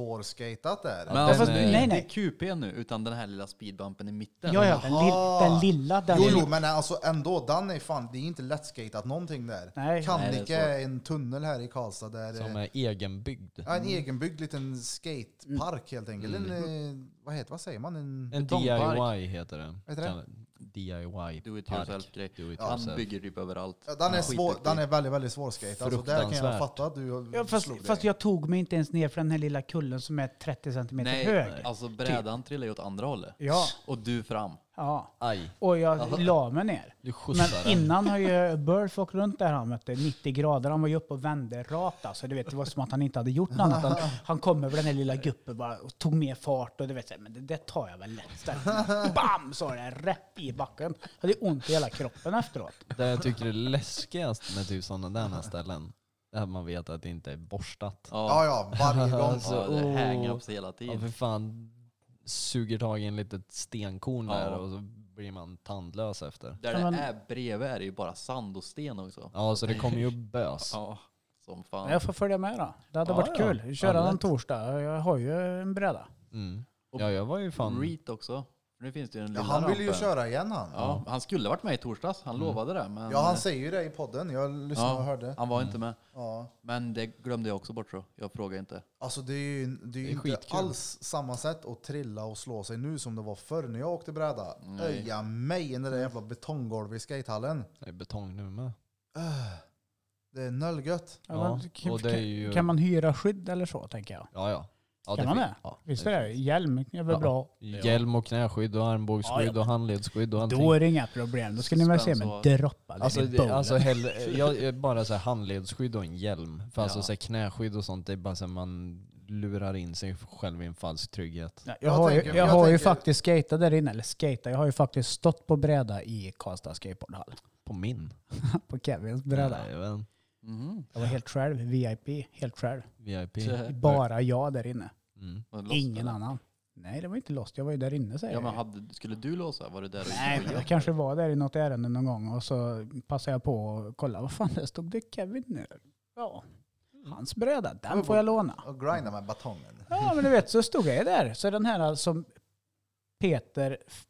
A: råsvårskatat där.
C: Men
B: Ja,
C: alltså,
B: fast-
C: nej,
D: nej,
C: nej,
D: nej.
C: Det är QP nu, utan den här lilla speedbumpen i mitten.
D: Ja, ja. Den,
A: Jaha.
D: lill- den lilla. Den
A: Jo, jo, men alltså ändå, den är fan, det är inte lättskatat någonting där.
D: Nej.
C: Nej, det
A: Kannike
C: är
A: är en tunnel här i Karlstad där eh,
B: Som är egenbyggd.
A: Ja, en egenbyggd liten skatepark helt enkelt. En, eh, vad heter vad säger man? En,
B: Mm. En
C: Betongpark.
B: DIY heter den.
A: Heter det?
B: Kan- DIY.
C: Do it
B: park.
C: yourself-grej.
B: Do it
A: Ja.
C: Han
B: yourself.
C: bygger typ överallt.
A: Ja, den, är svår, den är väldigt, väldigt svårskatad. Alltså, där kan jag
B: Fruktansvärt.
A: fatta att du
D: Ja, fast,
A: slog dig.
D: fast jag tog mig inte ens ner för den här lilla kullen som är 30 centimeter
C: Nej,
D: hög.
C: alltså brädan trillar ju åt andra hållet.
D: Ja,
A: Alltså.
C: Och du fram.
D: ja.
B: Aj,
D: Och jag la mig ner.
B: du skjutsar
D: Men
B: den.
D: innan
B: [LAUGHS]
D: har ju Burf åkt runt där han mötte 90 grader. Han var ju uppe och vände rakt alltså. Du vet, det var som att han inte hade gjort något annat. Han,
B: [LAUGHS]
D: han kom över den här lilla guppen bara och tog mer fart och du vet, så här, men det, det tar jag väl lätt. Så här, Bam! Så det rätt i backen. Jag hade ont i hela kroppen efteråt.
B: Det jag tycker är läskigast med typ sådana där här ställen, det är att man vet att det inte är borstat.
A: Ja, oh. ja, varje
C: [LAUGHS]
A: gång.
B: Alltså,
C: ja, det är
B: åh.
C: hang-ups hela
B: Ja,
C: tiden.
B: för fan suger tag i en litet stenkorn
C: Ja.
B: där och så blir man tandlös efter.
C: Där
D: Ja, men-
C: det är bredvid är det ju bara sand och sten också.
B: Ja, så det kommer ju bös.
C: Ja, som
D: Men
C: fan.
D: Jag får följa med då. Det hade
B: Ja,
D: varit
B: ja.
D: kul. Köra
B: Ja,
D: någon
B: lätt.
D: torsdag. Jag har ju en bräda.
B: Mm. Ja, jag var ju fan...
C: Reet också. Nu finns det ju en
A: Ja,
C: lilla
A: han vill ju
C: rampen.
A: köra igen han. Ja,
C: Ja, han skulle varit med i torsdags. Han lovade det. Men
A: han säger ju det i podden. Jag lyssnade
C: Ja,
A: och hörde.
C: han var inte med.
A: Ja.
C: Men det glömde jag också bort så. Jag frågade inte.
A: Alltså det är ju, det är ju
B: Det är
A: inte
B: skitkul.
A: alls samma sätt att trilla och slå sig nu som det var förr när jag åkte bräda.
C: Nej.
A: Öja mig, den där jävla betonggolvet i skatehallen.
B: Det är betong nu med.
A: Det är nöllgött.
B: Ja,
D: Eller, kan,
B: och det är ju-
D: kan man hyra skydd eller så tänker jag?
B: Ja, ja. ja
D: Kan man
B: fin-
D: det?
B: Ja,
D: Visst är det? Hjälm är väl
B: Ja.
D: bra?
B: Hjälm och knäskydd och armbågsskydd och handledsskydd och allting.
D: Då är det inga problem. Då skulle ni väl se mig
C: Suspens
D: droppa ner
B: Alltså,
D: i
B: det,
D: bowlen.
B: alltså hellre, jag, jag- bara så här handledsskydd och en hjälm. För alltså
C: Ja.
B: så här knäskydd och sånt, det är bara så här man lurar in sig själv i en falsk trygghet.
D: Jag,
A: Jag
D: har, ju,
A: tänker-
D: jag,
A: jag
D: har ju
A: tänker-
D: faktiskt skatat där inne, eller skatat, jag har ju faktiskt stått på bräda i Karlstad skateboardhall. [LAUGHS]
B: På min.
D: På Kevins bräda.
B: Jajamän.
C: Mhm.
D: Jag var helt själv, VIP, helt själv.
B: VIP.
D: Bara jag där inne,
B: Mm.
C: Var det lost,
D: ingen
C: eller?
D: annan. Nej det var inte lost, jag var ju där inne säger
C: Ja, men
D: jag.
C: hade, skulle du låsa? Var det där?
D: Nej, men jag kanske var där i något ärende någon gång och så passade jag på och kollade, vad fan där stod det Kevin nu? Ja, hans bräda, den får jag låna.
A: Och grinda med batongen.
D: Ja men du vet så stod jag ju där. Så den här som Peter f-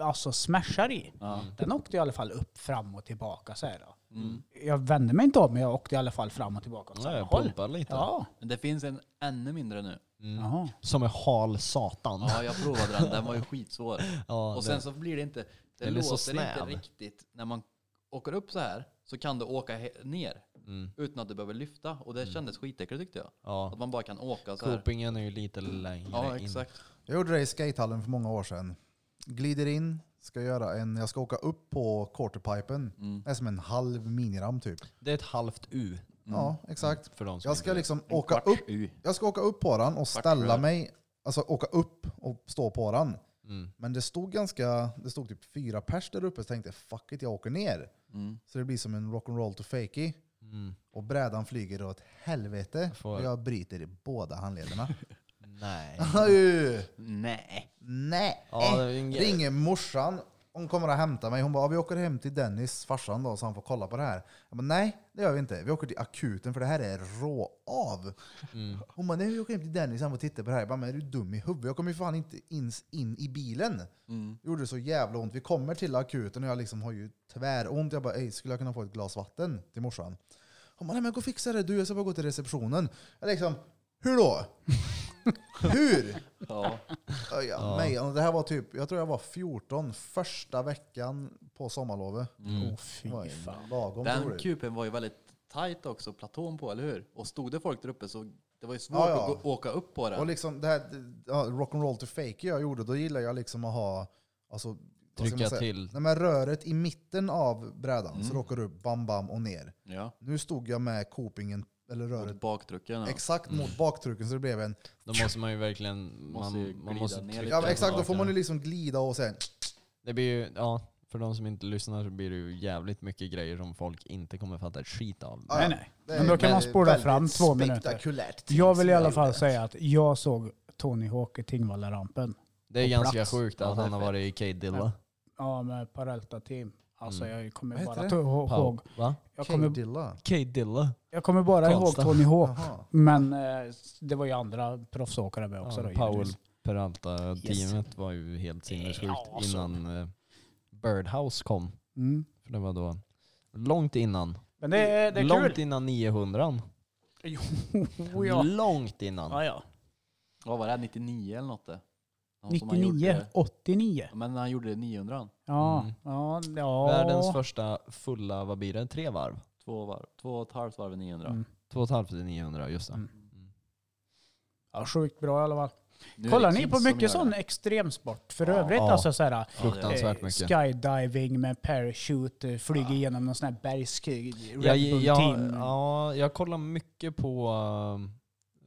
D: alltså smashar i.
C: Ja.
D: Den åkte i alla fall upp, fram och tillbaka så här. Då.
C: Mm.
D: Jag vände mig inte om, men jag åkte i alla fall fram och tillbaka åt
B: Ja,
D: samma
B: jag
D: håll.
B: pumpar lite.
D: Ja.
C: Men det finns en ännu mindre nu.
B: Mm.
D: Jaha.
B: Som är hal satan.
C: Ja, jag provade den. Den var ju skitsvår.
B: [LAUGHS] Ja,
C: Och sen så blir det inte, det
B: Den är så
C: låter inte
B: snäv.
C: riktigt. När man åker upp så här så kan du åka he- ner
B: mm.
C: utan att du behöver lyfta. Och det kändes skitäckligt tyckte jag. Att
B: ja.
C: man bara kan åka så här.
B: Copingen är ju lite längre
C: Ja,
B: in.
C: exakt.
A: Jag gjorde det i skatehallen för många år sedan. Glider in, ska göra en, jag ska åka upp på quarterpipen.
C: Mm.
A: Det är som en halv miniram typ.
B: Det är ett halvt U
A: Ja, exakt.
B: för de som
A: Jag ska
B: inte vet.
A: liksom
C: Mm. En
A: åka
C: kvarts
A: upp,
C: U.
A: jag ska åka upp på den och ställa
C: tror jag.
A: mig, alltså åka upp och stå på den.
B: Mm.
A: Men det stod ganska, det stod typ fyra pers där uppe så tänkte jag fuck it, jag åker ner.
C: Mm.
A: Så det blir som en rock'n'roll to fakie.
B: Mm.
A: Och brädan flyger åt helvete.
B: Får-
A: Och jag bryter i båda
B: [LAUGHS]
A: handlederna. [LAUGHS]
B: Nej.
A: Aj,
C: Nej.
A: Nej!
B: Ja, det är ju en grej.
A: Ringer morsan. Hon kommer och hämtar mig. Hon bara, "Ja, vi åker hem till Dennis, farsan då, så han får kolla på det här. Jag bara, nej det gör vi inte. Vi åker till akuten för det här är rå av.
B: Mm.
A: Hon bara, nej vi åker hem till Dennis, han får titta på det här. Jag bara, men är du dum i huvudet? Jag kommer ju fan inte ens in i bilen.
C: Mm.
A: Det gjorde så jävla ont. Vi kommer till akuten och jag liksom har ju tväront. Jag bara, Ej, skulle jag kunna få ett glas vatten till morsan? Hon bara, nej men gå och fixa det du, jag ska bara gå till receptionen. Jag liksom, hur då? [LAUGHS] hur?
C: Ja.
A: Öja, mig. Och Det här var typ, jag tror jag var 14, första veckan på sommarlovet. Oh,
D: Åh,
A: Det var
D: fy
A: ju
D: fan.
A: Lagom
C: Den
A: roligt.
C: kupen var ju väldigt tajt också, platån på, eller hur? Och stod det folk där uppe så det var ju svårt
A: Ja, ja.
C: att gå, åka upp på den.
A: Och liksom det här ja, rock'n'roll to fake jag gjorde, då gillar jag liksom att ha, alltså, vad ska man
B: Trycka
A: säga?
B: till.
A: Nej, men röret i mitten av brädan, så
C: Mm.
A: råkar du bam bam och ner.
C: ja.
A: Nu stod jag med kopingen, eller röret,
C: Mot bakdrucken. Ja.
A: exakt mot baktrycken så det blev en...
B: Då måste man ju verkligen...
C: Måste ju
B: Man, man
C: glida
B: måste
C: ner
B: trycka
C: lite.
A: Ja, men exakt, då
B: tillbaka
A: får man ju
B: den.
A: liksom glida och sen...
B: Det blir ju, ja, för de som inte lyssnar så blir det ju jävligt mycket grejer som folk inte kommer fatta ett skit av.
A: Ja,
D: Nej, nej.
A: det är
D: Men då kan man
A: väldigt-
D: spola fram
A: väldigt
D: två minuter.
A: Spektakulärt. ting
D: Jag vill
A: som
D: i alla
A: gjorde.
D: fall säga att jag såg Tony Hawk i Tingvallarampen.
B: Det är
D: Och
B: ganska
D: plats.
B: sjukt
C: Ja,
B: att
C: det är
B: han har
C: fett.
B: varit i K-Dilla.
D: Ja, med Parelta Team. Alltså
B: Mm.
D: jag kommer
A: Vad
D: bara
A: heter
D: to- ihåg.
B: Va?
D: Jag kommer,
A: K-Dilla.
B: K-Dilla?
D: jag kommer bara ihåg
B: Karlstad.
D: Tony Hawk.
A: Jaha.
D: Men eh, det var ju andra proffsåkare med också.
B: Ja,
D: då,
B: Powell
D: givetvis.
B: Peralta-teamet var ju helt sinnessjukt
D: Ja, så.
B: innan eh, Birdhouse kom.
D: Mm.
B: För det var då långt innan.
D: Men det, är- det är
B: långt
D: kul.
B: innan 900
D: [LAUGHS] Jo, ja.
B: Långt innan.
D: Ja, ja.
C: Vad var det? 99 eller något? det? Någon som har gjort
D: 99,
C: det.
D: 89.
C: Ja, Men han gjorde 900.
D: Ja,
B: Mm.
D: ja, ja.
B: Världens första fulla, vad blir det? Tre varv?
C: Två, varv, två och ett halvt varv i 900.
D: Mm.
B: Två och ett halvt till 900, just det.
D: Mm.
B: Mm.
D: ja, sjukt bra i alla fall.
C: Nu är
D: Kollar
C: det
D: ni
C: kids
D: på
C: som
D: mycket
C: gör
D: sån
C: det.
D: extremsport? För
B: Ja.
D: övrigt
B: Ja.
D: alltså så här,
B: Fruktansvärt
D: eh,
B: mycket.
D: skydiving med parachute, eh, flyga igenom någon sån här bergskrig, Red
B: Jag,
D: Bull
B: jag,
D: team.
B: ja, jag kollar mycket på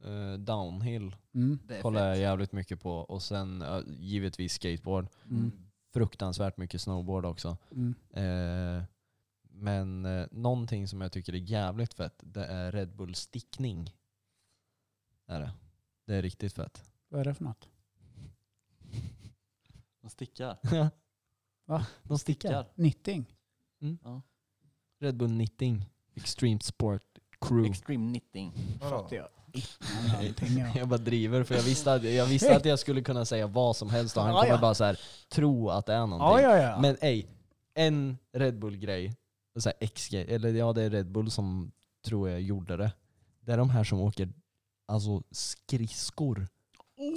B: eh, downhill.
D: Mm.
C: Det är
B: Kollar
C: fett.
B: jag jävligt mycket på. Och sen eh, givetvis skateboard.
D: Mm.
B: Fruktansvärt mycket snowboard också.
D: Mm.
B: Eh, men eh, någonting som jag tycker är jävligt fett, det är Red Bull stickning. Är det. det är riktigt fett.
D: Vad är det för något?
C: [LAUGHS]
B: [LAUGHS]
C: De stickar.
D: Va?
B: De stickar.
C: stickar.
D: Knitting?
B: Red Bull knitting. Extreme sport crew.
C: Extreme knitting.
A: Vadå?
D: Fattar jag. Någonting, ja.
B: [LAUGHS] Jag bara driver för jag visste, att, jag visste att jag skulle kunna säga vad som helst och han
D: Ja,
B: kommer
D: Ah, ja.
B: bara så här, tro att det är någonting.
D: Ja, ja, ja.
B: Men ej, en Red Bull-grej, så här XG, eller ja det är Red Bull som tror jag gjorde det. Det är de här som åker alltså skridskor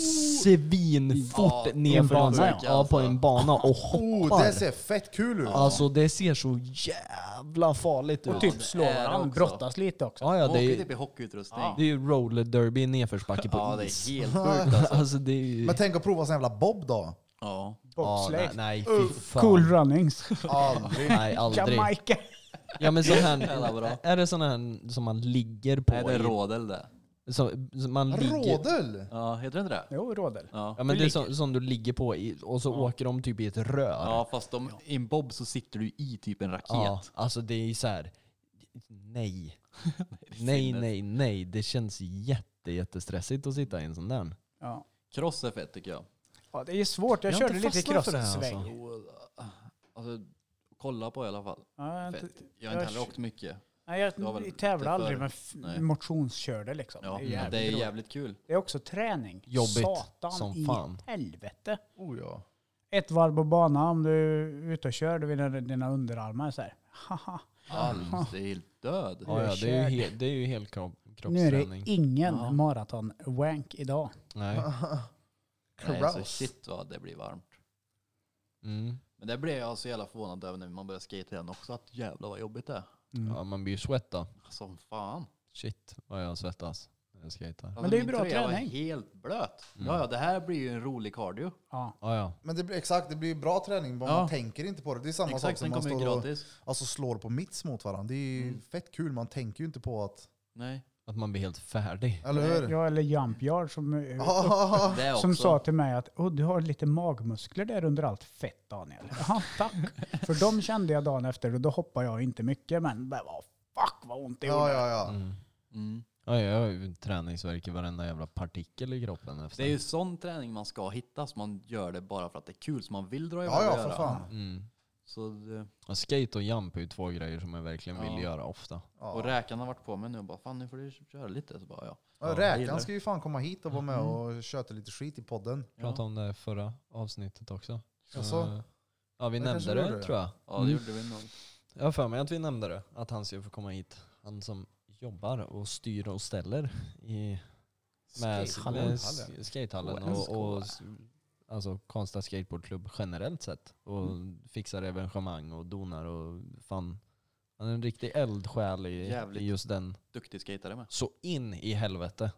B: svinfort
C: Ja,
B: nerför en
D: en bana,
B: bana, ja, på en bana och
A: Oh,
B: hoppar.
A: det ser fett kul ut!
B: Alltså det ser så jävla farligt
D: och
B: ut.
D: typ slår
C: det är det
D: varandra,
C: också.
D: brottas lite också.
B: Ja, ja,
C: De
B: det, är,
C: åker
B: ju-
C: typ i hockeyutrustning.
B: det är ju roller derby i nedförsbacke på
C: Ja, det
B: is.
C: är helt sjukt alltså.
B: [LAUGHS] Alltså det är ju...
A: Men tänk att prova sån jävla bob då!
C: [LAUGHS] Ja.
B: Ja,
D: Bobsleigh.
B: nej, nej, fy fan.
D: cool runnings.
A: Aldrig!
B: Nej, aldrig.
D: Jamaica.
B: Ja, men sån här,
C: Jävla bra.
B: är det sån här som man ligger på?
C: Nej, det är
B: i-
C: rådel det.
B: som, som man ligger,
A: Rådel!
C: Ja, heter det inte det?
D: Jo, rådel.
B: Ja
C: Ja.
B: men
D: Du
B: det är som, som du ligger på i, och så åker de typ i ett rör.
C: ja, fast de, i en bob så sitter du i typ en raket.
B: Ja, alltså det är så här.
C: [LAUGHS]
B: nej. nej,
C: sinnes.
B: nej, nej. Det känns jätte, jättestressigt att sitta i en sån där.
D: Ja.
C: Cross är fett tycker jag.
D: ja, det är svårt. Jag,
B: Jag har
D: körde
B: inte
D: lite
B: fastnat för det här,
D: cross-sväng.
B: alltså.
C: Alltså, kolla på i alla fall.
D: Ja, jag, har inte-
C: Fett. Jag har inte
D: jag-
C: heller åkt mycket.
D: nej, jag
C: var väl
D: tävlar
C: lite
D: aldrig,
C: för-
D: men f-
C: nej.
D: motionskörde liksom.
C: Ja,
D: det, är jävligt
C: det är
D: roligt.
C: jävligt kul.
D: det är också träning.
B: Jobbigt
D: Satan
B: som
D: i
B: fan.
D: helvete.
A: Oh, ja.
D: ett varv på banan om du är ute och kör, du vinner dina underarmar så här. Haha,
C: Almstil död.
D: Ja,
B: Ja,
D: jag
B: ja, det, är
D: körd.
B: ju he- det är ju hel kropp,
D: nu är det
B: kroppsträning.
D: ingen
C: Ja.
D: maraton-wank idag.
B: Nej.
D: Ah.
C: Nej, alltså
A: Kraus.
C: shit vad det blir varmt.
B: Mm.
C: Men det blev jag så jävla förvånad över när man började skate igen också. Att jävlar vad jobbigt det är.
D: Mm.
B: Ja, man blir ju svettad.
C: Som fan.
B: Shit vad jag svettas när jag skejtar.
C: Alltså,
D: Men det är ju
C: min
D: bra
C: tröja var
D: träning.
C: helt blöt.
B: Mm.
C: Ja, ja, det här blir ju en rolig cardio.
D: Ja.
B: Ja, ja.
A: Men det blir, exakt, det blir bra träning bara
C: Ja.
A: man tänker inte på det. Det är samma sak
C: Exakt,
A: som
C: den
A: man
C: kommer ju
A: står och
C: gratis.
A: alltså, slår på mitts mot varandra. Det är ju
C: Mm.
A: fett kul, man tänker ju inte på att...
C: Nej.
B: Att man blir helt färdig.
A: Eller hur?
D: Ja, eller jump yard som, eh,
A: Ah,
C: Det är
D: som
C: också.
D: sa till mig att oh, du har lite magmuskler där under allt fett Daniel. [LAUGHS] Jaha, tack. För de kände jag dagen efter och då hoppade jag inte mycket men bara, "Vad fuck vad ont det
A: ja,
D: gjorde.
A: ja, ja.
B: Mm.
C: Mm.
B: Ja, jag har ju träningsvärk i varenda jävla partikel i kroppen efter.
C: Det är ju sån träning man ska hitta. Så man gör det bara för att det är kul. Så man vill dra iväg
A: Ja, ja,
C: och
A: för
C: göra.
A: fan.
B: mm.
C: Så det,
B: Och skate och jump är ju två grejer som jag verkligen
C: Ja.
B: vill göra ofta.
A: Ja.
C: och räkan har varit på mig nu och bara fan nu får du köra lite. Så bara ja.
A: Ja,
B: jag
A: Räkan
C: gillar Mm.
A: ska ju fan komma hit och vara med och köta lite skit i podden.
B: Pratade om det förra avsnittet också.
A: Jaså?
B: Eh, Ja, vi
A: Det kanske
B: nämnde
A: vi
B: det,
A: gjorde.
B: tror jag.
C: Ja, det
B: Mm.
C: gjorde vi nog.
B: Jag har för mig att vi nämnde det. Att han ska få komma hit. Han som jobbar och styr och ställer i med,
A: Skatehallen.
B: med sk- skatehallen och, och s- alltså Karlstad skateboardklubb generellt sett. Och
C: Mm.
B: fixar evenemang och donar och fan. Han är en riktig eldsjäl i,
C: Jävligt.
B: i just den.
C: Duktig skatare med.
B: Så in i helvete.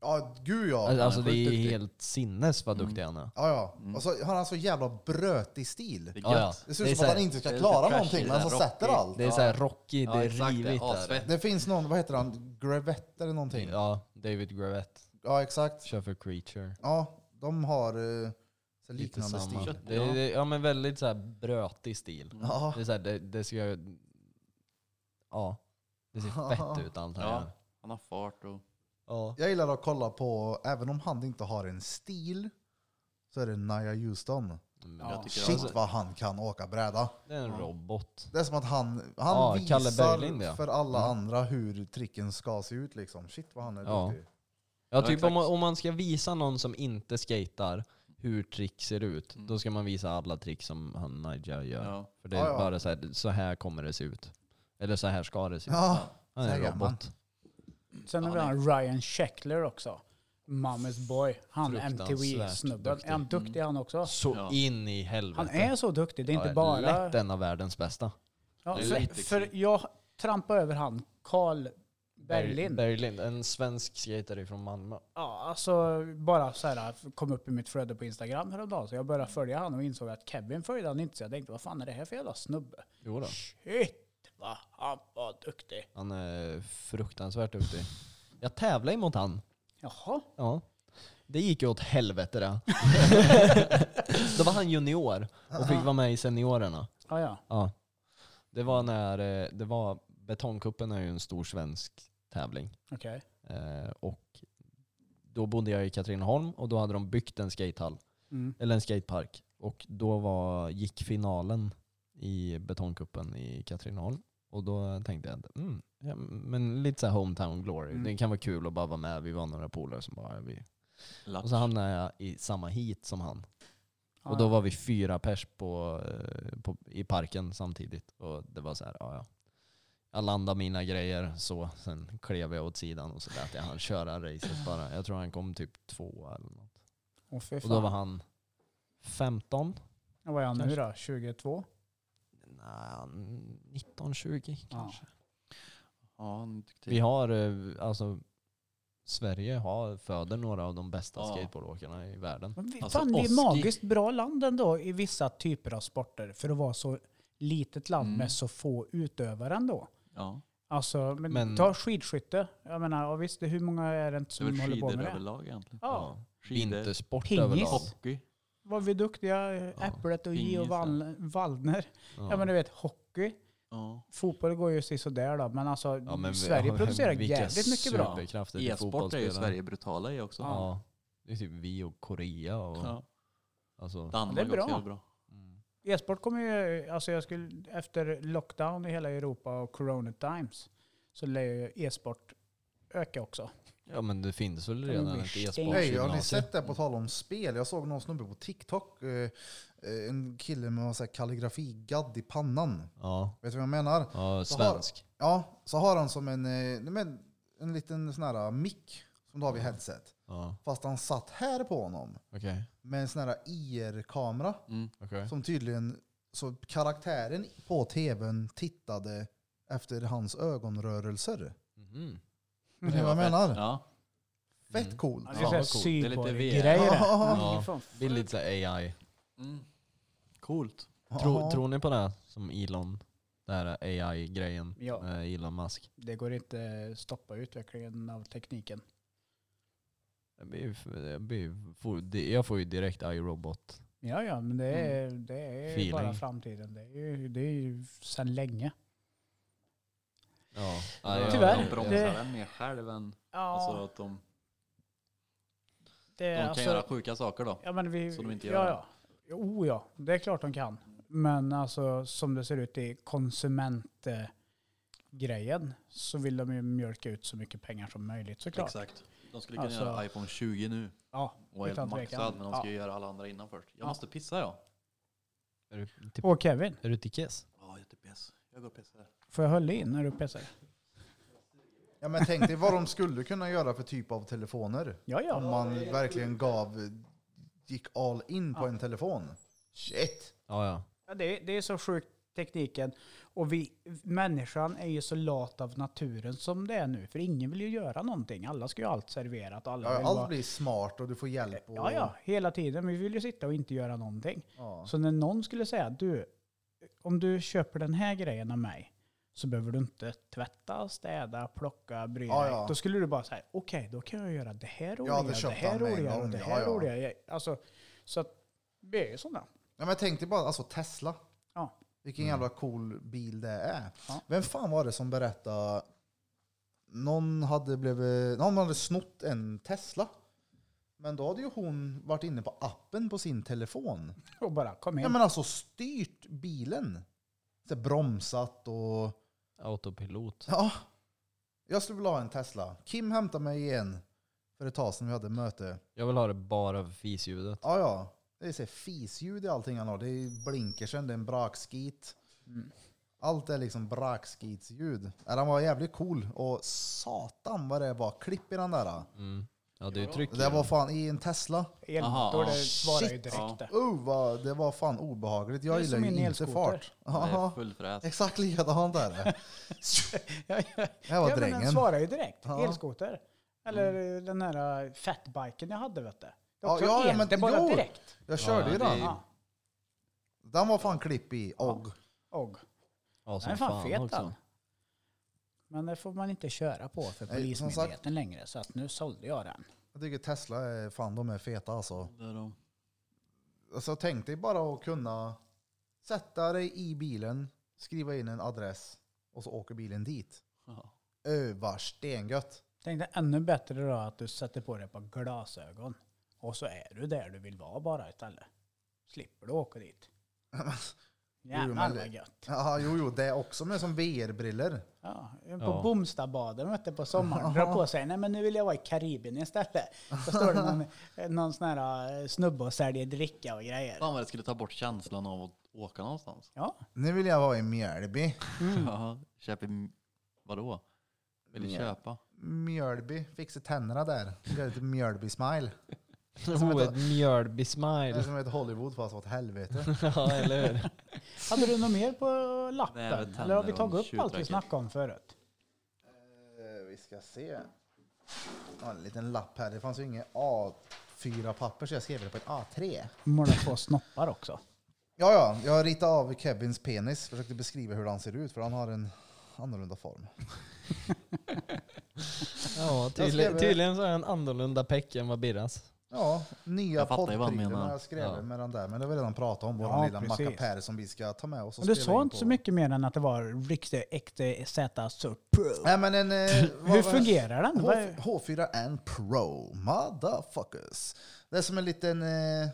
A: Ja, gud ja.
B: Al-
C: han är
B: alltså det
C: sjukt
B: är
C: duktig.
B: helt sinnes vad
C: Mm.
B: duktig han är.
A: Ja, ja. Och så har han så jävla brötig stil.
C: Det är
B: Ja,
C: gött.
B: ja.
A: Det ser
B: Det är
A: ut
B: så
A: som att
B: här-
A: han inte
C: det
A: ska
C: är
A: klara
C: lite
A: någonting,
C: trashy,
A: men så
C: rockig.
A: sätter allt.
B: Det är
C: Ja.
B: så här rocky,
C: Ja,
B: det är
C: exakt, det är
B: rivigt. där.
C: asfett.
A: Det finns någon, vad heter han, Gravett eller någonting? Ja,
B: Ja, David Gravett.
A: exakt.
B: Kör för Creature.
A: Ja, de har eh, så
B: Lite
A: liknande
B: samma.
A: stil.
C: Kött,
B: Det
C: ja.
B: är, ja men väldigt så här brötig stil.
A: Ja,
B: Det är så här, det, det ska jag... Ja. Det ser
C: [LAUGHS]
B: fett ut allt han
C: Ja.
B: gör.
C: Han har fart och...
B: Ja.
A: jag gillar att kolla på, även om han inte har en stil, så är det Naya Houston.
B: Men
C: Ja.
B: jag tycker
A: Shit
B: också-
A: vad han kan åka bräda.
B: Det är en
C: Ja.
B: robot.
A: Det är som att han, han
B: Ja, Kalle
A: visar
B: Berglind, ja.
A: för alla
B: Mm.
A: andra hur tricken ska se ut. Liksom. Shit vad han är
B: Ja.
A: duktig.
B: Ja,
C: Ja,
B: typ
C: exakt.
B: om man, om man ska visa någon som inte skatar hur trick ser ut,
C: Mm.
B: då ska man visa alla trick som han Naja gör.
C: Ja.
B: För det är
A: Ja, ja.
B: bara så här, så här kommer det se ut. Eller så här ska det se ut.
A: Ja,
B: Han är
A: så här
B: en
A: gör man.
B: robot.
D: Sen har vi
C: Ja,
D: han Ryan Sheckler också. Mammy's boy. Han
B: Fruktansvärt
D: MTV-snubben.
B: duktig. Mm.
D: Är han duktig han också?
B: Så
C: Ja.
B: in i helvete.
D: Han är så duktig. Det är
B: Ja,
D: inte bara...
B: Lätt en av världens bästa.
D: Ja,
C: Det är
D: för,
C: lätt,
D: för
C: liksom.
D: jag trampade över han, Carl
B: Ber-
D: Berlin.
B: Berglind, en svensk skater från Malmö.
D: Ja, alltså bara så här kom upp i mitt flöde på Instagram häromdagen. Så jag
B: Mm.
D: började följa han och insåg att Kevin följde han inte. Så jag tänkte, vad fan är det här för jävla snubbe?
B: Jo då.
D: Shit vad han var duktig.
B: Han är fruktansvärt duktig. Jag tävlade ju mot han.
D: Jaha.
B: Ja. Det gick ju åt
A: [LAUGHS]
B: helvete det. [LAUGHS] Då var han junior och fick vara med i seniorerna.
D: Ja, ja.
B: Ja. Det var när, eh, det var, Betongkuppen är ju en stor svensk tävling.
D: Okej.
B: Eh, och då bodde jag i Katrineholm och då hade de byggt en skatehall,
D: Mm.
B: eller en skatepark. Och då var, gick finalen i Betongkuppen i Katrineholm. Och då tänkte jag att, mm, ja, men lite så här hometown glory,
D: Mm.
B: det kan vara kul att bara vara med. Vi var några polare som bara, vi och så hamnade jag i samma hit som han.
D: Ja,
B: och då
D: ja.
B: var vi fyra pers på, eh, på, i parken samtidigt. Och det var så här, ja ja. Jag landade mina grejer så, sen klev jag åt sidan och så lät jag han köra racet bara. Jag tror han kom typ två eller något.
D: Åh, fy
B: Och
D: fan.
B: då var han 15?
D: Vad är han nu
B: kanske.
D: då? 22?
B: Nej, 19, 20
D: Ja.
B: kanske.
C: Ja, han är duktig.
B: Vi har, eh, alltså Sverige har, föder några av de bästa
C: Ja.
B: skateboardåkarna i världen.
D: Men vi,
C: Alltså,
D: fan, vi är
C: Oski.
D: magiskt bra land ändå i vissa typer av sporter för att vara så litet land
C: Mm.
D: med så få utövare ändå.
C: Ja.
D: Alltså, men,
B: Men-
D: ta skidskytte. Jag menar, ja, visst, hur många är det inte
C: Det är
D: som
C: väl
D: håller på
C: skidor
D: med det?
C: överlag egentligen.
D: Ja.
C: Skidor,
B: Vintersport
D: Pingis.
B: överlag.
C: hockey.
D: Var vi duktiga? Äpplet och Geo
C: pingis, ja.
D: Wall- Wallner. Ja. men du vet, hockey.
C: Ja.
D: Fotboll går ju sådär då, men alltså
B: Ja, men vi-
D: Sverige
B: [LAUGHS] ja,
D: producerar
B: vilka
D: jävligt mycket bra.
B: superkrafter till
C: E-sport är ju
B: typ fotbollsspelare.
C: Sverige brutala i också.
D: Ja.
B: Ja. Det är typ vi och Korea och
C: Ja.
B: alltså.
C: Danmark
D: Det är bra.
C: också är bra.
B: Mm.
D: E-sport kommer ju, alltså jag skulle, efter lockdown i hela Europa och corona times, så lär ju e-sport öka också.
B: Ja men det finns väl
D: men
B: redan
D: vi
B: ett
D: stänger.
A: Hej, har ni
B: e-sportgymnasium?
A: sett det på tal om spel? Jag såg någon snubbe på TikTok. eh, eh, En kille med en sån här kalligrafigadd i pannan.
B: Ja,
A: Vet du vad jag menar?
B: ja
A: Så har-
B: svensk.
A: Ja, så har han som en, eh, nej, men en liten sån här eh, mick som du har vid headset.
B: Ja,
A: Fast han satt här på honom
B: okej.
A: med en sån här IR-kamera.
C: Mm.
B: okej.
A: Som tydligen, så karaktären på tvn tittade efter hans ögonrörelser.
B: Mhm.
A: Vet ni vad jag menar?
C: Mm. Ja.
A: Fett coolt.
D: Det är såhär
C: vad coolt. Det är lite
D: cyborg-grejer.
B: Ja.
D: Fan,
B: Det är lite så här AI.
C: Mm. Coolt.
B: Mm. Tro,
A: Ja.
B: Tror ni på det här som Elon? Det här AI-grejen
D: Ja.
B: med Elon Musk?
D: Det går inte att stoppa utvecklingen av tekniken.
B: Jag, blir, ju f- jag, blir, ju- får, di- jag får ju direkt iRobot.
D: Ja, ja, men det är, det är ju
B: Feeling.
D: bara framtiden. Det är ju, det är ju sedan länge.
B: Ja.
D: Tyvärr.
C: De bromsar
D: Det-
C: den mer själv än
D: Ja,
C: alltså att de, de
D: det är
C: kan
D: alltså-
C: göra sjuka saker då.
D: Ja, men vi,
C: Så de inte
D: ja,
C: gör
D: ja. Jo, ja. Det är klart de kan. Men alltså som det ser ut i konsumentgrejen så vill de ju mjölka ut så mycket pengar som möjligt såklart.
C: Exakt. De skulle kunna
D: Alltså-
C: göra iPhone 20 nu
D: Ja,
C: och helt
D: utan tvekan.
C: maxad men de ska
D: Ja.
C: ju göra alla andra innan först. Jag
D: Ja.
C: måste pissa jag.
B: Är du, typ,
D: Och Kevin,
B: är du till Kiss?
C: Ja, jättepiss. Jag går och pissar.
D: får jag höll in när du pissar?
A: Ja, men tänk dig vad de skulle kunna göra för typ av telefoner.
D: Ja, ja.
A: Om man verkligen gav, gick all in på en telefon. Shit!
B: Ja, ja.
D: Ja, det, det är så sjukt tekniken. Och vi, människan är ju så lat av naturen som det är nu. För ingen vill ju göra någonting. Alla ska ju ha allt serverat. Alla
A: Ja,
D: vill
A: allt
D: vara-
A: blir smart och du får hjälp. Och,
D: ja, ja, hela tiden. Vi vill ju sitta och inte göra någonting.
A: Ja.
D: Så när någon skulle säga, du, om du köper den här grejen av mig så behöver du inte tvätta, städa, plocka, bry dig.
A: Ja, ja.
D: Då skulle du bara säga, okej, då kan jag göra det här roliga,
A: det
D: det,
A: köpte
D: här
A: han med en
D: roliga och
A: gång,
D: det
A: ja,
D: här
A: ja.
D: roliga. Alltså, så att vi är ju sådana.
A: Ja, men tänk dig bara alltså Tesla.
D: Ja.
A: Vilken jävla cool bil det är.
D: Ja.
A: Vem fan var det som berättade? Någon hade, blivit, någon hade snott en Tesla. Men då hade ju hon varit inne på appen på sin telefon.
D: Och bara, kom
A: Ja,
D: igen.
A: men alltså styrt bilen. Så här bromsat och...
B: Autopilot.
A: Ja. Jag skulle vilja ha en Tesla. Kim hämtade mig igen för ett tag sedan vi hade möte.
B: Jag vill ha det bara för fisljudet.
A: Ja, ja. Det är så här fisljud i allting han har. Det är blinkersen, det är en brakskit.
D: Mm.
A: Allt är liksom brakskitsljud. Ja, han var jävligt cool och satan vad det var klipp i den där.
B: Mm. Ja, det är ju tryck i
A: Det var
B: den.
A: fan i en Tesla.
D: Elmotor,
C: Aha,
D: det
C: ja.
D: svarar ju
A: ah, Shit.
D: direkt
C: Ja.
D: det.
A: Oh, vad, det var fan obehagligt. Jag
D: Det är
A: gillar
D: som
A: ju
D: en
A: inte
D: elskoter.
A: fart.
C: Det är
A: Ja,
C: full fräs.
A: exakt likadant är det.
D: [LAUGHS] Ja, ja.
A: Det här var
D: ja, men den
A: drängen.
D: svarar ju direkt.
A: Ja. Mm.
D: Elskoter. Eller den här eh, fatbiken jag hade, vet du. Det är
A: Ja,
D: också
A: ja,
D: el,
A: men-
D: det är bara
A: jo.
D: direkt.
A: Jag körde
B: Ja,
A: ju
B: det
A: den.
B: är-
D: Ja.
A: Den var fan klipp i. Och.
D: Och.
B: Ja,
D: Den
B: som
D: är fan, fet
B: också.
D: den. Men det får man inte köra på för
A: Nej, som sagt-
D: Polismyndigheten längre. Så att nu sålde jag den.
A: Jag tycker Tesla är fan de är feta alltså.
C: Det är de.
A: Alltså tänk dig bara att kunna sätta dig i bilen, skriva in en adress och så åker bilen dit.
C: Ja.
A: Ö, vad stengött.
D: Tänk dig ännu bättre då att du sätter på dig ett par glasögon. Och så är du där du vill vara bara istället. Slipper du
A: [LAUGHS]
D: åka dit.
A: Jo,
D: Jävlar
A: men-
D: vad gött.
A: Ja, jo, jo, det är också med som VR-briller.
D: Ja, på
B: Ja.
D: Bomstabaden vet du, på sommaren
A: [LAUGHS]
D: drar på sig, nej men nu vill jag vara i Karibien istället. Så står det någon,
A: [LAUGHS]
D: någon sån här eh, snubbe och säljer dricka och grejer.
C: Fan vad det skulle ta bort känslan av att åka någonstans.
D: Ja,
A: Nu vill jag vara i Mjölby.
D: Mm.
C: [LAUGHS] Ja. Köper, vadå? Vill du
A: Ja.
C: köpa?
A: Mjölby, fixa tänderna där. Gör lite Mjölby-smile.
B: Oh, ett
A: Det är
B: Mjölby-smile.
A: som ett Hollywood fast åt helvete.
B: [LAUGHS] ja, eller hur?
D: hade du något mer på
C: Nej, jag vet
D: lappen?
C: inte,
D: Eller har vi
C: det var
D: tagit upp
C: en
D: allt vi
C: tjurträck.
D: snackade om förut?
A: Eh, Vi ska se. Ja, en liten lapp här. Det fanns ju inget A4-papper så jag skrev det på ett A3.
D: Måla två
A: [LAUGHS]
D: snoppar också.
A: Ja, ja. Jag ritade av Kevins penis. Försökte beskriva hur han ser ut, för han har en annorlunda form.
B: Ja, tydligen,
A: skrev-
B: tydligen så är han annorlunda peck än vad Birras.
A: Ja, nya
C: Jag fattar ju vad han
A: poddprylarna
C: menar.
A: jag skrev
B: Ja.
A: med den där. Men det har vi redan pratat om. Vår
D: Ja,
A: lilla
D: precis.
A: mackapär som vi ska ta med oss. och
D: Men du
A: spela
D: sa
A: in
D: inte
A: på.
D: så mycket mer än att det var Rikste XZ Sur Pro.
A: Nej, men en, eh, vad-
D: Hur fungerar den? Vad
A: H-
D: är-
A: H4N Pro. Motherfuckers. Det är som en liten eh,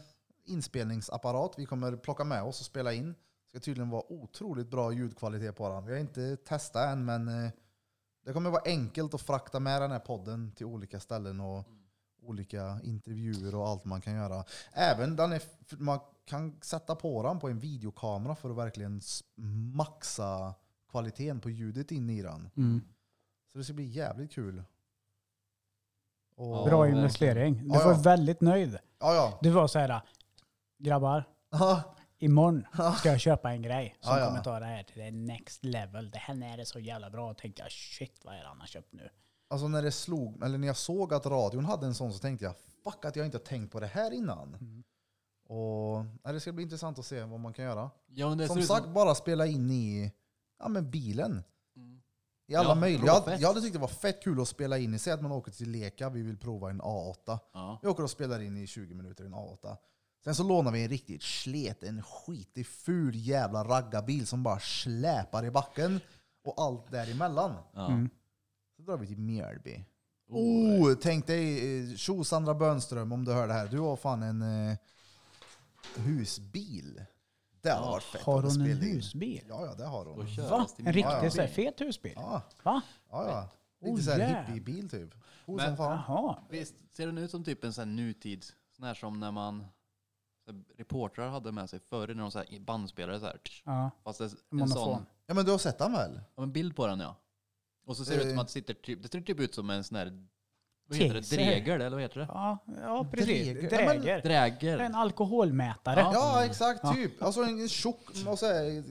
A: inspelningsapparat vi kommer plocka med oss och spela in. Det ska tydligen vara otroligt bra ljudkvalitet på den. Vi har inte testat än, men eh, det Det kommer vara enkelt att frakta med den här podden till olika ställen och olika intervjuer och allt man kan göra. Även den är, man kan sätta på den på en videokamera för att verkligen s- maxa kvaliteten på ljudet in i den.
D: Mm.
A: Så det ska bli jävligt kul. Och,
B: Ja,
D: Bra
B: verkligen.
D: investering. Du
A: Ja,
D: var
A: ja.
D: väldigt nöjd.
A: Ja,
D: Du var så här, grabbar,
A: ja.
D: imorgon ska jag köpa en grej som
A: Ja, ja.
D: kommer ta det här till det next level. Det här är det så jävla bra. Och tänkte jag, shit vad är det han har köpt nu?
A: Alltså när det slog, eller när jag såg att radion hade en sån så tänkte jag fuck att jag inte har tänkt på det här innan. Och nej, Det ska bli intressant att se vad man kan göra.
C: Ja, men det ser
A: Som
C: ut
A: sagt, bara spela in i ja, men bilen.
C: Mm.
A: I alla
C: Ja,
A: möjliga. Jag,
C: råfett.
A: jag hade tyckt det var fett kul att spela in i. Säg att man åker till Leka, vi vill prova en A8.
C: Ja.
A: Vi åker och spelar in i 20 minuter i en A8. Sen så lånar vi en riktigt slet, en skitig ful jävla raggarbil som bara släpar i backen och allt däremellan.
C: Ja.
A: Så drar vi till Mjölby. Oh, tänk dig, eh, tjo Sandra Bönström om du hör det här. Du har fan en eh, husbil. Det hade varit fett
D: Har
A: att
D: hon en
A: spela in.
D: husbil?
A: Ja, ja, det har
C: Och
A: hon.
C: köras
D: Va?
C: till
D: En riktig
A: Ja, ja.
D: så här, fet husbil?
A: Ja,
D: Va?
A: ja. ja.
D: Oh,
A: Lite såhär
D: jävlar.
A: hippiebil typ. Cool
C: Men-
A: som fan.
D: Jaha.
C: Visst ser den ut som typ en sån här nutid, sån här som när man så här, reportrar hade med sig förr när de så här bandspelare så här. tsch,
D: Ja.
C: Fast det är en
D: Monofon.
C: sån,
A: Ja, men du har sett den väl?
C: ja, en bild på den ja. Och så ser det ut som
A: Eh.
C: att det sitter typ, det ser typ ut som en sån här, vad heter det,
D: Taser.
C: dregel eller vad heter det?
D: Ja, ja precis.
A: Dräger.
D: Dräger. En
C: Dräger.
D: alkoholmätare.
C: Ja.
A: Ja, exakt. Typ. Alltså en tjock, och så här,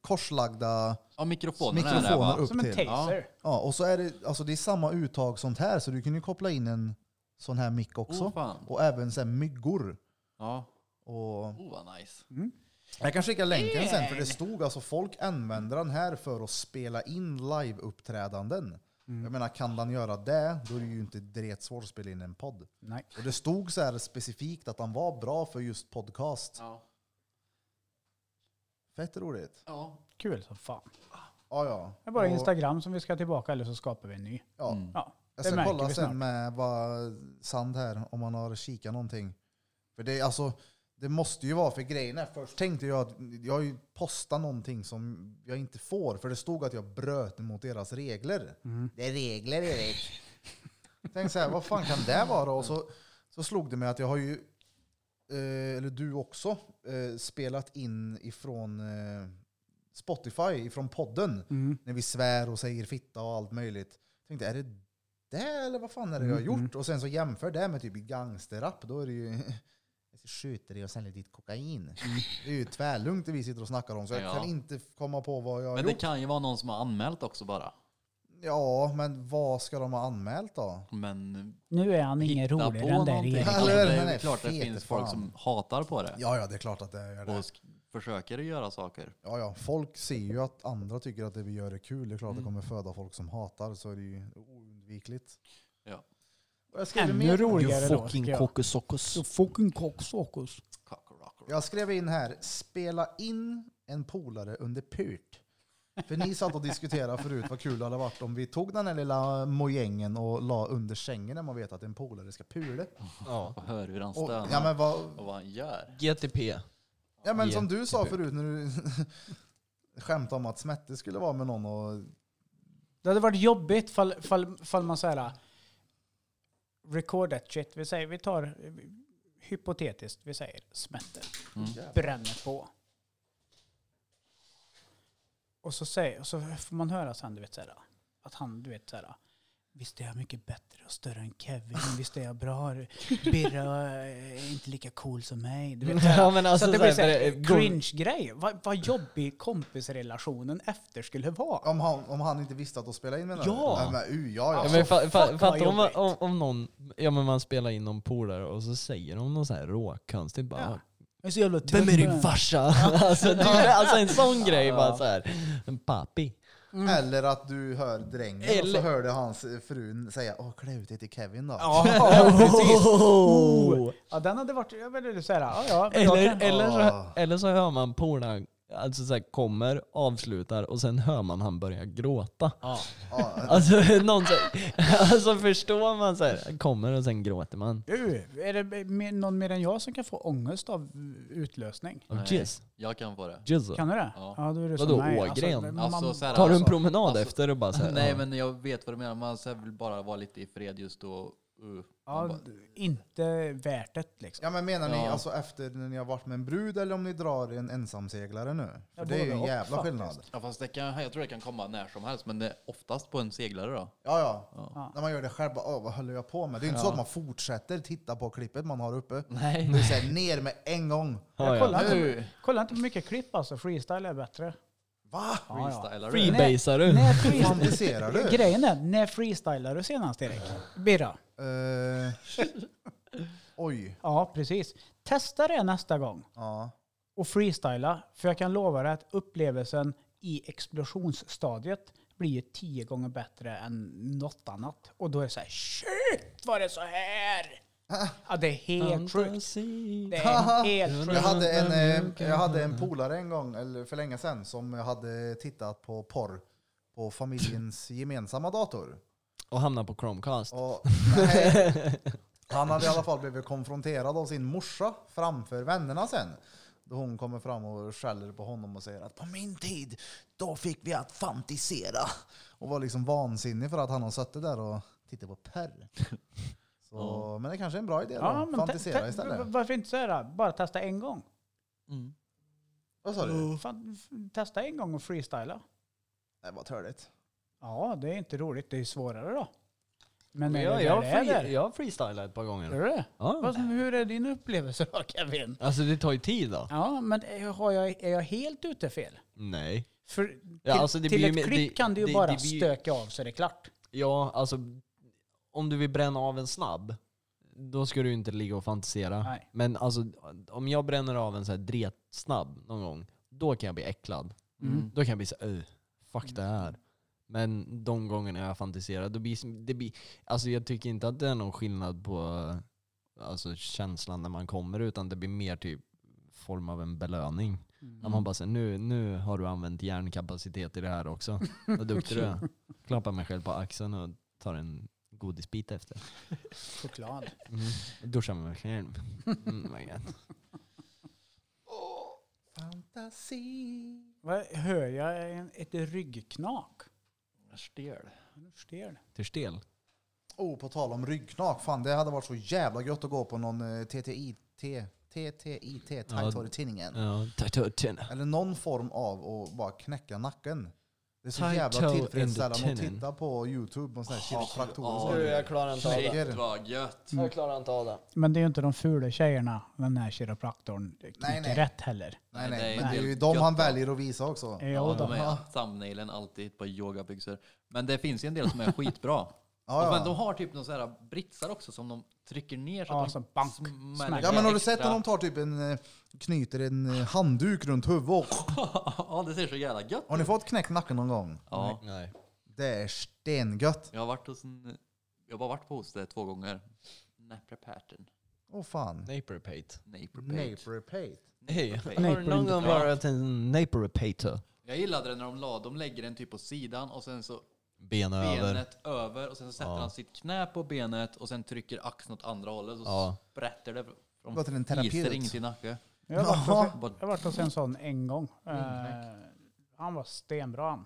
A: korslagda
C: Ja, mikrofonerna är det
A: mikrofoner
C: va?
A: upp
D: Som en
A: till.
D: taser.
A: Ja, och så är det, alltså det är samma uttag sånt här, så du kan ju koppla in en sån här mick också.
C: Oh, fan.
A: och även sen myggor.
C: Ja.
A: Och
C: Oh vad nice.
A: Jag kan skicka länken sen, för det stod alltså folk använder den här för att spela in live-uppträdanden.
C: Mm.
A: Jag menar, kan den göra det, då är det ju inte direkt svårt att spela in en podd.
D: Nej.
A: Och det stod så här specifikt att den var bra för just podcast.
C: Ja.
A: Fett roligt.
C: Ja.
D: Kul som fan.
A: Ja, ja.
D: Det är bara
A: Och-
D: Instagram som vi ska tillbaka eller så skapar vi en ny.
A: Ja.
D: Ja,
A: Jag
D: det
A: ska
D: märker
A: kolla
D: vi
A: sen
D: snart.
A: med vad Sand här, om han har kikat någonting. För det, är alltså, det måste ju vara, för grejen är, först tänkte jag att jag har ju postat någonting som jag inte får, för det stod att jag bröt mot deras regler.
D: Mm.
A: Det är regler, Erik. Tänk så här, vad fan kan det vara? Och så, så slog det mig att jag har ju, eh, eller du också, eh, spelat in ifrån eh, Spotify, ifrån podden, när vi svär och säger fitta och allt möjligt. Tänkte, är det det eller vad fan är det jag har gjort? Och sen så jämför det med typ gangsterrap, då är det ju [LAUGHS] jag ska skjuta dig och sälja ditt kokain. Det är ju tvärlugnt det vi sitter och snackar om, så jag
C: Ja.
A: kan inte komma på vad jag har
C: Men det
A: gjort.
C: kan ju vara någon som har anmält också bara.
A: Ja, men vad ska de ha anmält då?
C: Men
D: Nu är han ingen
C: hitta
D: roligare
C: på
D: än den
C: någonting.
D: Erik.
A: Ja,
C: Ja,
A: eller hur?
C: det
A: Han
C: är
A: är
C: ju klart det
A: fet
C: finns
A: fan.
C: folk som hatar på det.
A: Ja, ja, det är klart att det gör det.
C: och sk- försöker göra saker.
A: Ja, ja. Folk ser ju att andra tycker att det vi gör är kul. Det är klart att det kommer föda folk som hatar, så är det ju oundvikligt.
C: Ja.
A: Och Jag skrev,
D: Ännu
A: mer,
D: roligare då tycker jag.
B: kokusokus.
D: You fucking cocksockers.
C: Cockrocker.
A: jag skrev in här, spela in en polare under purt. För ni satt och diskuterade förut vad kul det hade varit om vi tog den här lilla mojängen och la under sängen när man vet att en polare ska pula.
B: Ja.
C: Och hör hur han
A: Och,
C: stönar
A: ja, men vad,
C: och vad han gör.
B: [LAUGHS] GTP.
A: Ja men
B: Ge
A: som du sa
B: tillbaka.
A: förut när du [LAUGHS] skämtade om att Smette skulle vara med någon och...
D: Det hade varit jobbigt fall, fall, fall man såhär record that shit. Vi säger, vi tar eh, hypotetiskt, vi säger smätter. Bränner på. Och så, säger, och så får man höra sen, du vet såhär, att han, du vet såhär, visst är jag mycket bättre och större än Kevin, visst är jag bra, Birra är inte lika cool som mig. Du vet, såhär.
B: Ja, men [LAUGHS] alltså
D: så att det
B: så
D: blir
B: här, det är-
D: såhär cringe-grej. Vad, vad jobbig kompisrelationen efter skulle vara.
A: Om han, om han inte visste att de spelade in menar
D: Ja.
A: du? Ja! Men, uh, ja, ja.
B: Ja, men fa- fa-
D: fuck
B: fatta
D: vad
B: om, man-
D: jobbigt.
B: om, om någon, ja men man spelar in någon polare och så säger de något så här råkonstigt bara
D: Ja. Jag är så jävla
B: Vem är din
D: tuff.
B: farsa? [LAUGHS] alltså, det är, alltså en sån grej bara så här. En papi.
A: Eller att du hör drängen och så
B: Eller-
A: hörde hans frun säga Åh, klä ut dig till Kevin då.
B: [LAUGHS]
D: Ja, precis.
B: Oh.
D: Ja, den hade varit... Jag vill säga, ja, ja, men jag
B: Eller,
D: kan-
B: eller, så,
A: Ah.
B: eller så hör man polaren Alltså så här, kommer, avslutar och sen hör man han börja gråta.
A: Ja,
B: [LAUGHS] Alltså, någon så, alltså förstår man så här, kommer och sen gråter man.
D: Uh, är det mer- någon mer än jag som kan få ångest av eh, utlösning?
B: Och
C: Nej.
B: jizz.
C: Jag kan få det.
B: Jizz.
D: Kan du det?
C: Ja.
D: då är det
B: Vadå,
D: som mig.
B: Ågren?
D: man-
C: Alltså, så här,
B: Tar du en
C: alltså-
B: promenad
C: alltså-
B: efter och bara så här,
C: Nej
B: ja.
C: men jag vet vad du menar, man så här vill bara vara lite i fred just då. Uh, man
D: ja,
C: bara-
D: inte värt det liksom.
A: ja men menar ni
C: Ja.
A: alltså efter när ni har varit med en brud eller om ni drar en ensamseglare nu? För
D: Ja,
A: det är ju
D: både
A: en
D: och,
A: jävla
D: faktiskt.
A: skillnad.
C: ja, fast det kan, jag tror det kan komma när som helst, men det är oftast på en seglare då.
A: Ja, ja.
C: Ja.
A: När man gör det själv, bara, "Åh, vad höll jag på med? Det är inte så
C: Ja.
A: att man fortsätter titta på klippet man har uppe.
C: Nej.
A: Det är såhär ner med en gång.
B: Ja,
D: jag kollar,
B: ja.
D: inte,
C: Nu
D: kolla inte på mycket klipp alltså. Freestyle är bättre.
A: Va?
D: Ja, ja.
C: freestylar du?
D: Freebase.
B: Freebasar du?
D: När [LAUGHS]
A: [LAUGHS] Fantiserar du?
D: freestyle, grejen är, när freestylade du senast Erik? Birra?
A: Eh, [LAUGHS] oj.
D: Ja, precis. Testa det nästa gång
A: Ja.
D: och freestyla. För jag kan lova dig att upplevelsen i explosionsstadiet blir ju tio gånger bättre än något annat. Och då är det så här, shit var det så här? Ja, det är helt sjukt.
B: Fantasi.
A: [LAUGHS]
D: Det är helt
A: Ah. Jag
D: sjukt.
A: hade, en, eh, jag hade en polare en gång, eller för länge sedan, som hade tittat på porr på
D: [LAUGHS]
A: familjens gemensamma dator.
B: Och hamnar på Chromecast.
A: Och, nej, han hade i alla fall blivit konfronterad av sin morsa framför vännerna sen. Då hon kommer fram och skäller på honom och säger att på min tid, då fick vi att fantisera. Och var liksom vansinnig för att han har suttit där och tittat på
D: [LAUGHS]
A: porr. Så, Men det kanske är en bra idé då.
D: Ja, men te-
A: fantisera
D: te-
A: istället.
D: v- varför inte så här? Bara testa en gång.
C: Mm.
A: Vad sa du?
D: Fan, f- testa en gång och freestyla.
A: Det var törligt.
D: Ja, det är inte roligt. Det är svårare då. Men är
B: Jag,
D: det
B: jag,
D: där det är
B: free,
D: där?
B: jag har freestylat ett par
D: Är
B: gånger.
D: det?
B: Ja.
D: Vad- Hur är din upplevelse då Kevin?
B: Alltså det tar ju tid då.
D: Ja, men är- har jag, är jag helt ute fel?
B: Nej.
D: För till,
B: Ja, alltså, det
D: till
B: blir ju
D: ett
B: mer-
D: klipp
B: det-
D: kan du ju
B: det-
D: bara
B: det blir ju-
D: stöka av så är det klart.
B: Ja, alltså om du vill bränna av en snabb, då ska du ju inte ligga och fantisera.
D: Nej.
B: Men alltså om jag bränner av en så här dretsnabb någon gång, då kan jag bli äcklad.
C: Mm.
B: Då kan jag bli så "Öh, fuck det här. Men de gångerna jag fantiserar, då blir det blir, alltså jag tycker inte att det är någon skillnad på eh, alltså, känslan när man kommer utan det blir mer typ form av en belöning. När man bara säger nu, nu har du använt hjärnkapacitet i det här också. Vad duktig du är. Klappar mig själv på axeln och tar en godisbit efter.
D: Choklad.
B: Mm. Duschar mig verkligen. Mm, my God.
A: Fantasi.
D: Vad, hör jag en, ett ryggknak?
C: Stel.
D: Nu stel.
B: Törstel.
A: Oh, på tal om ryggknak. Fan, det hade varit så jävla gött att gå på någon eh, TTIT, TTIT,
B: Ja.
A: Tidningen.
B: Ja, tattoo tin.
A: Eller någon form av att bara knäcka nacken. Det är så
B: Tight
A: jävla
B: toe in the
A: tillfredsställande att
B: tinen.
A: titta på YouTube och sådana här kiropraktorer.
B: ja,
A: som-
B: du, jag klarar inte av det.
A: Lägger.
C: vad gött.
B: Jag klarar inte av det.
D: Men det är ju inte de fula tjejerna, den här kiropraktorn,
A: Nej,
D: knyter
A: nej.
D: rätt heller.
A: Nej,
C: Nej, det
A: nej,
C: är
A: men det är
C: ju
A: ju
C: helt
A: de
C: gött
A: han
C: då.
A: väljer att visa också.
D: Jo,
C: Ja,
D: då.
C: de är thumbnailen alltid på yogabyxor. Men det finns ju en del som är skitbra.
A: Ja,
C: Och
A: ja.
C: Men de har typ någon sån här britsar också som de trycker ner så
D: Ja,
C: att
D: som
C: de
D: bank.
C: smäller
A: Ja, men har du
C: extra.
A: sett när de tar typ en, eh, knyter en eh, handduk runt huvudet? och-
C: [LAUGHS] Ja, det ser så jävla gött
A: Har ni fått knäckt nacken någon gång?
C: Ja,
B: Nej.
A: Det är stengött.
C: jag har varit hos en... Jag har bara varit på hos det två gånger. Naprapaten.
A: Åh fan.
B: Naperpate.
C: Naprapate.
A: Naprapate.
B: Hej, har du
D: Naperpate.
B: någon gång
C: Ja.
B: varit en naperpate?
C: Jag gillade det när de la, de lägger en typ på sidan och sen så
B: Ben över.
C: benet över och sen så sätter
B: Ja.
C: han sitt knä på benet och sen trycker axeln åt andra hållet och så
B: Ja.
C: sprätter det.
A: Gå till en terapeut.
C: Fiser
A: [LAUGHS]
C: inget i nacken.
D: Jag har varit hos-
C: Bara-
D: jag har varit hos en sån en gång. Eh, han var stenbra han.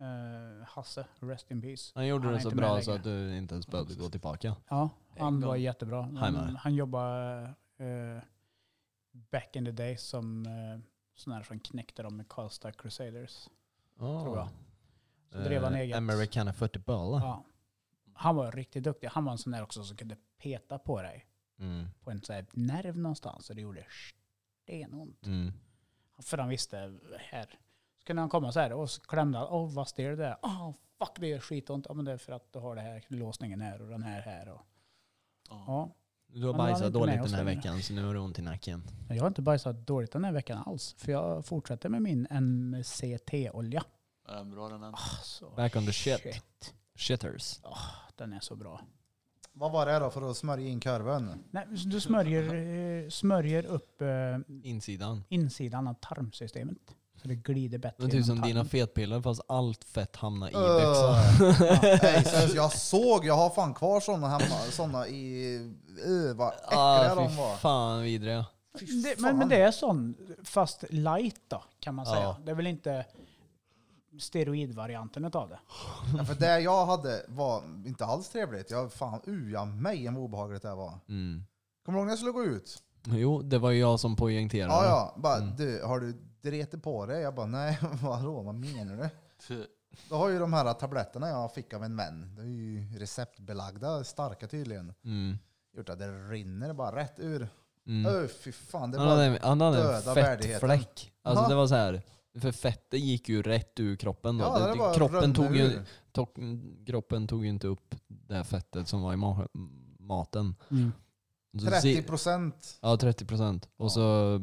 D: Eh, Hasse, rest in peace.
B: Han gjorde
D: Han är
B: det så
D: inte med
B: bra
D: längre.
B: så att du inte ens behövde gå tillbaka.
D: Ja, han
C: En gång.
D: var jättebra.
B: med.
D: Han, han jobbade eh, back in the day som eh, sån här som knäckte dem med Karlstad Crusaders. Tror jag. Så drev han
B: Eh,
D: eget.
B: Americana football.
D: Ja. Han var riktigt duktig. Han var en sån där också som kunde peta på dig
B: Mm.
D: på en sån här nerv någonstans och det gjorde stenont.
B: Mm.
D: För han visste här. Så kunde han komma så här och så klämde han. Åh vad stel det är. Åh fuck det gör skitont. Ja men det är för att du har det här låsningen här och den här här. Och, ja.
B: Du har
D: Men det var
B: bajsat
D: inte med
B: dåligt
D: oss
B: den här
D: längre.
B: veckan så nu har du ont i nacken.
D: Jag har inte bajsat dåligt den här veckan alls. För jag fortsätter med min MCT-olja.
C: Ja, Äh,
A: Ah,
C: bra den här.
D: Alltså,
B: Back on the shit. Shitters.
D: Den är så bra.
A: Vad var det då för att smörja in korven?
D: Nej, så du smörjer, eh, smörjer upp eh,
B: Insidan.
D: insidan av tarmsystemet. Så det glider bättre.
B: Det är typ
D: genom
B: som dina
D: tarmen.
B: fetpiller fast allt fett hamnar
A: [LAUGHS]
B: i växeln.
A: Uh, nej, seriöst, jag såg, jag har fan kvar sådana hemma. Sådana i... Uh, vad äckliga
B: Ah,
A: de
B: fy
A: var.
B: fan vidriga.
D: det, men, men det är sån, fast light då, kan man
B: Ja.
D: säga. Det är väl inte steroidvarianten av det.
A: Ja, för det jag hade var inte alls trevligt. Jag fan uja mig vad obehagligt det var.
B: Mm.
A: Kommer du ihåg när jag skulle gå ut?
B: Jo, det var ju jag som poängterade.
A: Ja, ja. Bara, du, har du dretit på dig? Jag bara, nej, [LAUGHS] vadå, vad menar du? Då har ju de här tabletterna jag fick av en vän, de är ju receptbelagda, starka tydligen,
B: Mm.
A: gjort att det rinner bara rätt ur.
B: Mm.
A: Mm. fy fan, det
B: Han
A: var...
B: hade, han hade en
A: döda värdigheten.
B: fettfläck. Alltså
A: Ja.
B: det var så här. För fettet gick ju rätt ur kroppen då.
A: Ja,
B: det,
A: det bara
B: kroppen,
A: rann
B: tog ju,
A: ur.
B: to, kroppen tog ju inte upp det här fettet som var i ma maten. Så si-
A: 30 Mm. procent.
B: Ja, 30 procent. Och så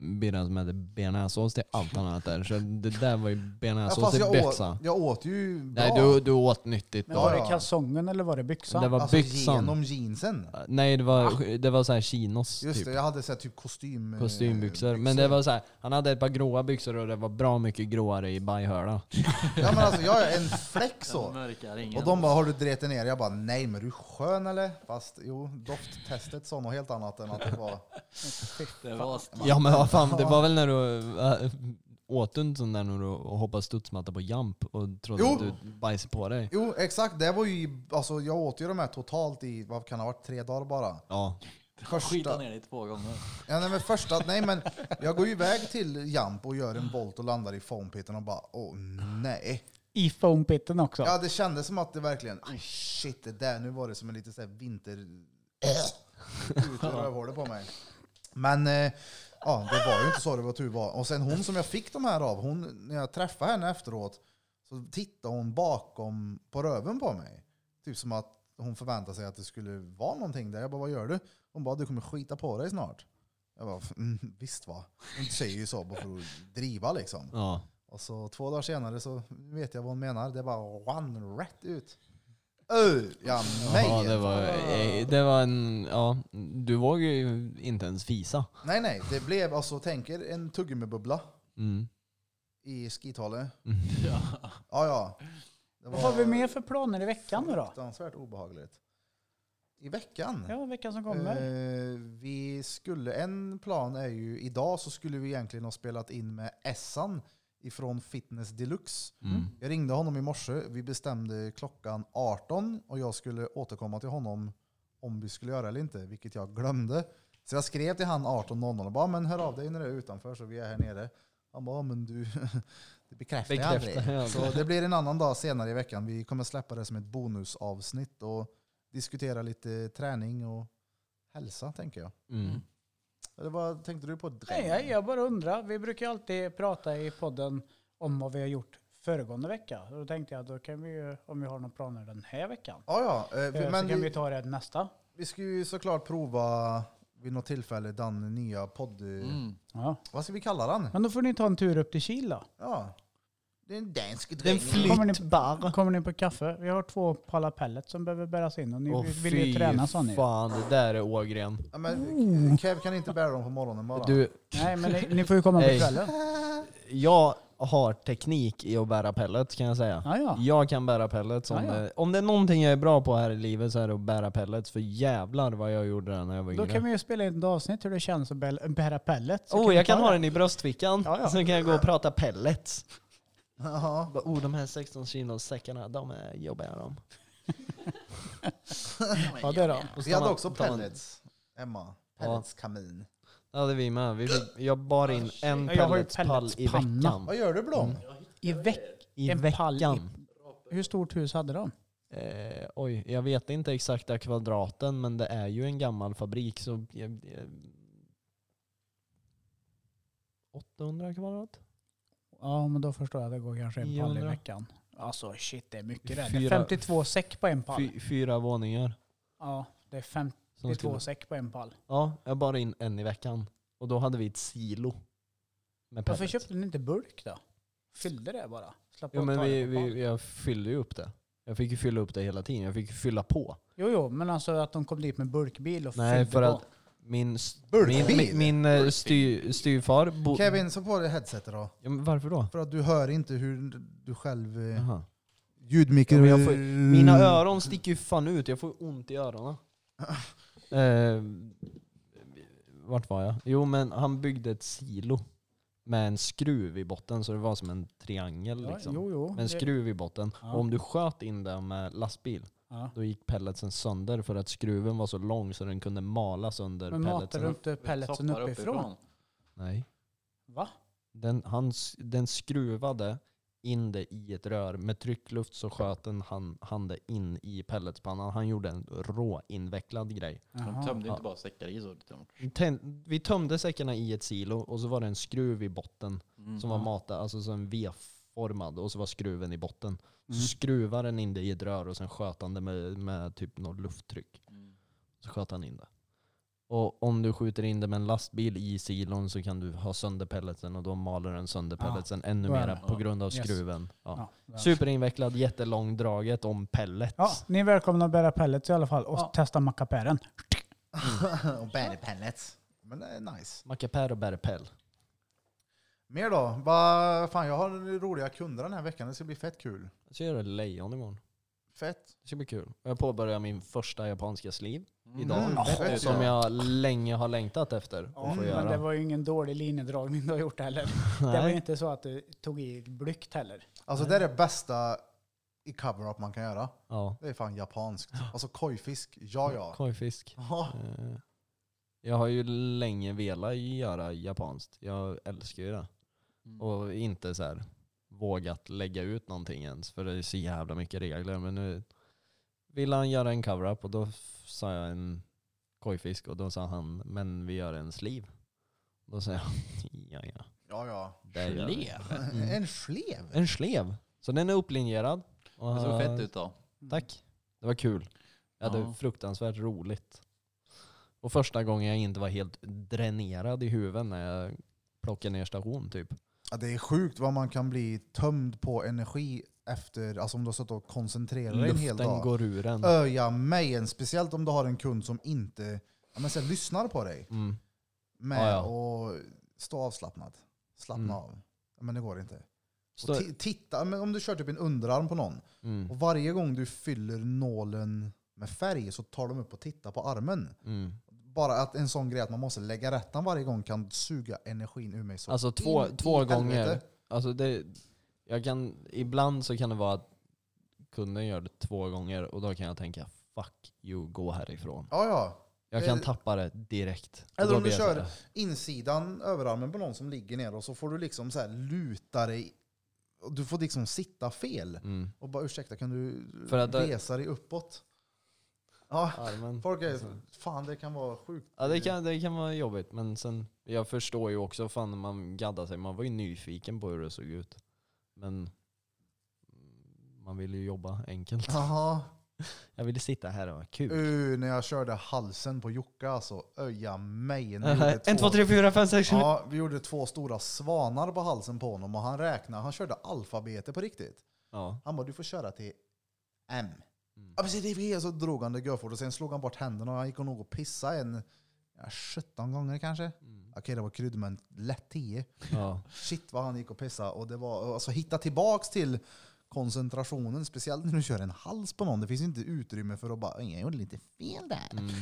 B: blir den som äter bearnaisesås till allt annat där. Så det där var ju
A: Ja,
B: bearnaisesås
A: fast
B: till
A: jag åt,
B: bexa.
A: jag åt ju bra.
B: Nej, du, du åt nyttigt
D: Men
A: Ja,
B: då.
D: var det
A: ja.
D: kalsongen eller var det byxan?
B: Det var
A: alltså
B: byxan.
A: genom jeansen.
B: Nej, det var, det var så här chinos
A: Just
B: typ.
A: det, jag hade så här, typ kostym... eh,
B: Kostymbyxor. Men det var så här, han hade ett par gråa byxor och det var bra mycket gråare i bajhöla.
A: Ja men alltså jag är en fläck så.
B: [LAUGHS]
C: mörkar ingen.
A: Och de bara, har du dretit ner? Jag bara, nej men är du skön eller? Fast jo, dofttestet sa något helt annat än att det var...
C: Det var st-
B: Ja men vad fan, det var väl när du äh, åt du inte sån där när du hoppade studsmatta på jump och trodde
A: Jo.
B: att du bajsade på dig?
A: Jo, exakt. Det var ju, i- alltså jag åt ju de här totalt i, vad kan det ha varit, tre dagar bara.
B: Ja.
C: skita
A: Första,
C: ner dig två gånger.
A: ja, nej, men första, nej men jag går ju iväg till Jump och gör en volt och landar i foampiten och bara, åh nej.
D: I foampitten också.
A: Ja, det kändes som att det verkligen, oh, shit det där, nu var det som en liten så här vinter... ut ur rövhålet på mig. Men eh, ja, det var ju inte så det var tur var. Och sen hon som jag fick de här av, hon, när jag träffade henne efteråt så tittade hon bakom på röven på mig. Typ som att hon förväntade sig att det skulle vara någonting där. Jag bara, vad gör du? Hon bara, du kommer skita på dig snart. Jag bara, mm, visst va? Hon säger ju så bara för att driva liksom.
B: ja.
A: Och så två dagar senare så vet jag vad hon menar. Det bara rann rätt ut. Öh, ja, nej.
B: ja det, var, eh, det var en, ja, du vågade ju inte ens fisa.
A: Nej, nej. Det blev alltså, tänk er en tuggummibubbla
B: Mm.
A: i
B: [LAUGHS]
A: skitalet.
B: Mm.
A: Ja, ja. Det
D: Vad har vi mer för planer i veckan nu då?
A: Fruktansvärt obehagligt. I veckan?
D: Ja, veckan som kommer.
A: Eh, vi skulle, en plan är ju, idag så skulle vi egentligen ha spelat in med Essan ifrån Fitness Deluxe.
B: Mm.
A: Jag ringde honom i morse. Vi bestämde klockan 18 och jag skulle återkomma till honom om vi skulle göra det eller inte, vilket jag glömde. Så jag skrev till han 18.00 och bara, men hör av dig när du är utanför så vi är här nere. Han bara, men du, [LAUGHS] det bekräftar jag aldrig.
B: Bekräftar jag aldrig.
A: Så det blir en annan dag senare i veckan. Vi kommer släppa det som ett bonusavsnitt och diskutera lite träning och hälsa, tänker jag.
B: Mm.
A: Eller vad tänkte du på? Dräng?
D: Nej, jag- jag bara undrar. Vi brukar ju alltid prata i podden om vad vi har gjort föregående vecka. Och Då tänkte jag då kan vi ju, om vi har några planer den här veckan,
A: Ja, ja. eh,
D: eh,
A: vi-
D: så
A: Men
D: kan vi
A: vi,
D: ta det nästa.
A: vi ska ju såklart prova vid något tillfälle den nya podd...
C: Mm.
D: Ja.
A: Vad ska vi kalla den?
D: Men då får ni ta en tur upp till Kil då.
A: Ja. Det är en dansk
B: Den
D: Kommer ni,
B: flyttbar.
D: kommer ni på kaffe? Vi har två pallar pellets som behöver bäras in och ni
B: Åh,
D: vill ju
B: fy
D: träna sa ni.
B: fan, det där är Ågren.
A: Ja, men Kev kan inte bära dem på morgonen bara.
B: Du,
D: Nej men ni, ni får ju komma på
B: Hej.
D: kvällen.
B: jag har teknik i att bära pellets kan jag säga.
D: Ja, ja.
B: Jag kan bära pellets. Om,
D: Ja, ja.
B: Det, om det är någonting jag är bra på här i livet så är det att bära pellets. För jävlar vad jag gjorde det när jag var
D: Då
B: yngre.
D: kan vi ju spela in ett avsnitt hur det känns att bäl- bära pellets. Så
B: Oh,
D: vi
B: jag
D: ta
B: kan ha
D: det.
B: den i bröstfickan.
D: Ja, ja.
B: Sen kan jag gå och prata pellets.
A: Jaha.
B: Bara, oh, de här 16 kilos säckarna, de är jobbiga
D: [LAUGHS]
B: de.
D: Ja det då.
B: Och så
A: Vi
B: tar
A: hade
B: man-
A: också
B: tar man-
A: pellets hemma.
B: Ja. Mm.
A: Pelletskamin.
B: Ja det är vi med. Vi fick, jag bar in en
D: Ja, jag har ju
B: pelletspall i
D: pelletspanna.
B: veckan.
A: Vad gör du Blom?
B: Mm.
D: I veck.
B: I
D: En pall i-
B: veckan.
D: Hur stort hus hade de?
B: Eh, oj, jag vet inte exakta kvadraten men det är ju en gammal fabrik så... eh, eh, 800 kvadrat?
D: Ja men då förstår jag, det går kanske en pall i
B: 900.
D: veckan. Alltså shit det är mycket det. Det är
B: Fyra-
D: 52 säck på en pall.
B: Fy, fyra våningar.
D: Ja det är
B: som
D: 52
B: skulle-
D: säck på en pall.
B: Ja, jag bar in en i veckan. Och då hade vi ett silo. Med
D: Varför
B: pellets.
D: köpte ni inte burk då? Fyllde det bara? Slapp
B: Jo
D: av
B: men
D: ta det
B: vi,
D: på pall.
B: vi, jag fyllde ju upp det. Jag fick ju fylla upp det hela tiden. Jag fick ju fylla på.
D: Jo, jo, men alltså att de kom dit med burkbil och
B: Nej,
D: fyllde
B: för
D: på.
B: att min, s- min,
A: Burkbil?
B: min, min eh, styr, styrfar... Bo,
A: Kevin, så på dig headsetet då.
B: Ja, men varför
D: Eh.
B: då?
A: För att du hör inte hur du själv... eh,
B: Jaha. Ja,
A: Ljudmikro...
B: men jag får, mina öron sticker ju fan ut, jag får ont i öronen. [LAUGHS] Eh, vart var jag? Jo men han byggde ett silo med en skruv i botten så det var som en triangel
D: ja,
B: liksom.
D: Jo, jo.
B: Med en
D: det-
B: skruv i botten.
D: Ja.
B: Och om du sköt in den med lastbil,
D: Ja.
B: då gick pelletsen sönder för att skruven var så lång så den kunde mala sönder
D: Men matar
B: pelletsen.
D: du inte pelletsen
C: Toppar
D: uppifrån?
B: Nej.
D: Va?
B: Den, han, s- den skruvade in det i ett rör. Med tryckluft så sköt den han, han det in i pelletspannan. Han gjorde en råinvecklad grej.
C: De
D: Jaha.
C: tömde
B: Ja.
C: inte bara säckar i så. utan-
B: Tän- Vi tömde säckarna i ett silo och så var det en skruv i botten
C: Mm.
D: Mhm.
B: som var matad, alltså som en V-formad och så var skruven i botten.
D: Mm.
B: Så skruvade den in det i ett rör och sen sköt han det med, med typ något lufttryck.
C: Mm.
B: Så sköt han in det. Och om du skjuter in det med en lastbil i silon så kan du ha sönder pelletsen och då maler den sönder
D: Ja,
B: pelletsen ännu
D: Ah, då är
B: mer
D: det.
B: på grund av
D: Yes.
B: skruven. Ja.
D: Ja.
B: Superinvecklad, jättelångdraget om pellets.
D: Ja, ni är välkomna att bära pellets i alla fall och
C: Ja.
D: testa mackapären.
A: [LAUGHS] Och bär i pellets. Men det är nice.
B: Mackapär och bärpell.
A: Mer då? Vad fan, jag har roliga kunder den här veckan. Det ska bli fett kul.
B: Jag ska göra lejon imorgon.
A: Fett.
B: Det ska bli kul. Jag påbörjar min första japanska sliv
C: Mm.
B: idag.
A: Mm, fett.
B: Som jag länge har längtat efter att
D: Ja,
B: få
D: men
B: göra.
D: det var ju ingen dålig linjedragning du har gjort heller. Det var
B: [LAUGHS]
D: ju
B: Nej.
D: inte så att du tog i blygt heller.
A: Alltså det är det bästa i cover-up man kan göra.
B: Ja.
A: Det är fan japanskt. Alltså kojfisk, ja ja.
B: Kojfisk.
A: Ja,
B: Eh, Jag har ju länge velat göra japanskt. Jag älskar ju det.
C: Mm.
B: Och inte så här vågat lägga ut någonting ens. För det är så jävla mycket regler. Men nu ville han göra en cover-up och då f- sa jag en kojfisk. Och då sa han, men vi gör en sliv. Då sa jag, [LAUGHS] ja ja.
A: ja. ja.
B: det gör vi."
C: Gelé.
B: Mm.
A: En slev?
B: En slev. Så den är upplinjerad. Och,
C: Det såg fett ut [LAUGHS] då.
B: Tack. Det var kul. Jag hade
C: Ja.
B: fruktansvärt roligt. Och första gången jag inte var helt dränerad i huvudet när jag plockade ner station typ.
A: Ja, det är sjukt vad man kan bli tömd på energi efter, alltså om du har suttit och koncentrerat dig en hel
B: Luften
A: dag.
B: går ur en.
A: Öja mig en, speciellt om du har en kund som inte ja, men sen lyssnar på dig.
B: Mm.
A: Med
B: Ja, ja.
A: och stå avslappnad. Slappna
B: Mm.
A: av. Ja, Men det går inte.
B: Stå,
A: Och ti- titta, men om du kör typ en underarm på någon
B: mm,
A: och varje gång du fyller nålen med färg så tar de upp och tittar på armen.
B: mm.
A: Bara att en sån grej att man måste lägga rättan varje gång kan suga energin ur mig. Så
B: Alltså två,
A: in i
B: två gånger.
A: helvete.
B: Alltså det, jag kan, ibland så kan det vara att kunden gör det två gånger och då kan jag tänka fuck you, gå härifrån.
A: Ja, ja.
B: Jag kan
A: Eh,
B: tappa det direkt. Och
A: eller
B: då
A: om du
B: blir jag så
A: kör-
B: här,
A: insidan, överarmen på någon som ligger ner och så får du liksom så här luta dig. Och Du får liksom sitta fel.
B: Mm.
A: Och bara ursäkta, kan du
B: För att det-
A: resa dig uppåt? Ja,
B: Armen.
A: folk är
B: Alltså.
A: fan det kan vara sjukt.
B: Ja det kan, det kan vara jobbigt men sen, jag förstår ju också fan när man gaddar sig, man var ju nyfiken på hur det såg ut. Men mm, man vill ju jobba enkelt.
A: Jaha.
B: Jag ville sitta här och ha kul.
A: Uh, när jag körde halsen på Jocke alltså. Öja mig. när vi gjorde
B: En, två, tre, fyra, fem, sex, sju.
A: Ja, vi gjorde två stora svanar på halsen på honom och han räknade. Han körde alfabetet på riktigt.
B: Ja.
A: Han bara, du får köra till M.
B: Mm.
A: Ja, precis, det är det. Så drog han det görfort och sen slog han bort händerna och han gick och nog och pissade en ja, 17 gånger kanske.
B: Mm.
A: Okej, det var krydd, men lätt 10.
B: ja.
A: Shit vad han gick och pissade. Och det var, alltså, hitta tillbaks till koncentrationen, speciellt när du kör en hals på någon. Det finns inte utrymme för att bara, jag gjorde lite fel där.
B: Mm.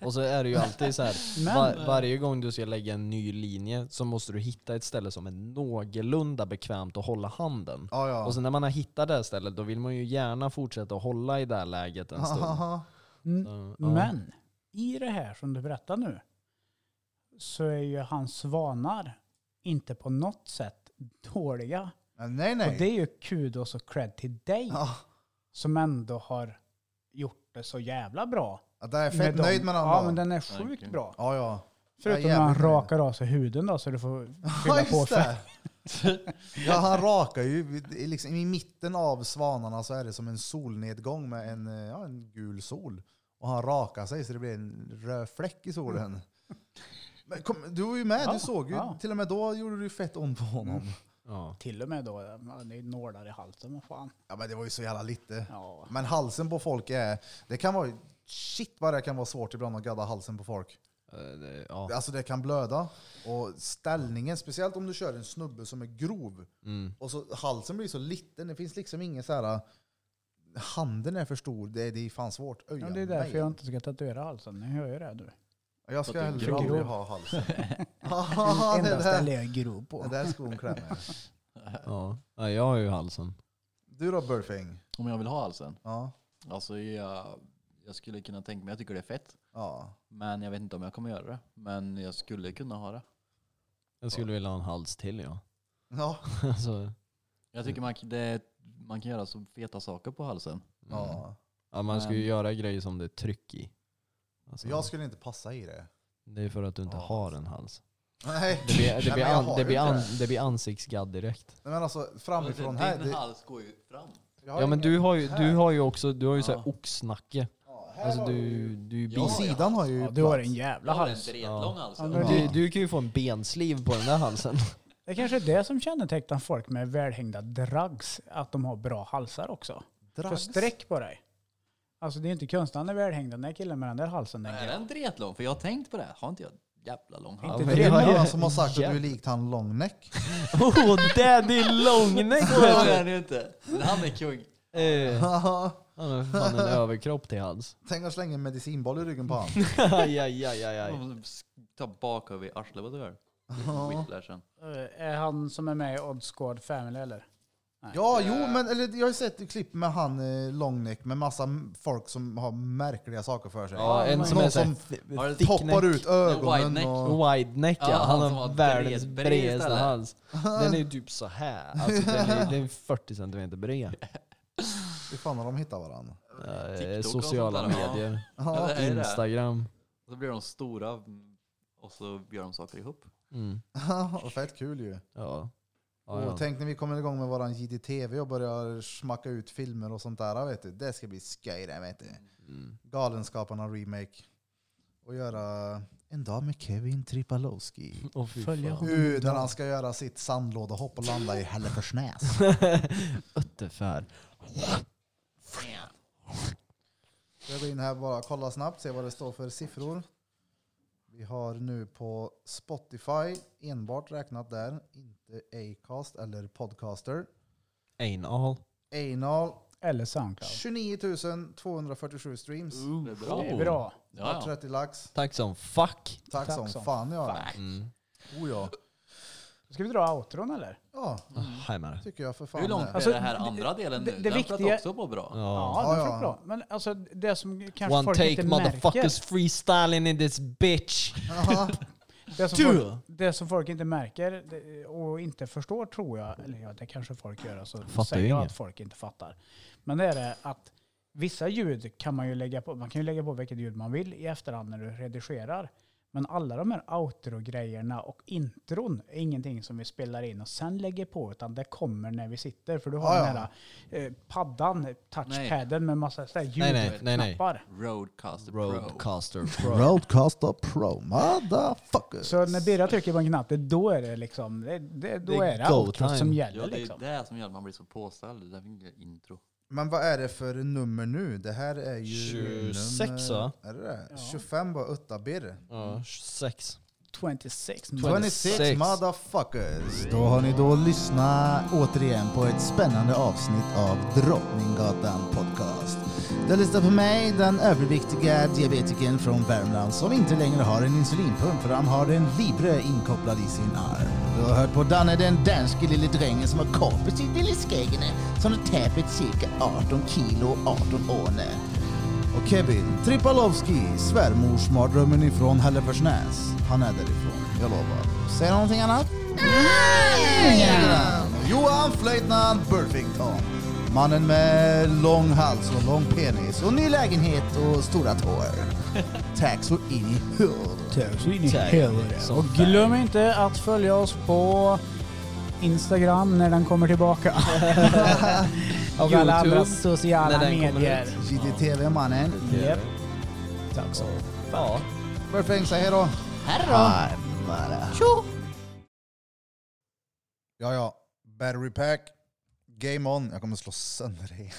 B: Och så är det ju alltid [LAUGHS] så här,
D: Men-
B: va- varje gång du ska lägga en ny linje så måste du hitta ett ställe som är någorlunda bekvämt att hålla handen.
A: Ja, ja.
B: Och sen när man har hittat det här stället då vill man ju gärna fortsätta att hålla i det här läget
A: [LAUGHS]
B: en stund. [LAUGHS]
A: Ahaha.
D: Mm.
B: Så, ja.
D: Men i det här som du berättar nu så är ju hans svanar inte på något sätt dåliga.
A: Nej,
D: Och det
A: nej.
D: är ju kudos och cred till dig
A: Ja,
D: som ändå har gjort det så jävla bra.
A: där är jag fett
D: dem.
A: nöjd med den.
D: Ja,
A: då.
D: men den är sjukt
C: Verkligen.
D: bra.
A: ja, ja.
D: Förutom
A: Jag är
D: när han
A: jävligt nöjd.
D: rakar av sig huden då så du får
A: Ja,
D: fylla på
A: just
D: fett.
A: det. Ja, han rakar ju. i- Liksom, I mitten av svanarna så är det som en solnedgång med en, eh, ja, en gul sol. Och han rakar sig så det blir en röd fläck i solen. Men kom, du var ju med,
D: Ja,
A: du såg ju.
D: ja. Mm.
A: Till och med då gjorde du ju fett ont på honom.
B: Ja.
D: Till och med då, ja, det är nålar i halsen. Vad fan.
A: Ja, men det var ju så jävla lite.
D: Ja.
A: Men halsen på folk är... Det kan vara shit vad det kan vara svårt ibland att gadda halsen på folk.
B: Eh, det- Ja.
A: Alltså det kan blöda. Och ställningen, speciellt om du kör en snubbe som är grov.
B: Mm.
A: Och så halsen blir så liten, det finns liksom ingen så här... Handen är för stor, det, är- det är fan svårt. Öja
D: Ja, det är
A: mig.
D: därför jag inte ska tatuera halsen. Ni hör ju det nu.
A: Jag ska
C: För att du är
A: hellre
D: grov.
A: aldrig ha
B: [LAUGHS]
A: halsen. [LAUGHS] Haha, det
D: Enda
A: där,
D: stället jag är grov på.
A: det där skon klämmer.
B: Ja. ja, jag har ju halsen.
A: Du då Burfing?
C: Om jag vill ha halsen?
A: Ja.
C: Alltså jag, jag skulle kunna tänka mig, jag tycker det är fett.
A: ja.
C: Men jag vet inte om jag kommer göra det. Men jag skulle kunna ha det.
B: Jag skulle vilja ha en hals till ja. [LAUGHS]
A: Ja,
B: alltså,
C: Jag tycker man, k- det, man kan göra så feta saker på halsen.
B: mm.
A: ja.
B: ja, man ska ju
C: Men-
B: göra grejer som det är tryck i. Alltså,
A: Jag skulle inte passa i det.
B: Det är för att du inte
A: Ja.
B: har en hals.
A: [LAUGHS] Nej,
B: Det blir, det
A: men
B: blir,
A: jag
B: an,
A: har
B: det
A: ju
B: blir,
A: inte
B: an,
A: det.
B: det blir ansiktsgadd direkt.
A: Nej, men alltså framifrån här.
C: Din
A: Det,
C: hals går ju fram.
A: jag har
B: Ja men
A: ingen-
B: du har ju,
A: här.
B: du har ju också du har ju så
C: Ja.
B: här oxnacke.
A: Ja, här
B: Alltså
A: har
B: du, du är
C: Ja,
A: I
B: ju
C: ja.
A: sidan har ju
D: Ja, du har
A: plats.
D: en jävla hals.
B: dretlång
C: hals.
D: Ja, men
B: Ja. Du, du kan ju få en bensliv på den där halsen.
D: Det kanske är det som kännetecknar folk med välhängda drags, att de har bra halsar också. För
A: Drags.
D: sträck på dig. Alltså det är ju inte konstigt, han är välhängd den där killen med den där halsen. Den
C: Är
D: killen.
C: den dretlång? För jag har tänkt på det. Har inte jag jävla lång hals?
B: Ja,
D: Inte
B: men
A: Det är
B: jag har ju-
A: några som har sagt att du är likt han Långnäck.
B: [LAUGHS] Oh, daddy långnäck
C: Så är
B: vet
C: den ju inte. Men han är kung.
B: du. [LAUGHS] Eh,
A: Haha.
B: Han har fan en överkropp till hals.
A: [LAUGHS] Tänk att slänga en medicinboll i ryggen på han.
B: aj, aj, aj, aj, aj.
C: De s- Ta bakhuvud i arslet på dörren. Whiplashen.
D: Eh, Är han som är med i Oddsgård Family eller?
A: Ja, jo, men eller, jag har ju sett ett klipp med han eh, Långnäck med massa m- folk som har märkliga saker för sig.
B: Ja, en som
A: Någon
B: är såhär
A: som
C: Har du-
B: thick
A: Poppar
B: neck.
A: ut ögonen
C: neck.
A: och...
B: Wide neck ja,
C: Ja,
B: han
C: som
B: har
C: har
B: världens
C: bred- bred
B: bredaste
C: istället. [LAUGHS]
B: hals. Den är ju typ så här. Alltså, den, är, den är 40 centimeter
C: [LAUGHS]
B: bred.
A: Hur fan har de hittat varandra?
B: Eh,
C: TikTok och
B: sociala
C: sånt där, ja.
B: medier,
C: [LAUGHS] Ja, det är det.
B: Instagram.
C: Och Så blir de stora mm, och så gör de saker ihop.
B: Mm.
A: [LAUGHS] Och Fett kul ju.
B: Ja. Ja,
A: Och
B: ja.
A: tänk när vi kommer igång med våran JDTV och börjar smacka ut filmer och sånt där. Vet du. Det ska bli skoj det. Vet du.
B: Mm.
A: Galenskaparna remake. Och göra En dag med Kevin Tripalowski.
B: [LAUGHS] Åh, fy
D: Följa
B: fan.
A: Uh, när han ska göra sitt sandlådehopp och landa i Hälleforsnäs.
B: Uttefär.
A: Jag går in här bara kolla snabbt, se vad det står för siffror. Vi har nu på Spotify enbart räknat där, inte Acast eller Podcaster.
B: Anal.
A: Anal
D: Eller Soundcloud.
A: 29 247 streams.
C: Det är bra.
D: Det är
A: Ja,
D: bra.
C: Mm. Ja, ja.
A: 30 lax.
B: Tack som fuck.
A: Tack,
D: Tack
A: som
D: som
A: fan ja.
B: Mm.
A: Oh, ja.
D: Ska vi dra outron eller?
A: ja,
B: Ah,
C: Mm.
B: Hej med dig.
A: tycker jag för fan.
C: Hur långt
A: det. [LAUGHS]
C: är
D: Alltså,
C: det här
D: det-
C: andra delen nu?
D: det- det
C: Den
D: viktiga-
C: flöt också på bra.
B: Ja.
D: Ja,
A: Ja,
D: den
A: ja.
D: fick bra. Men alltså det som kanske
B: One
D: folk
B: take
D: inte
B: motherfuckers
D: motherfuckers.
B: freestyling in this bitch.
A: Jaha.
D: märker, det som, folk, det som folk inte märker det- och inte förstår tror jag, eller ja, det kanske folk gör, så
B: Fattar
D: säger
B: ju
D: jag
B: inget.
D: att folk inte fattar. Men det är det att vissa ljud kan man ju lägga på, man kan ju lägga på vilket ljud man vill i efterhand när du redigerar. Men alla de här outro-grejerna och intron är ingenting som vi spelar in och sen lägger på, utan det kommer när vi sitter. För du har
A: Ja,
D: den
A: ja.
D: här eh, paddan, touchpaden med massa så här
B: Nej, nej, nej, nej.
D: ljudknappar.
C: Roadcaster Pro.
B: Roadcaster pro.
A: Roadcaster Pro, motherfuckers.
D: Så när Birra trycker på en knapp, det- då är det liksom, det, det, då
B: Det är
D: är det
B: go
D: outro
B: time.
D: som gäller
C: Ja, det är
D: liksom.
C: det som gör att man blir så påställd. Det där fick jag intro.
A: Men vad är det för nummer nu? Det här är ju...
B: 26, va?
A: nummer, Är det det? 25 var utta birr.
B: Ja, 26.
A: 26
D: 26.
B: 26
A: motherfuckers. Då har ni då lyssnat återigen på ett spännande avsnitt av Drottninggatan podcast. Du lyssnar på mig, den överviktiga diabetikern från Värmland som inte längre har en insulinpump för han har en Libre inkopplad i sin arm. Du har hört på Danne den danske lille drängen som har kapit sitt lille skäggene som har tappat cirka 18 kilo och 18 år nu. Och Kevin Tripalowski, svärmorsmardrömmen ifrån Hälleforsnäs. Han är därifrån, jag lovar. Säger han någonting annat? Johan Flöjtnant Burfington. Mannen med lång hals och lång penis och ny lägenhet och stora tår. Tack så in i huvudet.
D: Tack så in i
B: Tack.
D: helvete.
B: Som
D: Och
B: fan.
D: glöm inte att följa oss på Instagram när den kommer
B: [LAUGHS]
D: tillbaka. [LAUGHS] Och alla andra
B: när
D: sociala
B: den kommer
D: medier.
B: ut.
A: GDTV mannen.
D: Japp. Tack så
B: Ja. Ah.
A: Burfing, säg hej då. Hej då. Ja, ja. Battery pack. Game on. Jag kommer slå sönder dig.